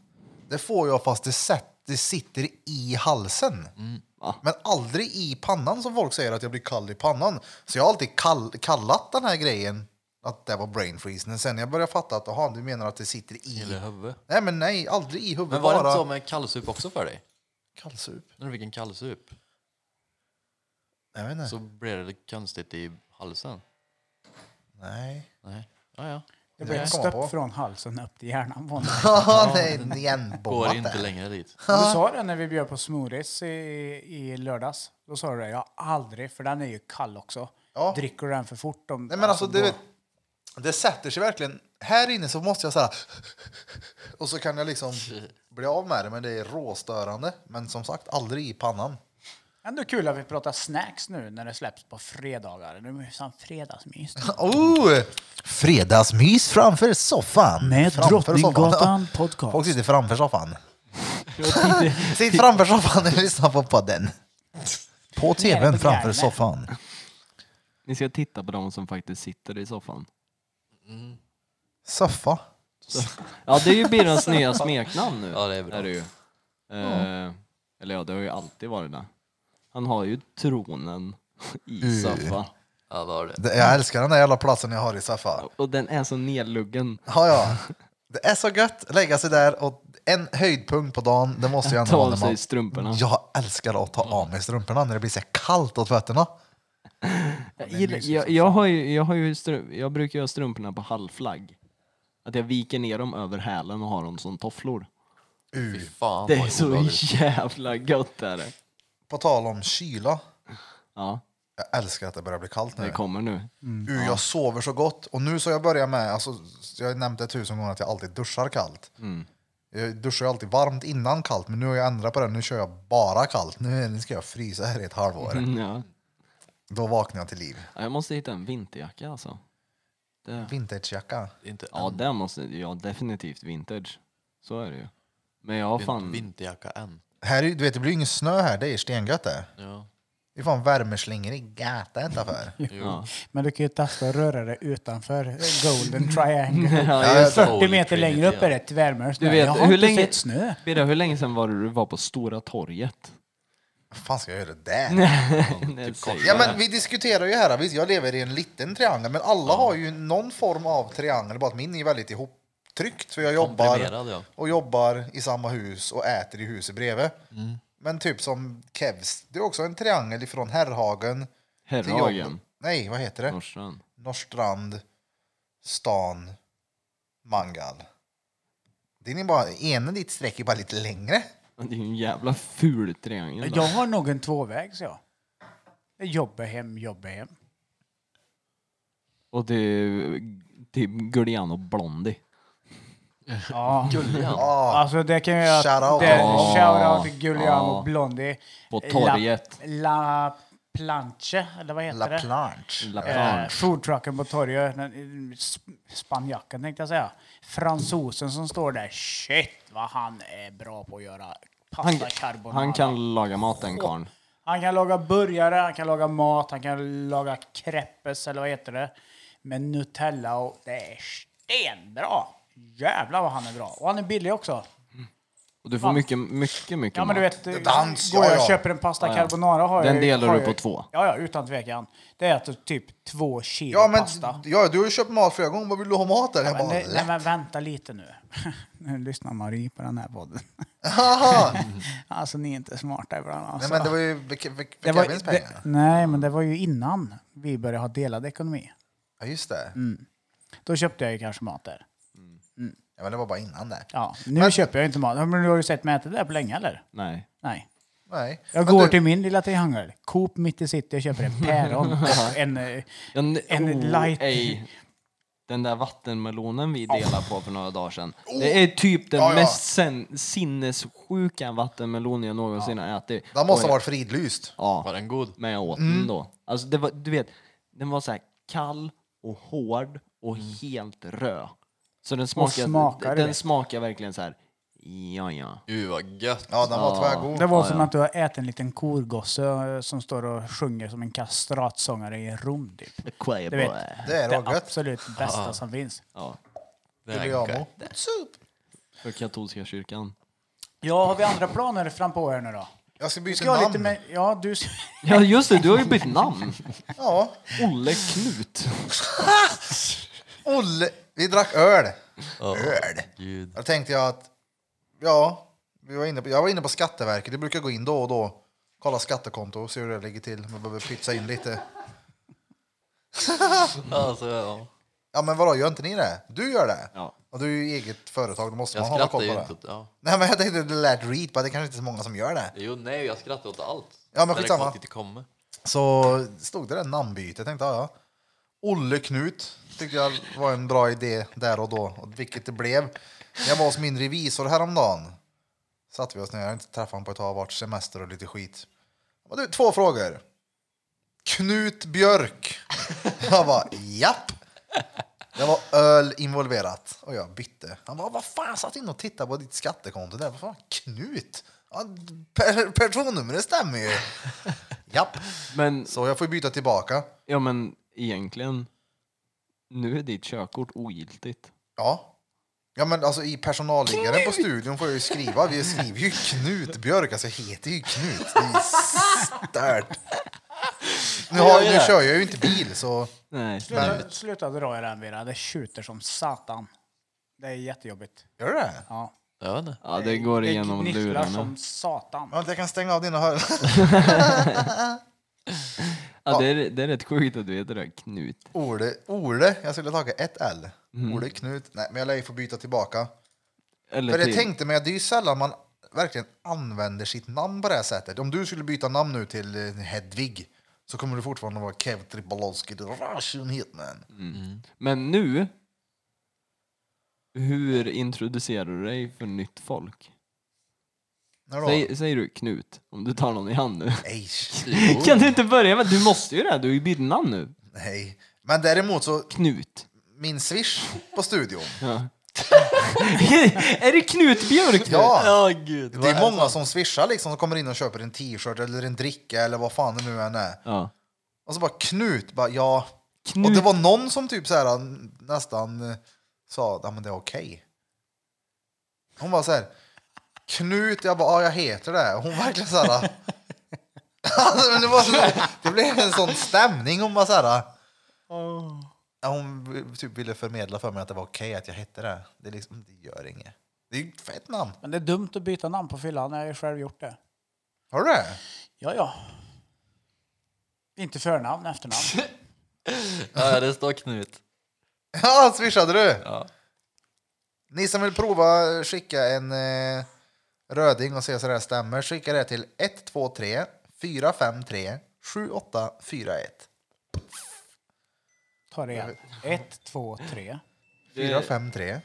S2: det får jag fast det, sätt, det sitter i halsen.
S3: Mm,
S4: Va?
S2: Men aldrig i pannan som folk säger att jag blir kall i pannan. Så jag har alltid kall, kallat den här grejen att det var brain freeze. Men sen jag började fatta att aha, du menar att det sitter i.
S3: Eller huvud.
S2: Nej men nej, aldrig i huvudet.
S3: Men var det
S2: bara.
S3: inte så med kallsup också för dig?
S2: Kallsup?
S3: När du fick en kallsup
S2: Jag vet inte.
S3: så blev det lite konstigt i halsen.
S2: Nej.
S3: Nej. Ja, ja.
S1: Det blir ett
S2: kan man på.
S1: stöpp från halsen upp till hjärnan på honom.
S2: nej, igenbombat
S3: Går inte
S2: där.
S3: längre dit.
S1: Du sa det när vi bjöd på smoothies i, i lördags. Då sa du det. Jag aldrig, för den är ju kall också.
S2: Ja.
S1: Dricker du den för fort? Om,
S2: Nej men alltså, du
S1: då-
S2: vet, det sätter sig verkligen. Här inne så måste jag säga och så kan jag liksom bli av med det, men det är råstörande. Men som sagt, aldrig i pannan.
S1: Ändå kul att vi pratar snacks nu när det släpps på fredagar. Nu är det som fredagsmys.
S2: Oh! Fredagsmys framför soffan.
S1: Med
S2: Framför
S1: Drottninggatan
S2: soffan.
S1: podcast.
S2: Folk sitter framför soffan. Sitt framför soffan och lyssna på podden. På tvn
S1: på
S2: framför
S1: gärdet.
S2: soffan.
S4: Ni ska titta på de som faktiskt sitter i soffan.
S2: Soffa.
S4: Ja, det är ju Birras nya smeknamn nu.
S3: Ja, det är bra.
S4: ju. Eh, Eller ja, det har ju alltid varit det. Han har ju tronen i soffan.
S3: Ja, vad var det?
S2: Det- Jag älskar den där jävla platsen jag har i Soffa.
S4: Och den är så nedluggen.
S2: Ja, ja. Det är så gött lägga sig där och en höjdpunkt på dagen, det måste ju ändå
S4: Ta
S2: vara
S4: av
S2: när
S4: sig
S2: man...
S4: strumporna.
S2: Jag älskar att ta av mig strumporna när det blir så kallt åt fötterna.
S4: Jag, gillar, jag, jag, har ju, jag, har ju stru- jag brukar ju ha strumporna på halvflagg. Att jag viker ner dem över hälen och har dem som tofflor.
S3: Fy fan
S4: Det är
S3: vad
S4: så
S3: obehagligt.
S4: jävla gött är det.
S2: På tal om kyla.
S4: Ja,
S2: Jag älskar att det börjar bli kallt nu.
S4: det kommer nu.
S2: Uh, jag sover så gott. Och nu så har jag börjat med, alltså, jag har nämnt det tusen gånger att jag alltid duschar kallt.
S4: Mm.
S2: Jag duschar ju alltid varmt innan kallt, men nu har jag ändrat på det. Nu kör jag bara kallt. Nu nu ska jag frysa här i ett halvår.
S4: Mm, ja.
S2: Då vaknar jag till liv.
S4: Ja, Jag måste hitta en vinterjacka alltså. Det,
S2: Vintagejacka.
S3: Det är Inte
S4: ja,
S1: Mm.
S4: det måste, ja, definitivt vintage. Så är det ju. Men jag har
S3: en
S4: fan...
S3: vinterjacka än.
S2: Här, är ju- du vet, det blir ju ingen snö här. Det är stengött det.
S3: Ja.
S2: Det är fan värmeslingor i gatan utanför.
S4: Ja.
S1: Men du kan ju testa att röra dig utanför Golden Triangle.
S4: Ja, just det.
S1: 40 meter längre upp är det tvärmörkt.
S4: Du vet,
S1: Jag har
S4: hur
S1: inte
S4: länge-
S1: sett snö.
S4: Birra, hur länge sedan var det du var på Stora torget?
S2: Vad fan ska jag göra där?
S1: Typ
S4: Nej, säg
S2: Ja,
S4: det.
S2: men vi diskuterar ju här, visst jag lever i en liten triangel, men alla har ju någon form av triangel, bara att min är väldigt ihoptryckt för jag jobbar
S3: Komprimerad, ja.
S2: och jobbar i samma hus och äter i huset bredvid. Men typ som Kevs, det är också en triangel ifrån Herrhagen till jobb.
S4: Herragen,
S2: Nej, vad heter det?
S4: Norsan.
S2: Norrstrand, stan, Mangal. Din är bara, ena ditt streck är bara lite längre.
S4: Det är ju en jävla ful triangel. då.
S1: Jag har nog en tvåvägs jag. Jobba hem, jobba hem.
S4: Och det är typ Gulian och Blondie.
S1: Ja.
S3: Gullian.
S2: Ah,
S1: Alltså det kan jag...
S2: Shoutout.
S1: det-
S4: Ja.
S1: Shoutout till Gulian
S4: Ja.
S1: och Blondie.
S4: På torget.
S1: La, La Planche, eller vad heter
S2: La
S1: det?
S2: Planche.
S4: La
S1: Eh,
S4: Planche.
S1: Foodtrucken på torget, den, eh, sp- spanjacken tänkte jag säga. Fransosen som står där, shit vad han är bra på att göra
S4: Han,
S1: pasta carbonara.
S4: han kan laga mat den karln.
S1: han kan laga burgare, han kan laga mat, han kan laga crepes eller vad heter det. Med Nutella och det är stenbra. Jävlar vad han är bra. Och han är billig också.
S4: Och du får mycket, mycket, mycket
S1: Ja men du
S4: mat.
S1: vet,
S2: dans,
S1: går
S2: ja,
S1: jag
S2: ja.
S1: och köper en pasta
S4: Ja, ja.
S1: carbonara har
S4: Den
S1: jag, ju-
S4: delar
S1: har
S4: du
S1: jag
S4: på
S1: ju-
S4: två.
S1: Ja, ja, utan tvekan. Det är alltså typ två kilo
S2: Ja, men
S1: pasta.
S2: ja, du har ju köpt mat flera gånger. Vad vill du ha mat där? Jag
S1: Men,
S2: bara,
S1: nej, nej,
S2: lätt.
S1: men vänta lite nu. nu lyssnar Marie på den här podden. alltså ni är inte smarta ibland. Alltså.
S2: Nej, men det var ju för, för, för
S1: Det var-
S2: Kevins
S1: det-
S2: pengar.
S1: nej, men det var ju innan vi började ha delad ekonomi.
S2: Ja, just det.
S1: Mm. Då köpte jag ju kanske mat där.
S2: Ja, men det var bara innan det.
S1: Ja, nu köper jag inte mat. Men du har ju sett mig äta där på länge eller?
S4: Nej.
S1: Nej.
S2: Nej.
S1: Jag
S2: Men
S1: går
S2: du,
S1: till min lilla triangel. Coop mitt i city och köper en päron och en... eh,
S4: En,
S1: En light- Oh.
S4: ej. Den där vattenmelonen vi delade på för några dagar sedan. Det är typ den
S2: Ja, ja.
S4: mest sen, sinnessjuka vattenmelonen jag någonsin har ätit.
S2: Den måste
S4: Och-
S2: ha varit fridlyst.
S4: Ja.
S3: Var den god?
S4: men jag åt
S1: Mm.
S4: den då. Alltså det var, du vet, den var så här kall och hård och helt röd. Så den smakar,
S1: Mm. smakar, du
S4: den
S1: vet.
S4: smakar verkligen så här, ja ja.
S3: Gud vad gött.
S2: Ja, den var
S4: Ja.
S2: tvärgod.
S1: Det var som att du har ätit en liten korgosse eh, som står och sjunger som en kastratsångare i en rom. Typ.
S4: The choir
S1: Du vet.
S4: boy.
S2: Det är
S1: Det
S2: rågött.
S1: absolut bästa som finns.
S4: Ja,
S3: Den är
S2: Juliano.
S3: gött.
S4: för katolska kyrkan.
S1: Ja, har vi andra planer fram på här nu då?
S2: Jag ska byta
S1: Ska jag
S2: namn.
S1: lite med... Ja, du... s-
S4: Ja just det, du har ju bytt namn.
S2: Ja.
S4: Olle Knut.
S2: Olle. Vi drack öl.
S3: Ja.
S2: Öl.
S3: Gud.
S2: Då tänkte jag att, ja, Vi var inne på, jag var inne på Skatteverket, det brukar gå in då och då. Kolla skattekonto och se hur det ligger till. Man behöver pytsa in lite. Mm.
S3: Alltså, ja.
S2: Ja men vadå, gör inte ni det? Du gör det?
S4: Ja.
S2: Och du är ju eget företag, då måste
S3: Jag
S2: man hålla
S3: skrattar
S2: koll
S3: ju typ.
S2: på det.
S3: inte åt ja.
S2: Nej men jag tänkte det lät read, bara det kanske inte är så många som gör det.
S3: Jo, nej, jag skrattar åt allt.
S2: Ja, men
S3: När det
S2: skitsamma.
S3: konstigt inte kommer.
S2: Så stod det där namnbyte, jag tänkte ja, ja. Olle Knut tyckte jag var en bra idé där och då, och vilket det blev. Jag var hos min revisor häromdagen. Satt vi oss ner, jag har inte träffat honom på ett tag, varit semester och lite skit. Men du, två frågor. Knut Björk. Jag bara, japp. Det var öl involverat och jag bytte. Han bara, vad fan, jag satt in och tittade på ditt skattekonto där. Vad fan, Knut? Ja, per, personnumret stämmer ju. Japp.
S4: Men,
S2: Så jag får byta tillbaka.
S4: ja men egentligen, nu är ditt körkort ogiltigt.
S2: Ja. Ja men alltså i personalliggaren på studion får jag ju skriva. Vi skriver ju Knut Björk, alltså jag heter ju Knut. Det är stört. Nu, har, nu kör jag ju inte bil så...
S4: Nej.
S1: Sluta, sluta dra i den Vera, det tjuter som satan. Det är jättejobbigt.
S2: Gör du det?
S1: Ja.
S3: Jag vet inte.
S4: Ja, det går igenom
S1: gnisslar
S4: lurarna.
S1: som satan.
S2: Ja, Jag kan stänga av dina hörlurar.
S4: Ja, det, är, det är rätt sjukt att du heter det, Knut.
S2: Ole, Ole, jag skulle tagit ett L. Ole Knut. Nej men jag lär ju få byta tillbaka.
S4: Eller
S2: För jag
S4: till-
S2: tänkte mig att det är ju sällan man verkligen använder sitt namn på det här sättet. Om du skulle byta namn nu till eh, Hedvig så kommer du fortfarande vara Kev Tripolowski Russian Hitman.
S4: Men nu, hur introducerar du dig för nytt folk?
S2: När då?
S4: Säg, säger du Knut, om du tar någon i hand nu?
S2: Nej,
S4: Kan du inte börja med, du måste ju det, du är ju bytt namn nu.
S2: nej. Men däremot så,
S4: Knut.
S2: min swish på studion.
S4: Ja. är det Knut Björk nu?
S2: Ja,
S3: Ja, gud.
S2: det är många som swishar liksom som kommer in och köper en t-shirt eller en dricka eller vad fan det nu än är.
S4: Ja.
S2: Och så bara Knut, bara ja.
S4: Knut.
S2: Och det var någon som typ så här nästan eh, sa, ja men det är okej. Hon var så här, Knut, jag bara, ja jag heter det. Hon verkligen så här. alltså, men det, var så här det blev en sån stämning, hon bara så här. Ja, hon typ ville förmedla för mig att det var okej att jag hette det. Det, är liksom, det gör inget. Det är ju ett fett namn.
S1: Men det är dumt att byta namn på fyllan, jag har ju själv gjort det.
S2: Har du det?
S1: Ja, ja. Inte förnamn, efternamn.
S3: Ja, det står Knut.
S2: Ja, swishade du?
S3: Ja.
S2: Ni som vill prova eh, skicka en eh, röding och se så det här stämmer, skicka det till 123 453 7841.
S1: Ta det igen. Ett, två, tre.
S2: 453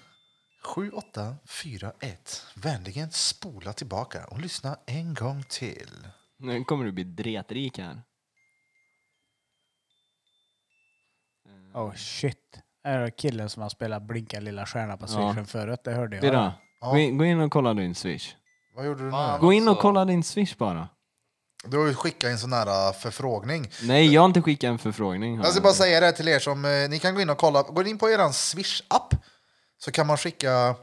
S2: 7841. Vänligen spola tillbaka och lyssna en gång till.
S4: Nu kommer du bli dretrik här.
S1: Oh shit. Det är killen som har spelat Blinka lilla stjärna på switchen förut, det hörde jag.
S4: Birra,
S2: Ja. Alltså-
S4: gå, in, gå in och kolla din swish.
S2: Vad gjorde du
S3: Fan.
S2: nu?
S4: Gå in och
S3: Så.
S4: kolla din swish bara.
S2: Du har ju skickat en sån här eh, förfrågning.
S4: Nej, jag har inte skickat en förfrågning. har
S2: Jag ska bara säga det här till er som, eh, ni kan gå in och kolla, gå in på eran Swish-app så kan man skicka,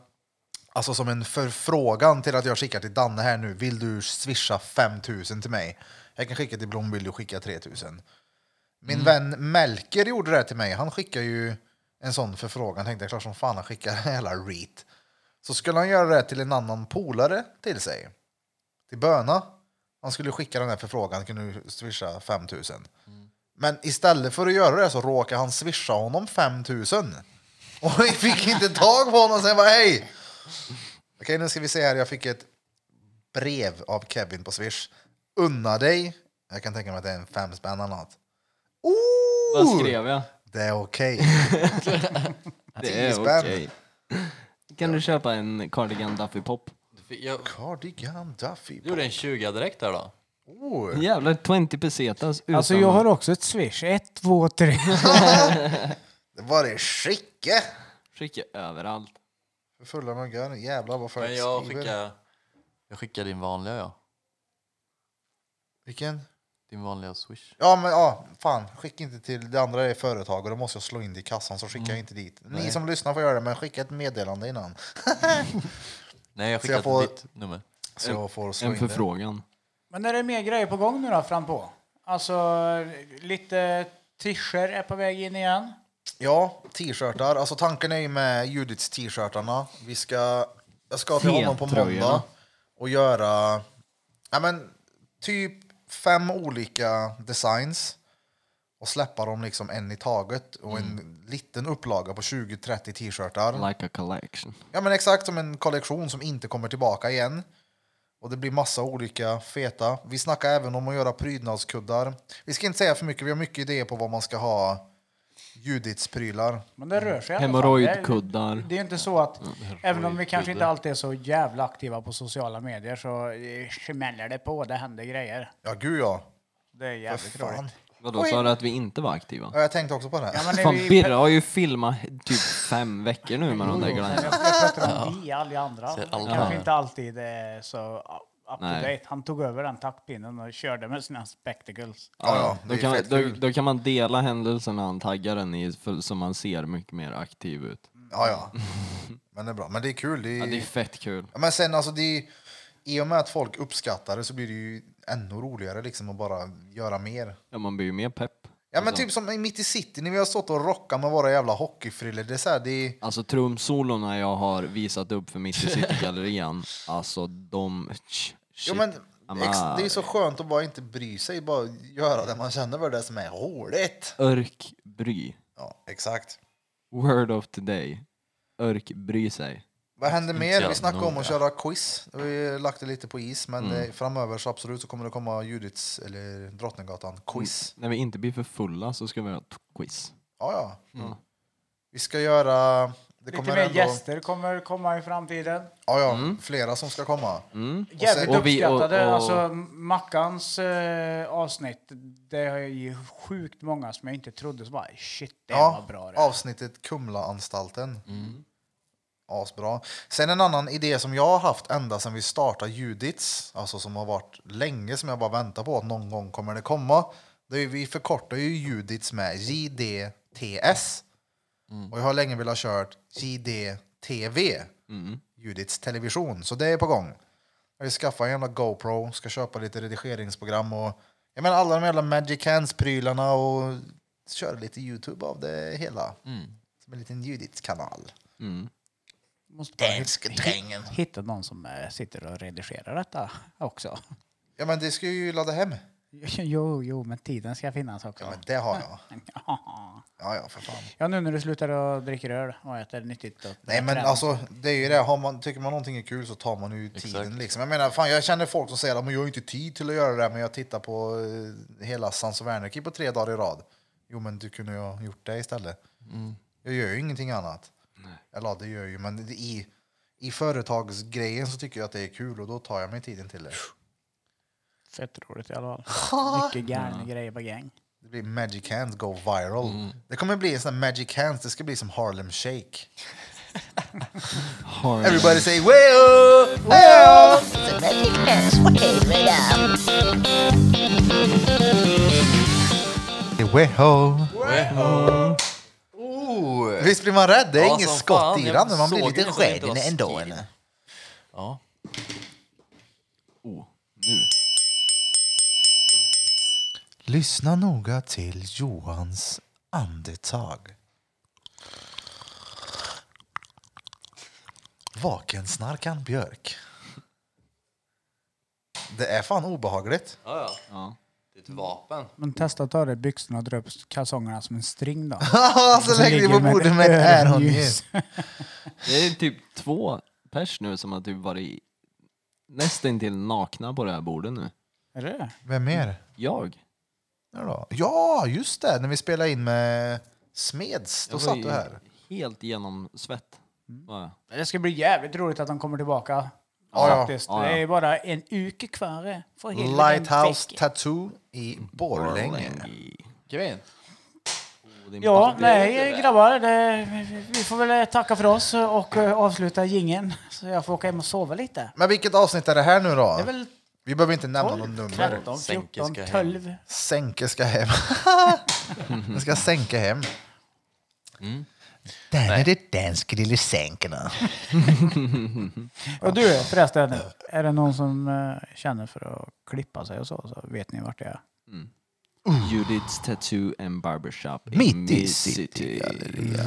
S2: alltså som en förfrågan till att jag skickar till Danne här nu, vill du swisha 5000 till mig? Jag kan skicka till Blom, vill du skicka 3000? Min vän Melker gjorde det här till mig, han skickar ju en sån förfrågan, tänkte jag klart som fan han skickar hela reet. Så skulle han göra det här till en annan polare till sig, till Böna. Han skulle skicka den här förfrågan, kunde du swisha 5000? Men istället för att göra det så råkade han swisha honom 5000. Och vi fick inte tag på honom, så jag bara hej! Okej, nu ska vi se här. Jag fick ett brev av Kevin på Swish. Unna dig. Jag kan tänka mig att det är en femspänn eller något.
S4: Vad
S2: Oh!
S4: skrev jag?
S2: Det är okej.
S4: Det är
S2: spänn.
S4: okej. Kan du köpa en cardigan Duffy Pop?
S3: Jag
S2: Cardigan Duffy.
S3: gjorde en 20 direkt där då.
S2: Oh.
S4: Jävlar, 20 pesetas utan...
S1: Alltså jag har också ett swish. Ett, två, tre.
S2: Det var det skicke.
S4: Skicka överallt.
S2: För Fulla muggar. Jävlar vad folk
S3: Men jag
S2: skriver.
S3: skickar, jag skickar din vanliga, ja.
S2: Vilken?
S3: Din vanliga swish.
S2: Ja, men ja, fan. Skicka inte till det andra är företag och då måste jag slå in det i kassan så skickar
S3: Mm.
S2: jag inte dit. Ni som lyssnar får göra det, men skicka ett meddelande innan.
S3: Nej, jag
S2: Så jag
S3: skickade
S2: får-
S3: ditt nummer.
S2: Så jag får slå
S4: En
S2: in det.
S4: förfrågan.
S1: Men är det mer grejer på gång nu då, frampå? Alltså, lite t-shirts är på väg in igen.
S2: Ja, t-shirtar. Alltså tanken är ju med Judiths t-shirtarna. Vi ska, jag ska till honom på
S4: T-tröjorna.
S2: måndag och göra ja, men, typ fem olika designs och släppa dem liksom en i taget och en
S4: Mm.
S2: liten upplaga på 20-30 t-shirtar.
S4: Like a collection.
S2: Ja men exakt som en kollektion som inte kommer tillbaka igen. Och det blir massa olika feta. Vi snackar även om att göra prydnadskuddar. Vi ska inte säga för mycket, vi har mycket idéer på vad man ska ha. Judits-prylar.
S1: Men det rör sig i alla fall.
S4: Hemorrojdkuddar.
S1: Det är ju inte så att, även om vi kanske inte alltid är så jävla aktiva på sociala medier så eh, smäller det på, det händer grejer.
S2: Ja, gud ja.
S1: Det är
S2: För
S1: jävligt
S2: fan.
S1: roligt.
S4: Vadå, sa du att vi inte var aktiva?
S2: Ja, jag tänkte också på det.
S1: Ja, men är
S4: Fan,
S1: vi-
S4: Birre har ju filmat typ fem veckor nu med de där
S1: Jag
S4: grejerna.
S1: pratar om vi, alla andra.
S3: Ser alla
S1: Kanske
S3: här.
S1: inte alltid är så up to
S4: Nej.
S1: date. Han tog över den taktpinnen och körde med sina spectacles.
S2: Ja, ja, det
S4: Då
S2: är
S4: kan, man,
S2: fett
S4: då,
S2: kul.
S4: då kan man dela händelsen när han taggar den i, för, så man ser mycket mer aktiv ut.
S2: Ja, ja. Men det är bra. Men det är kul. Det är...
S4: Ja, det är fett kul.
S2: Ja, Men sen alltså, det är... I och med att folk uppskattar det så blir det ju ännu roligare liksom att bara göra mer.
S4: Ja, man blir ju mer pepp. Alltså,
S2: Ja men typ som i mitt i city när vi har stått och rockat med våra jävla hockeyfrillor. Det är så här, det är...
S4: Alltså trumsolorna jag har visat upp för Mitt i City-gallerian, alltså de... tsch,
S2: Ja,
S4: Shit.
S2: men,
S4: Ja,
S2: ex,
S4: men-
S2: det är så skönt att bara inte bry sig, bara göra det man känner för det som är roligt.
S4: Örkbry.
S2: Ja, exakt.
S4: Word of today. Örkbry sig.
S2: Vad händer
S4: Mm,
S2: mer?
S3: jävla
S2: Vi snackade om att
S3: noga.
S2: köra quiz. Vi har ju lagt det lite på is, men
S4: Mm.
S2: eh, framöver så absolut så kommer det komma Judits eller Drottninggatan-quiz.
S4: När vi inte blir för fulla så ska vi ha ett quiz.
S2: Ja, ja.
S4: Mm.
S2: Vi ska göra... Det
S1: Lite
S2: kommer
S1: mer
S2: ändå,
S1: gäster kommer komma i framtiden.
S2: Ja, ja,
S4: Mm.
S2: flera som ska komma.
S1: Jävligt
S4: Och vi- och-
S1: uppskattade.
S4: och-
S1: Alltså, Mackans eh, avsnitt, det är ju sjukt många som jag inte trodde så bara shit, det
S2: Ja,
S1: var bra det. Mm.
S2: avsnittet Kumlaanstalten. Asbra. Sen en annan idé som jag har haft ända sedan vi startade Judits, alltså som har varit länge som jag bara väntar på att någon gång kommer det komma. Det är, vi förkortar ju Judits med JDTS. Och jag har länge velat ha kört JDTV, Judits television, så det är på gång. Jag ska skaffa en jävla GoPro, ska köpa lite redigeringsprogram och jag menar alla de jävla Magic Hands-prylarna och köra lite YouTube av det hela. Som en liten Judits-kanal.
S1: Måste bara
S2: Danske drängen.
S1: hitta någon som eh, sitter och redigerar detta också.
S2: Ja men det ska ju ladda hem.
S1: Jo, jo, men tiden ska finnas också.
S2: Ja men det har jag. Ja ja för fan.
S1: Ja, nu när du slutar att dricka öl och äter nyttigt. Och
S2: Nej men
S1: tränar.
S2: alltså det är ju det, har man, tycker man någonting är kul så tar man ju tiden liksom. Jag menar fan jag känner folk som säger att jag har ju inte tid till att göra det här, men jag tittar på eh, hela Sons of Anarchy på tre dagar i rad. Jo men du kunde ju ha gjort det istället. Jag gör ju ingenting annat. Eller ja, det gör jag ju men det- i, i företagsgrejen så tycker jag att det är kul och då tar jag mig tiden till det.
S1: Fett roligt i alla fall. Mycket gärna grejer på gäng.
S2: Det blir Magic Hands go viral.
S3: Mm.
S2: Det kommer bli en sån här Magic Hands, det ska bli som Harlem Shake. Everybody say well, well.
S5: the magic hands wave it up.
S2: Weho. Visst blir man rädd? Det är
S3: Ja,
S2: inget
S3: som
S2: skott
S3: fan.
S2: i
S3: Jag
S2: den, men man blir
S3: såg
S2: lite
S3: den, så jag inte
S2: skeden
S3: var
S2: ändå.
S3: skriven.
S2: eller?
S3: Ja.
S4: Oh, nu.
S2: Lyssna noga till Johans andetag. Vakensnarkan Björk. Det är fan obehagligt.
S3: Ja, ja.
S4: Ja.
S3: Det är ett vapen.
S1: Men testa att ta av dig byxorna och dra upp kalsongerna som en string då.
S2: så lägger vi på
S1: med
S2: bordet Alltså, med ett öronljus.
S1: öronljus.
S4: Det är typ två pers nu som har typ varit nästintill nakna på det här bordet nu.
S1: Är det det?
S2: Vem mer?
S4: Jag?
S2: Ja, då. Ja, just det. När vi spelade in med Smeds, då
S4: jag
S2: satt du här. Mm.
S4: helt genom svett. var jag.
S1: Men Det ska bli jävligt roligt att de kommer tillbaka.
S2: Ja, ja.
S1: Faktiskt.
S4: Ja, ja.
S1: Det är bara en uke kvar. eh, För hela den
S2: Lighthouse
S1: veckan.
S2: Tattoo i Borlänge.
S3: Kevin.
S4: Och det är
S1: Ja,
S4: bara-
S1: nej eh, grabbar. Det, vi får väl eh, tacka för oss och eh, avsluta gingen. Så jag får åka hem och sova lite.
S2: Men vilket avsnitt är det här nu då?
S1: Det är väl
S2: Vi behöver inte nämna
S1: 12,
S2: någon nummer.
S1: 13,
S3: Sänke
S1: 14,
S3: ska hem.
S1: 12.
S2: Sänke ska hem. Den ska sänka hem. Där är det dansk lille sänkorna.
S1: Och du förresten, är det någon som eh, känner för att klippa sig och så, så vet ni vart det är.
S4: Judiths Tattoo and Barbershop
S2: Mitt i City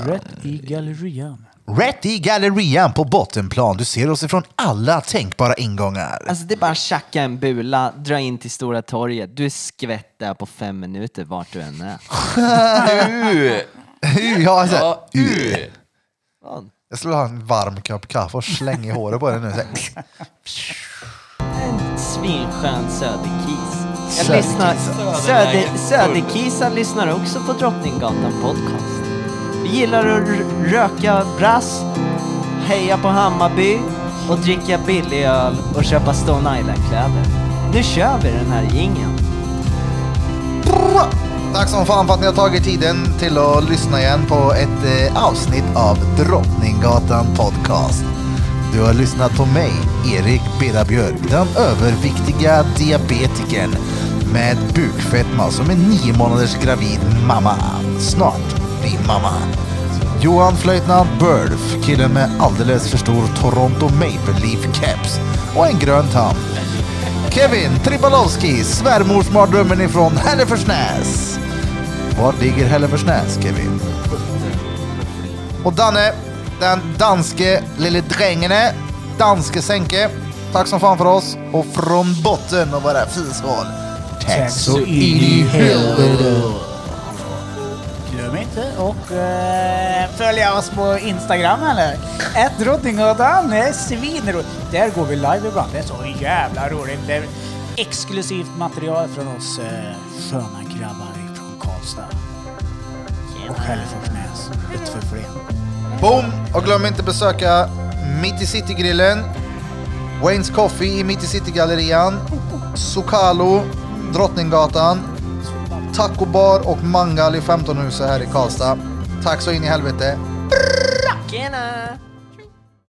S1: Rätt i gallerian.
S2: Rätt i gallerian på bottenplan. Du ser oss ifrån alla tänkbara ingångar.
S4: Alltså det är bara tjacka en bula, dra in till Stora torget. Du är skvätt där på fem minuter vart du än är.
S3: U!
S2: ja, alltså,
S3: Ja, U!
S4: Fan.
S2: Jag skulle ha en varm kopp kaffe och släng i håret på dig nu. Så här.
S4: En svinskön söderkis. Jag
S2: Söderkis.
S4: lyssnar, söder,
S3: Söderläge.
S4: söderkisar lyssnar också på Drottninggatan podcast. Vi gillar att r- röka brass, heja på Hammarby och dricka billig öl och köpa Stone Island-kläder. Nu kör vi den här jingeln.
S2: Tack som fan för att ni har tagit tiden till att lyssna igen på ett eh, avsnitt av Drottninggatan Podcast. Du har lyssnat på mig, Erik Bera Björk, den överviktiga diabetikern med bukfetma som är nio månaders gravid mamma. Snart blir mamma. Johan Flöjtnant Burf, killen med alldeles för stor Toronto Maple Leaf-caps och en grön tand. Kevin Tribalowski, svärmorsmardrömmen ifrån Hälleforsnäs. Var ligger Hälleforsnäs, Kevin? Och Danne, den danske lille drängene, danske sänke. Tack som fan för oss och från botten av våra finsval. Tack så in i helvete.
S1: Glöm inte och eh, följa oss på Instagram eller? Ett Drottninggatan, det är svinroligt. Där går vi live ibland, det är så jävla roligt. Det är exklusivt material från oss eh, sköna grabbar från Karlstad. Och Hälleforsnäs, utanför Flen.
S2: Boom! Och glöm inte besöka Mitt i City-grillen, Waynes Coffee i Mitt i City-gallerian, Sokalo, Drottninggatan, Taco Bar och Mangal i 15-huset här i Karlstad. Tack så in i helvete.
S4: Tjena!